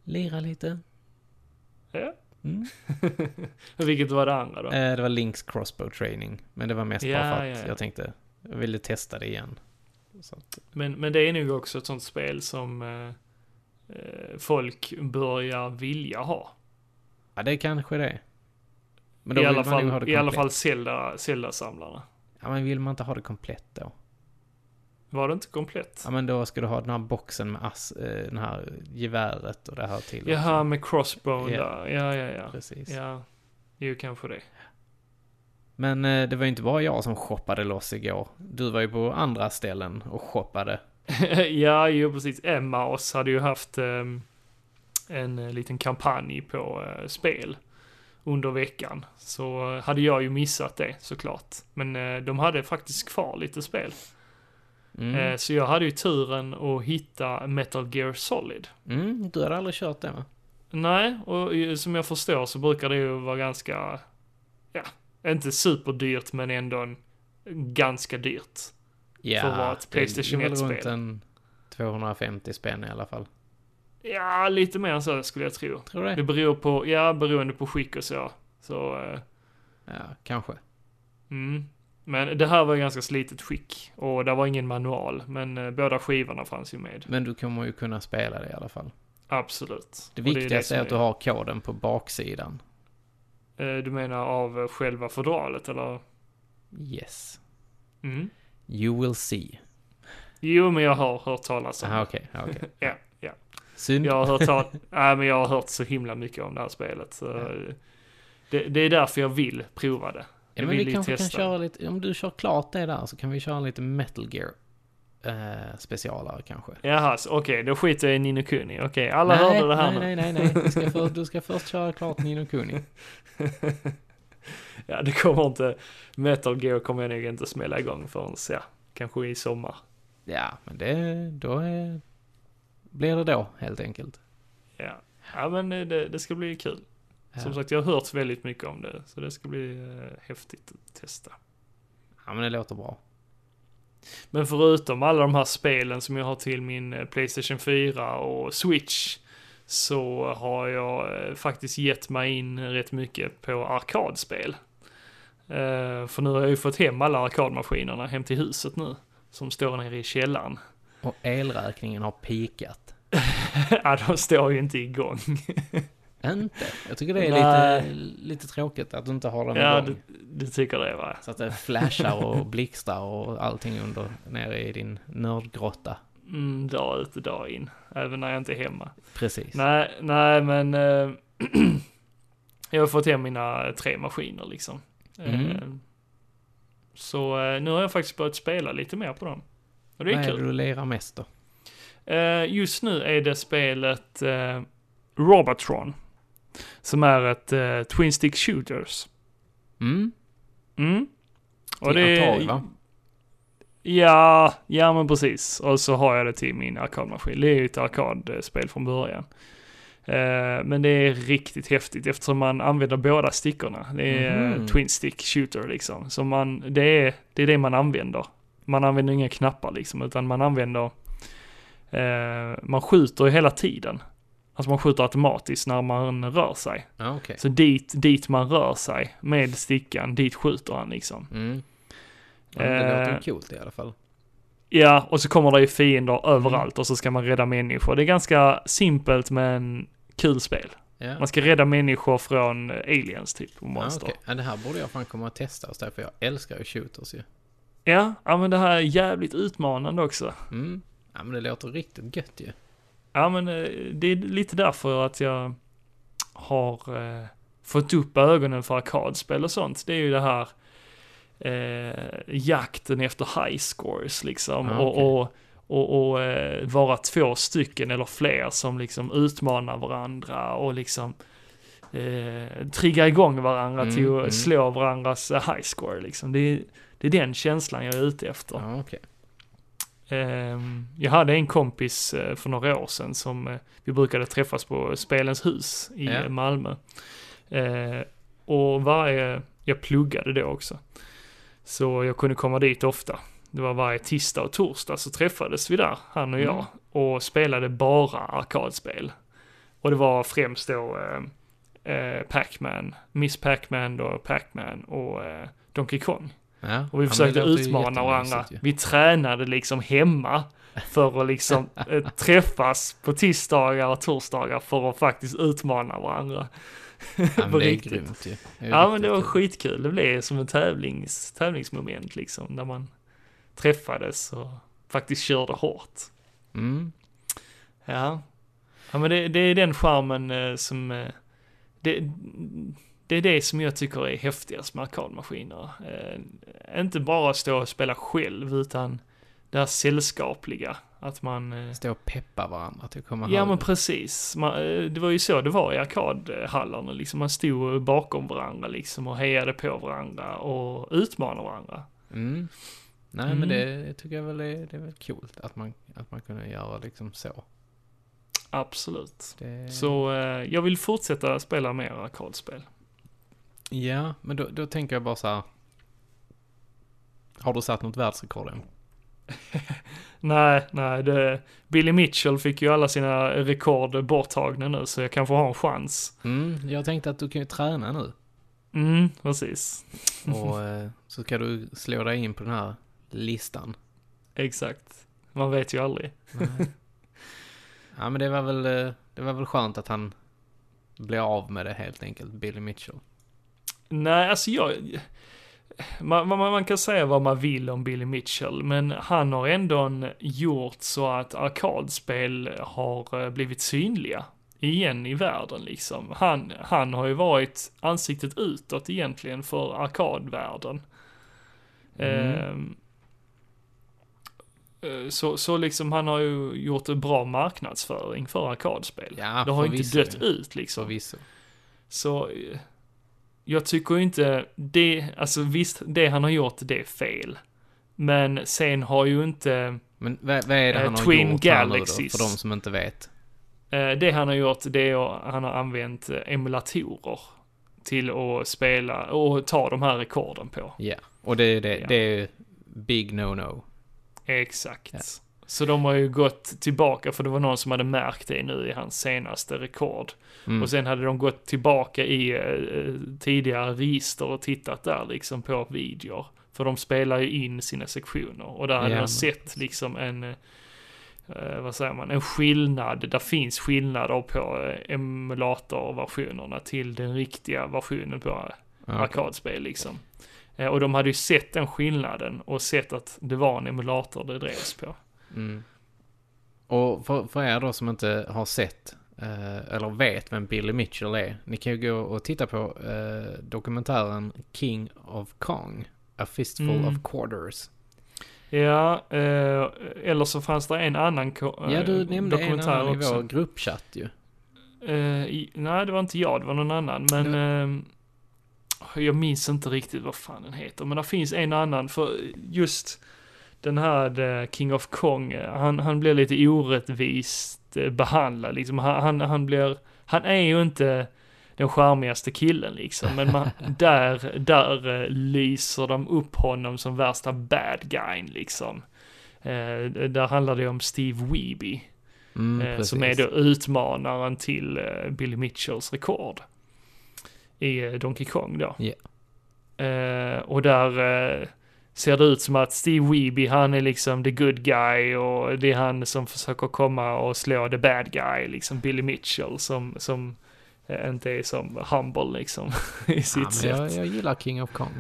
Speaker 1: lira lite.
Speaker 2: Ja.
Speaker 1: Mm.
Speaker 2: Vilket var det andra då?
Speaker 1: Eh, Det var Links Crossbow Training, men det var mest
Speaker 2: Ja,
Speaker 1: bara för
Speaker 2: ja,
Speaker 1: att
Speaker 2: ja.
Speaker 1: jag tänkte, jag ville testa det igen. Så att,
Speaker 2: Men, men det är nog också ett sånt spel som eh, eh, folk börjar vilja ha.
Speaker 1: ja, det kanske det är. Men
Speaker 2: I
Speaker 1: vill
Speaker 2: alla,
Speaker 1: man nog ha
Speaker 2: fall,
Speaker 1: det
Speaker 2: I alla
Speaker 1: komplett.
Speaker 2: fall Zelda- Zelda-samlarna.
Speaker 1: Ja, men vill man inte ha det komplett då?
Speaker 2: Var det inte komplett?
Speaker 1: Ja, men då ska du ha den här boxen med ass, eh, den här geväret och det här till.
Speaker 2: Jaha, med crossbow
Speaker 1: Ja.
Speaker 2: där. Ja, ja,
Speaker 1: också.
Speaker 2: ja.
Speaker 1: Precis.
Speaker 2: Ja, jo kanske det.
Speaker 1: Men eh, det var ju inte bara jag som shoppade loss igår. Du var ju på andra ställen och shoppade.
Speaker 2: (laughs) ja, jo precis. Emmaus hade ju haft ehm, en eh, liten kampanj på eh, spel under veckan. Så eh, hade jag ju missat det såklart. Men eh, de hade faktiskt kvar lite spel.
Speaker 1: Mm.
Speaker 2: Eh, så jag hade ju turen att hitta Metal Gear Solid.
Speaker 1: Mm, du hade aldrig kört det va?
Speaker 2: Nej, och eh, som jag förstår så brukar det ju vara ganska, ja, inte superdyrt men ändå en, ganska dyrt.
Speaker 1: Ja,
Speaker 2: För att vara ett
Speaker 1: det
Speaker 2: PlayStation
Speaker 1: är väl
Speaker 2: 1-spel.
Speaker 1: runt en 250 spänn i alla fall.
Speaker 2: Ja, lite mer än så skulle jag tro.
Speaker 1: Tror du
Speaker 2: Det
Speaker 1: det?
Speaker 2: beror på, ja, beroende på skick och så. Så, eh,
Speaker 1: Ja, kanske.
Speaker 2: mm. Men det här var ju ganska slitet skick och det var ingen manual, men eh, båda skivorna fanns ju med.
Speaker 1: Men du kommer ju kunna spela det i alla fall.
Speaker 2: Absolut.
Speaker 1: Det
Speaker 2: Och är
Speaker 1: viktigaste
Speaker 2: som
Speaker 1: är att du har koden på baksidan.
Speaker 2: Eh, Du menar av eh, själva fodralet eller?
Speaker 1: Yes.
Speaker 2: Mm.
Speaker 1: You will see.
Speaker 2: Jo, men jag har hört talas om
Speaker 1: Aha,
Speaker 2: det.
Speaker 1: okej. ja, okej.
Speaker 2: (laughs) Ja, ja.
Speaker 1: Synd.
Speaker 2: Jag har hört, tal- (laughs) Nej, men jag har hört så himla mycket om det här spelet. Så eh, det, det är därför jag vill prova det.
Speaker 1: Ja,
Speaker 2: Jag
Speaker 1: men
Speaker 2: vill
Speaker 1: vi
Speaker 2: ju
Speaker 1: kanske kan
Speaker 2: testa.
Speaker 1: köra lite, om du kör klart det där så kan vi köra lite metal gear eh, specialare kanske.
Speaker 2: Jaha, så- okej, då skiter jag i Nino Kuni. Okej, alla
Speaker 1: nej,
Speaker 2: hörde det här nu.
Speaker 1: nej, nej, nej, nej, du ska,
Speaker 2: (laughs)
Speaker 1: för, du ska först köra klart Nino Kuni.
Speaker 2: Ja, det kommer inte... Metal Gear kommer jag nog inte smälla igång förrän, ja, kanske i sommar.
Speaker 1: Ja, men det, då är, blir det då helt enkelt.
Speaker 2: Ja, ja men eh, det, det ska bli kul. Som
Speaker 1: Ja.
Speaker 2: sagt, jag har hört väldigt mycket om det, så det ska bli eh, häftigt att testa.
Speaker 1: Ja, men det låter bra.
Speaker 2: Men förutom alla de här spelen som jag har till min eh, Playstation 4 och Switch, så har jag eh, faktiskt gett mig in rätt mycket på arkadspel. Eh, för nu har jag ju fått hem alla arkadmaskinerna hem till huset nu, som står nere i källaren.
Speaker 1: Och elräkningen har pikat.
Speaker 2: (laughs) ja, de står ju inte igång.
Speaker 1: Inte? Jag tycker det är
Speaker 2: Nej.
Speaker 1: lite, lite tråkigt att du inte har den
Speaker 2: Ja,
Speaker 1: igång.
Speaker 2: du, du tycker det va?
Speaker 1: Så att det flashar och blixtrar och allting under, nere i din nördgrotta.
Speaker 2: Mm, dag ut och dag in, även när jag inte är hemma.
Speaker 1: Precis.
Speaker 2: Nej, nej men eh, (clears throat) jag har fått hem mina eh, tre maskiner liksom. Eh,
Speaker 1: Mm.
Speaker 2: så eh, nu har jag faktiskt börjat spela lite mer på dem. Och det är
Speaker 1: Vad är det
Speaker 2: kul.
Speaker 1: du lirar mest då?
Speaker 2: Eh, just nu är det spelet eh, Robotron. Som är ett eh, Twin Stick Shooters.
Speaker 1: Mm?
Speaker 2: Mm.
Speaker 1: Till Atari, va?
Speaker 2: Ja, ja men precis. Och så har jag det till min arkadmaskin. Det är ju ett arkadspel från början. Eh, Men det är riktigt häftigt eftersom man använder båda stickorna. Det är eh,
Speaker 1: Mhm.
Speaker 2: Twin Stick Shooter liksom. Så man, det, är, det är det man använder. Man använder inga knappar liksom, utan man använder... Eh, man skjuter ju hela tiden. Alltså man skjuter automatiskt när man rör sig.
Speaker 1: Ja, okej.
Speaker 2: Så dit, dit man rör sig med stickan, dit skjuter han liksom.
Speaker 1: Mm. Ja, men det
Speaker 2: Eh,
Speaker 1: låter ju coolt i alla fall.
Speaker 2: Ja, och så kommer det ju fiender överallt och så ska man rädda människor. Det är ganska simpelt men kul spel.
Speaker 1: Ja.
Speaker 2: Man ska rädda människor från eh, aliens typ och
Speaker 1: Ja,
Speaker 2: monster.
Speaker 1: Ah, okej. ja, det här borde jag fan komma och testa hos dig, för jag älskar ju shooters ju.
Speaker 2: Ja, ja, men det här är jävligt utmanande också.
Speaker 1: Mm. Ja, men det låter riktigt gött ju.
Speaker 2: Ja, men eh, det är lite därför att jag har eh, fått upp ögonen för arkadspel och sånt, det är ju det här eh, jakten efter high scores liksom.
Speaker 1: Ah, okej.
Speaker 2: och, och, och, och eh, vara två stycken eller fler som liksom utmanar varandra och liksom eh, triggar igång varandra
Speaker 1: Mm,
Speaker 2: till att
Speaker 1: mm.
Speaker 2: slå varandras eh, high score liksom. Det är, det är den känslan jag är ute efter.
Speaker 1: Ja, okej.
Speaker 2: Ehm, Jag hade en kompis eh, för några år sedan som eh, vi brukade träffas på Spelens hus i
Speaker 1: Ja.
Speaker 2: eh, Malmö. Eh, Och varje, jag pluggade då också. Så jag kunde komma dit ofta. Det var varje tisdag och torsdag så träffades vi där, han och
Speaker 1: Mm.
Speaker 2: jag, och spelade bara arkadspel. Och det var främst då eh, eh, Pac-Man, Miss Pac-Man då, Pac-Man och eh, Donkey Kong.
Speaker 1: Ja,
Speaker 2: Och vi
Speaker 1: ja, men
Speaker 2: försökte
Speaker 1: det låter ju
Speaker 2: utmana
Speaker 1: jättemysigt
Speaker 2: varandra.
Speaker 1: ju.
Speaker 2: Vi tränade liksom hemma för
Speaker 1: (laughs)
Speaker 2: att liksom eh, träffas på tisdagar och torsdagar för att faktiskt utmana varandra.
Speaker 1: Ja,
Speaker 2: på
Speaker 1: men det är
Speaker 2: riktigt.
Speaker 1: grymt ju. Det är
Speaker 2: Ja men
Speaker 1: riktigt
Speaker 2: det var
Speaker 1: kul.
Speaker 2: skitkul. Det blev som en tävlings, tävlingsmoment liksom. Där man träffades och faktiskt körde hårt.
Speaker 1: Mm.
Speaker 2: Ja. Ja men det, det är den charmen eh, som... eh, Det, det är det som jag tycker är häftigast med arkadmaskiner. Eh, inte bara stå och spela själv utan det här sällskapliga. Att man... eh,
Speaker 1: Stå och peppa varandra till att komma
Speaker 2: Ja
Speaker 1: ihåg.
Speaker 2: men precis. Man, eh, det var ju så det var i arkadhallarna liksom. Man stod bakom varandra liksom och hejade på varandra och utmanade varandra.
Speaker 1: Mm. Nej,
Speaker 2: Mm.
Speaker 1: men det, det tycker jag väl är, det är väl coolt att man, att man kunde göra liksom så.
Speaker 2: Absolut.
Speaker 1: Det...
Speaker 2: Så eh, jag vill fortsätta spela mer arkadspel.
Speaker 1: Ja, men då, då tänker jag bara så här. Har du satt något världsrekord än?
Speaker 2: Nej, nej, det, Billy Mitchell fick ju alla sina rekord borttagna nu så jag kanske har en chans.
Speaker 1: Mm, jag tänkte att du kan ju träna nu.
Speaker 2: Mm, precis.
Speaker 1: (laughs) Och eh, så ska du slå dig in på den här listan.
Speaker 2: Exakt. Man vet ju aldrig.
Speaker 1: Nej. ja, men det var, väl, eh, det var väl skönt att han blev av med det helt enkelt, Billy Mitchell.
Speaker 2: Nej, alltså jag... Man, man, man kan säga vad man vill om Billy Mitchell, men han har ändå en- gjort så att arkadspel har eh, blivit synliga igen i världen liksom. Han, han har ju varit ansiktet utåt egentligen för arkadvärlden.
Speaker 1: Mm.
Speaker 2: Ehm, eh, så, så liksom han har ju gjort en bra marknadsföring för arkadspel.
Speaker 1: Ja,
Speaker 2: det har ju inte
Speaker 1: förvisso,
Speaker 2: dött
Speaker 1: ja.
Speaker 2: ut liksom.
Speaker 1: Förvisso.
Speaker 2: Så eh, jag tycker inte det, alltså visst, det han har gjort, det är fel. Men sen har ju inte,
Speaker 1: Men vad, vad är det
Speaker 2: Eh,
Speaker 1: han har
Speaker 2: Twin
Speaker 1: gjort här nu då,
Speaker 2: Galaxies.
Speaker 1: för de som inte vet?
Speaker 2: eh, det han har gjort, det är att han har använt eh, emulatorer till att spela och ta de här rekorden på.
Speaker 1: Ja, och det är det,
Speaker 2: Ja.
Speaker 1: det är ju big no-no.
Speaker 2: Exakt.
Speaker 1: Ja.
Speaker 2: Så de har ju gått tillbaka, för det var någon som hade märkt det nu i hans senaste rekord.
Speaker 1: Mm.
Speaker 2: Och sen hade de gått tillbaka i eh, tidigare register och tittat där liksom på videor. För de spelar ju in sina sektioner och där hade
Speaker 1: Ja,
Speaker 2: de
Speaker 1: men
Speaker 2: sett liksom en, eh, vad säger man, en skillnad. Där finns skillnader på eh, emulatorversionerna till den riktiga versionen på eh,
Speaker 1: Ja, okej.
Speaker 2: arkadspel liksom. Eh, Och de hade ju sett den skillnaden och sett att det var en emulator det drevs på.
Speaker 1: Mm. Och för, för er då som inte har sett eh, eller vet vem Billy Mitchell är. Ni kan ju gå och titta på eh, dokumentären King of Kong. A fistful
Speaker 2: Mm.
Speaker 1: of quarters.
Speaker 2: Ja, eh, eller så fanns det en annan ko-
Speaker 1: Ja, du
Speaker 2: eh,
Speaker 1: nämnde en
Speaker 2: dokumentär
Speaker 1: annan i
Speaker 2: också.
Speaker 1: vår gruppchatt ju.
Speaker 2: Eh, i, nej, det var inte jag, det var någon annan. Men eh, jag minns inte riktigt vad fan den heter. Men det finns en annan, för just den här eh, King of Kong, eh, han, han blir lite orättvist eh, behandlad. Liksom. Han, han, han, blir, han är ju inte den charmigaste killen liksom. Men man, där, där eh, lyser de upp honom som värsta bad guyn liksom. Eh, där handlar det om Steve Weeby.
Speaker 1: Mm,
Speaker 2: Eh, som är då utmanaren till eh, Billy Mitchells rekord i eh, Donkey Kong då.
Speaker 1: Ja.
Speaker 2: Eh, och där eh, ser det ut som att Steve Weeby, han är liksom the good guy och det är han som försöker komma och slå the bad guy, liksom Billy Mitchell som, som eh, inte är som humble liksom (laughs) i sitt
Speaker 1: ja, men
Speaker 2: sätt.
Speaker 1: jag, jag gillar King of Kong.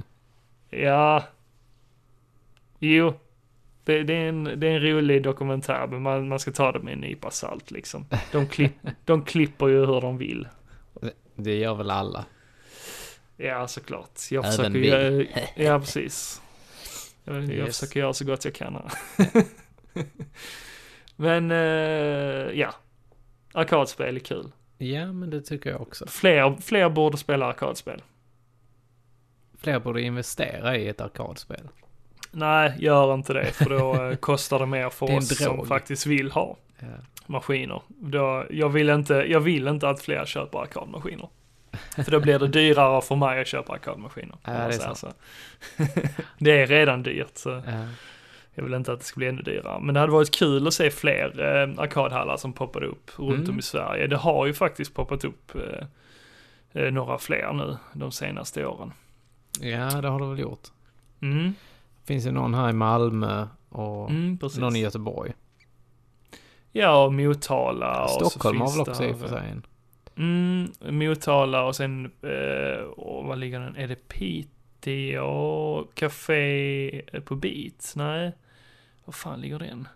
Speaker 2: Ja. Jo. Det, det, är en, det är en rolig dokumentär,
Speaker 1: (laughs)
Speaker 2: men man, man ska ta det med en nypa salt liksom. De, klipp, de klipper ju hur de vill.
Speaker 1: Det gör väl alla.
Speaker 2: Ja, såklart. Jag
Speaker 1: Även
Speaker 2: försöker
Speaker 1: vi. (laughs)
Speaker 2: göra, ja precis. Jag, jag
Speaker 1: Yes.
Speaker 2: försöker göra så gott jag
Speaker 1: (laughs)
Speaker 2: kan här. Men, eh, ja. Arkadspel är kul.
Speaker 1: Ja, men det tycker jag också.
Speaker 2: Fler, fler borde spela arkadspel.
Speaker 1: Fler borde investera i ett arkadspel.
Speaker 2: Nej, gör inte det, för då eh, kostar det mer
Speaker 1: Det
Speaker 2: för
Speaker 1: är en
Speaker 2: oss som
Speaker 1: drog.
Speaker 2: faktiskt vill ha
Speaker 1: Ja.
Speaker 2: maskiner. Då, jag, vill inte, jag vill inte att fler köper arkadmaskiner. För då blir det dyrare för mig att köpa arkadmaskiner. om
Speaker 1: Ja,
Speaker 2: man
Speaker 1: det är
Speaker 2: säger så. (laughs) det är redan dyrt, så
Speaker 1: Ja.
Speaker 2: jag vill inte att det ska bli ännu dyrare. Men det hade varit kul att se fler eh, arkadhallar som poppade upp runt
Speaker 1: Mm.
Speaker 2: om i Sverige. Det har ju faktiskt poppat upp eh, eh, några fler nu de senaste åren.
Speaker 1: ja, det har du väl gjort.
Speaker 2: Mm,
Speaker 1: Finns ju någon här i Malmö och
Speaker 2: mm precis.
Speaker 1: någon i Göteborg.
Speaker 2: Ja, och Motala. och så
Speaker 1: Stockholm har
Speaker 2: finns
Speaker 1: väl också
Speaker 2: där,
Speaker 1: i och för sig en.
Speaker 2: Mm, Motala och sen, eh, och vad ligger den? Är det Piteå? Café på Beat? Nej. Var fan ligger den?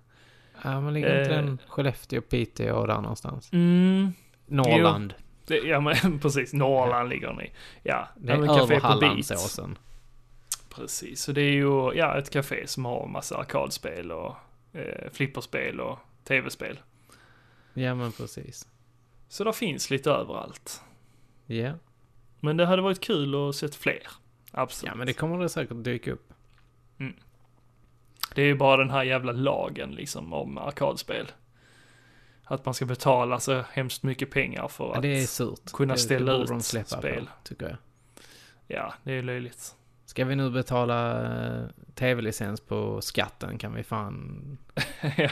Speaker 1: Ja, men ligger inte
Speaker 2: Eh.
Speaker 1: den Skellefteå, Piteå och där någonstans?
Speaker 2: Mm,
Speaker 1: Norrland.
Speaker 2: det, ja men (laughs) precis, Norrland ligger den i. Ja,
Speaker 1: Det är
Speaker 2: men
Speaker 1: över
Speaker 2: på Beat.
Speaker 1: Hallandsåsen.
Speaker 2: Precis, så det är ju, ja, ett café som har massa arkadspel och eh, flipperspel och tv-spel.
Speaker 1: Ja, men precis.
Speaker 2: Så det finns lite överallt.
Speaker 1: Ja.
Speaker 2: Men det hade varit kul att sett fler. Absolut.
Speaker 1: ja, men det kommer det säkert dyka upp.
Speaker 2: Det är ju bara den här jävla lagen liksom om arkadspel. Att man ska betala så hemskt mycket pengar för
Speaker 1: Ja,
Speaker 2: att...
Speaker 1: det är surt.
Speaker 2: kunna
Speaker 1: det,
Speaker 2: ställa
Speaker 1: det borde
Speaker 2: ut
Speaker 1: de släppa
Speaker 2: spel.
Speaker 1: På, tycker jag.
Speaker 2: Ja, det är löjligt.
Speaker 1: Ska vi nu betala eh, tv-licens på skatten kan vi (laughs) fan...
Speaker 2: Ja.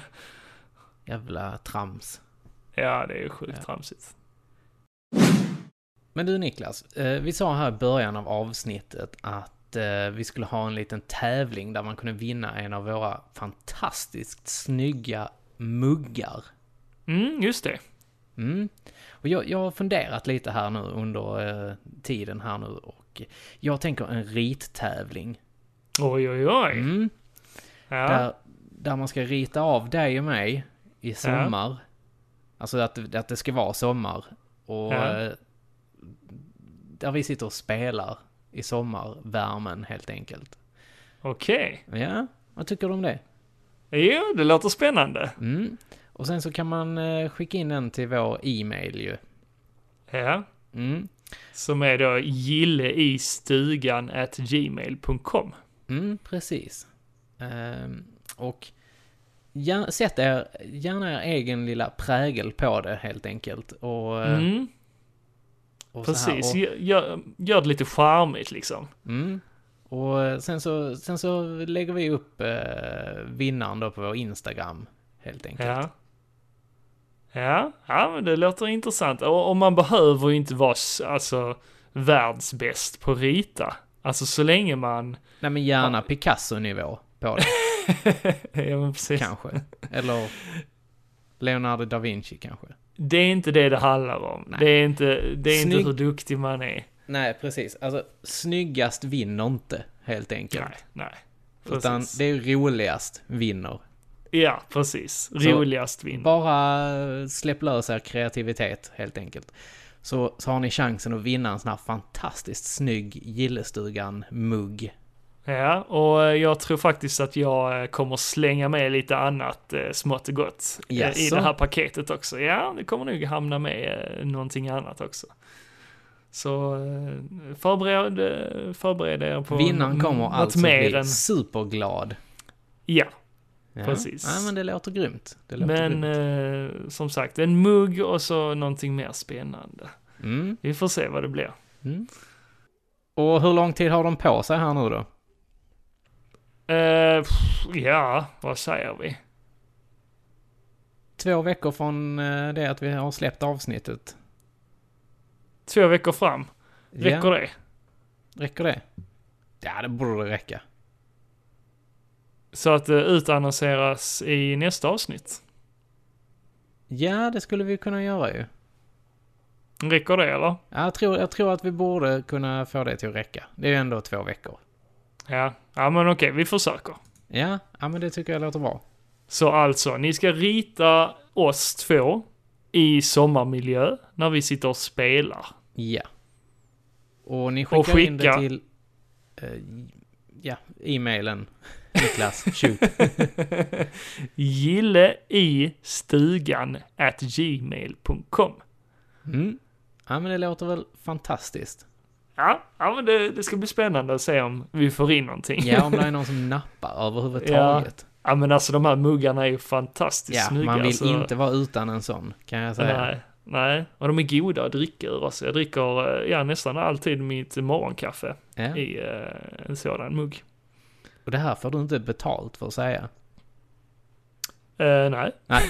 Speaker 1: Jävla trams.
Speaker 2: ja, det är ju sjukt
Speaker 1: Ja.
Speaker 2: tramsigt.
Speaker 1: Men du Niklas, eh, vi sa här i början av avsnittet att eh, vi skulle ha en liten tävling där man kunde vinna en av våra fantastiskt snygga muggar.
Speaker 2: Mm, just det.
Speaker 1: Mm. Och jag, jag har funderat lite här nu under eh, tiden här nu och jag tänker en rittävling.
Speaker 2: Oj, oj, oj.
Speaker 1: Mm.
Speaker 2: Ja.
Speaker 1: Där, där man ska rita av dig och mig i sommar. Alltså att, att det ska vara sommar. Och
Speaker 2: Ja.
Speaker 1: eh, där vi sitter och spelar i sommarvärmen helt enkelt.
Speaker 2: Okej.
Speaker 1: Ja, vad tycker du om det?
Speaker 2: Jo, det låter spännande.
Speaker 1: Mm. Och sen så kan man eh, skicka in den till vår e-mail ju.
Speaker 2: Ja.
Speaker 1: Mm.
Speaker 2: Som är då gilleistugan at gmail.com.
Speaker 1: Mm, precis. Ehm, och gär, sätt er, gärna er egen lilla prägel på det helt enkelt. Och, eh,
Speaker 2: Mm,
Speaker 1: och så här.
Speaker 2: precis.
Speaker 1: Och-
Speaker 2: Gör, gör, gör det lite charmigt liksom.
Speaker 1: Mm. Och eh, sen så, sen så lägger vi upp eh, vinnaren då på vår Instagram, helt enkelt.
Speaker 2: Ja. Ja, ja men det låter intressant. Och, och man behöver ju inte vara s- alltså, världsbäst på att rita. Alltså så länge man... (laughs)
Speaker 1: Nej men gärna Picasso-nivå (laughs) på det,
Speaker 2: ja, men precis.
Speaker 1: kanske. Eller Leonardo da Vinci kanske.
Speaker 2: Det är inte det det handlar om.
Speaker 1: Nej.
Speaker 2: Det är, inte, det är inte
Speaker 1: Snygg-
Speaker 2: hur duktig man är.
Speaker 1: Nej, precis. Alltså, snyggast vinner inte, helt enkelt.
Speaker 2: Nej, nej.
Speaker 1: Utan
Speaker 2: Precis.
Speaker 1: det är roligast vinner.
Speaker 2: Ja, precis. Roligast vinner.
Speaker 1: Bara eh, släpp lös er kreativitet, helt enkelt. Så, så har ni chansen att vinna en sån här fantastiskt snygg Gillestugan-mugg.
Speaker 2: Ja, och eh, jag tror faktiskt att jag eh, kommer slänga med lite annat eh, smått och gott eh, i
Speaker 1: Jaså?
Speaker 2: det här paketet också. Ja, det kommer nog hamna med eh, någonting annat också. Så eh, förbered, eh, förbered er på
Speaker 1: Vinnaren
Speaker 2: n-
Speaker 1: kommer
Speaker 2: något
Speaker 1: alltså
Speaker 2: mer
Speaker 1: bli
Speaker 2: än...
Speaker 1: superglad.
Speaker 2: Ja,
Speaker 1: Ja.
Speaker 2: Precis.
Speaker 1: Ja, men det låter grymt. Det låter
Speaker 2: men
Speaker 1: grymt.
Speaker 2: eh, som sagt, en mugg och så någonting mer spännande.
Speaker 1: Mm,
Speaker 2: Vi får se vad det blir.
Speaker 1: mm. Och hur lång tid har de på sig här nu då?
Speaker 2: Eh, pff, ja, vad säger vi?
Speaker 1: Två veckor från eh, det att vi har släppt avsnittet.
Speaker 2: Två veckor fram, räcker
Speaker 1: ja,
Speaker 2: det?
Speaker 1: det? Räcker det? Ja, det borde det räcka.
Speaker 2: Så att det utannonseras i nästa avsnitt.
Speaker 1: Ja, det skulle vi kunna göra ju.
Speaker 2: Räcker det eller?
Speaker 1: Ja, jag, tror, jag tror att vi borde kunna få det till att räcka. Det är ju ändå två veckor.
Speaker 2: Ja, ja men okej, vi försöker.
Speaker 1: Ja, ja men det tycker jag låter bra.
Speaker 2: Så alltså, ni ska rita oss två i sommarmiljö när vi sitter och spelar.
Speaker 1: Ja. Och ni skickar
Speaker 2: Och
Speaker 1: in det
Speaker 2: skicka.
Speaker 1: till... eh, ja,
Speaker 2: (laughs)
Speaker 1: e-mailen. Niklas, shoot.
Speaker 2: Gille i stugan at gmail.com.
Speaker 1: Mm. Ja, men det låter väl fantastiskt.
Speaker 2: Ja, ja men det, det ska bli spännande att se om vi får in någonting.
Speaker 1: Ja, om det är någon som nappar överhuvudtaget.
Speaker 2: Ja, men alltså de här muggarna är ju fantastiskt
Speaker 1: Ja,
Speaker 2: snygga.
Speaker 1: man vill
Speaker 2: alltså.
Speaker 1: inte vara utan en sån, kan jag säga.
Speaker 2: Nej, nej. Och de är goda att dricka ur. Alltså. Jag dricker eh, ja, nästan alltid mitt morgonkaffe
Speaker 1: Ja.
Speaker 2: i eh, en sådan mugg.
Speaker 1: Och det här får du inte betalt för att
Speaker 2: (laughs)
Speaker 1: säga.
Speaker 2: Eh, nej,
Speaker 1: Nej,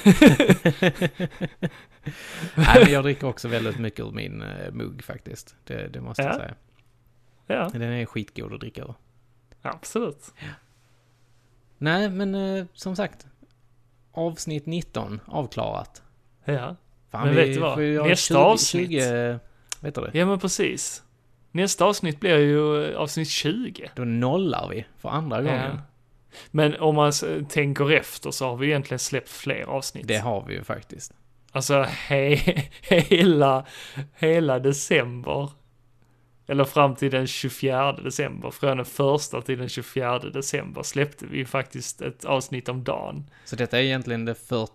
Speaker 1: men jag dricker också väldigt mycket ur min eh, mugg faktiskt. Det, det måste jag
Speaker 2: Ja.
Speaker 1: säga.
Speaker 2: ja,
Speaker 1: Den är skitgod att dricka ur.
Speaker 2: absolut.
Speaker 1: Nej, men eh, som sagt. Avsnitt 19 avklarat.
Speaker 2: Ja.
Speaker 1: Fan,
Speaker 2: Men
Speaker 1: vi
Speaker 2: vet du vad?
Speaker 1: får ju göra
Speaker 2: Nästa
Speaker 1: 20
Speaker 2: avsnitt.
Speaker 1: 20, vet du det?
Speaker 2: ja, men precis. Nästa avsnitt blir ju eh, avsnitt 20.
Speaker 1: Då nollar vi för andra gången.
Speaker 2: Ja. Men om man s- tänker efter så har vi egentligen släppt fler avsnitt.
Speaker 1: Det har vi ju faktiskt.
Speaker 2: Alltså he (laughs) hela, hela december. Eller fram till den 24 december. Från den första till den 24 december släppte vi ju faktiskt ett avsnitt om dagen.
Speaker 1: Så detta är egentligen det 40...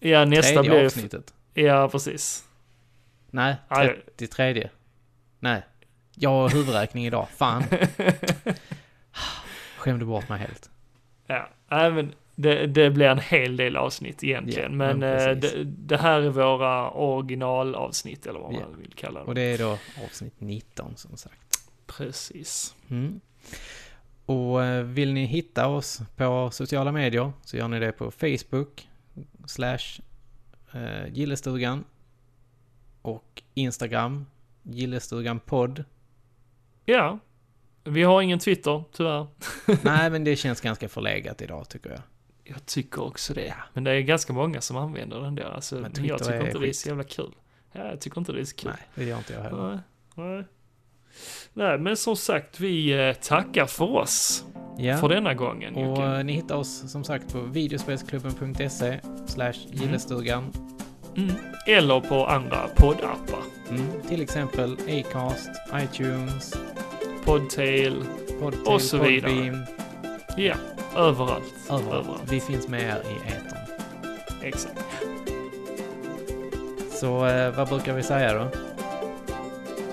Speaker 2: Ja, nästa blir
Speaker 1: Tredje
Speaker 2: ju-
Speaker 1: avsnittet.
Speaker 2: Ja, precis.
Speaker 1: Nej,
Speaker 2: Ja, det-
Speaker 1: 33. Nej, jag har huvudräkning idag.
Speaker 2: (laughs)
Speaker 1: Fan. Skämde bort mig helt.
Speaker 2: Ja, Nej, men det, det blir en hel del avsnitt egentligen.
Speaker 1: Ja,
Speaker 2: men
Speaker 1: men
Speaker 2: eh,
Speaker 1: precis.
Speaker 2: det, det här är våra originalavsnitt eller vad man
Speaker 1: Ja.
Speaker 2: vill kalla
Speaker 1: Och
Speaker 2: dem.
Speaker 1: det är då avsnitt 19 som sagt.
Speaker 2: Precis.
Speaker 1: Mm. Och eh, vill ni hitta oss på sociala medier så gör ni det på Facebook slash eh, gillestugan och Instagram gillestugan podd.
Speaker 2: (laughs) Ja. Vi har ingen Twitter, tyvärr.
Speaker 1: Nej, men det känns ganska förlegat idag tycker jag.
Speaker 2: Jag tycker också det. Men det är ganska många som använder den där. Alltså,
Speaker 1: Men
Speaker 2: men
Speaker 1: Twitter
Speaker 2: jag tycker
Speaker 1: är
Speaker 2: inte det är
Speaker 1: skit.
Speaker 2: så jävla kul. Ja, jag tycker inte det är så kul.
Speaker 1: Nej, det gör inte jag heller.
Speaker 2: Nej. Nej. Nej, men som sagt, vi eh, tackar för oss
Speaker 1: Ja.
Speaker 2: för denna gången.
Speaker 1: Och
Speaker 2: Jocke.
Speaker 1: eh, ni hittar oss som sagt på videospelsklubben.se slash gillestugan.
Speaker 2: Mm. Eller på andra poddappar.
Speaker 1: Mm. Till exempel Acast, iTunes,
Speaker 2: Podtail.
Speaker 1: Podtail,
Speaker 2: Och så vidare.
Speaker 1: Podbeam.
Speaker 2: Ja, överallt.
Speaker 1: Överallt. Vi finns med er i etern.
Speaker 2: Exakt.
Speaker 1: Så eh, vad brukar vi säga då?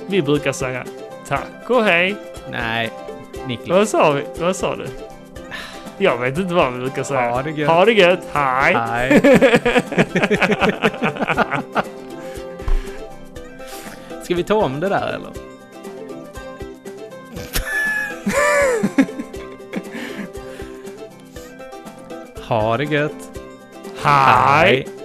Speaker 2: Vi brukar säga tack och hej.
Speaker 1: Nej, Niklas.
Speaker 2: Vad sa vi? Vad sa du? Jag vet inte vad vi brukar säga.
Speaker 1: Ha det gött.
Speaker 2: Ha det gött. Hej.
Speaker 1: Nej. (laughs) Ska vi ta om det där eller? ha det gött.
Speaker 2: Hej.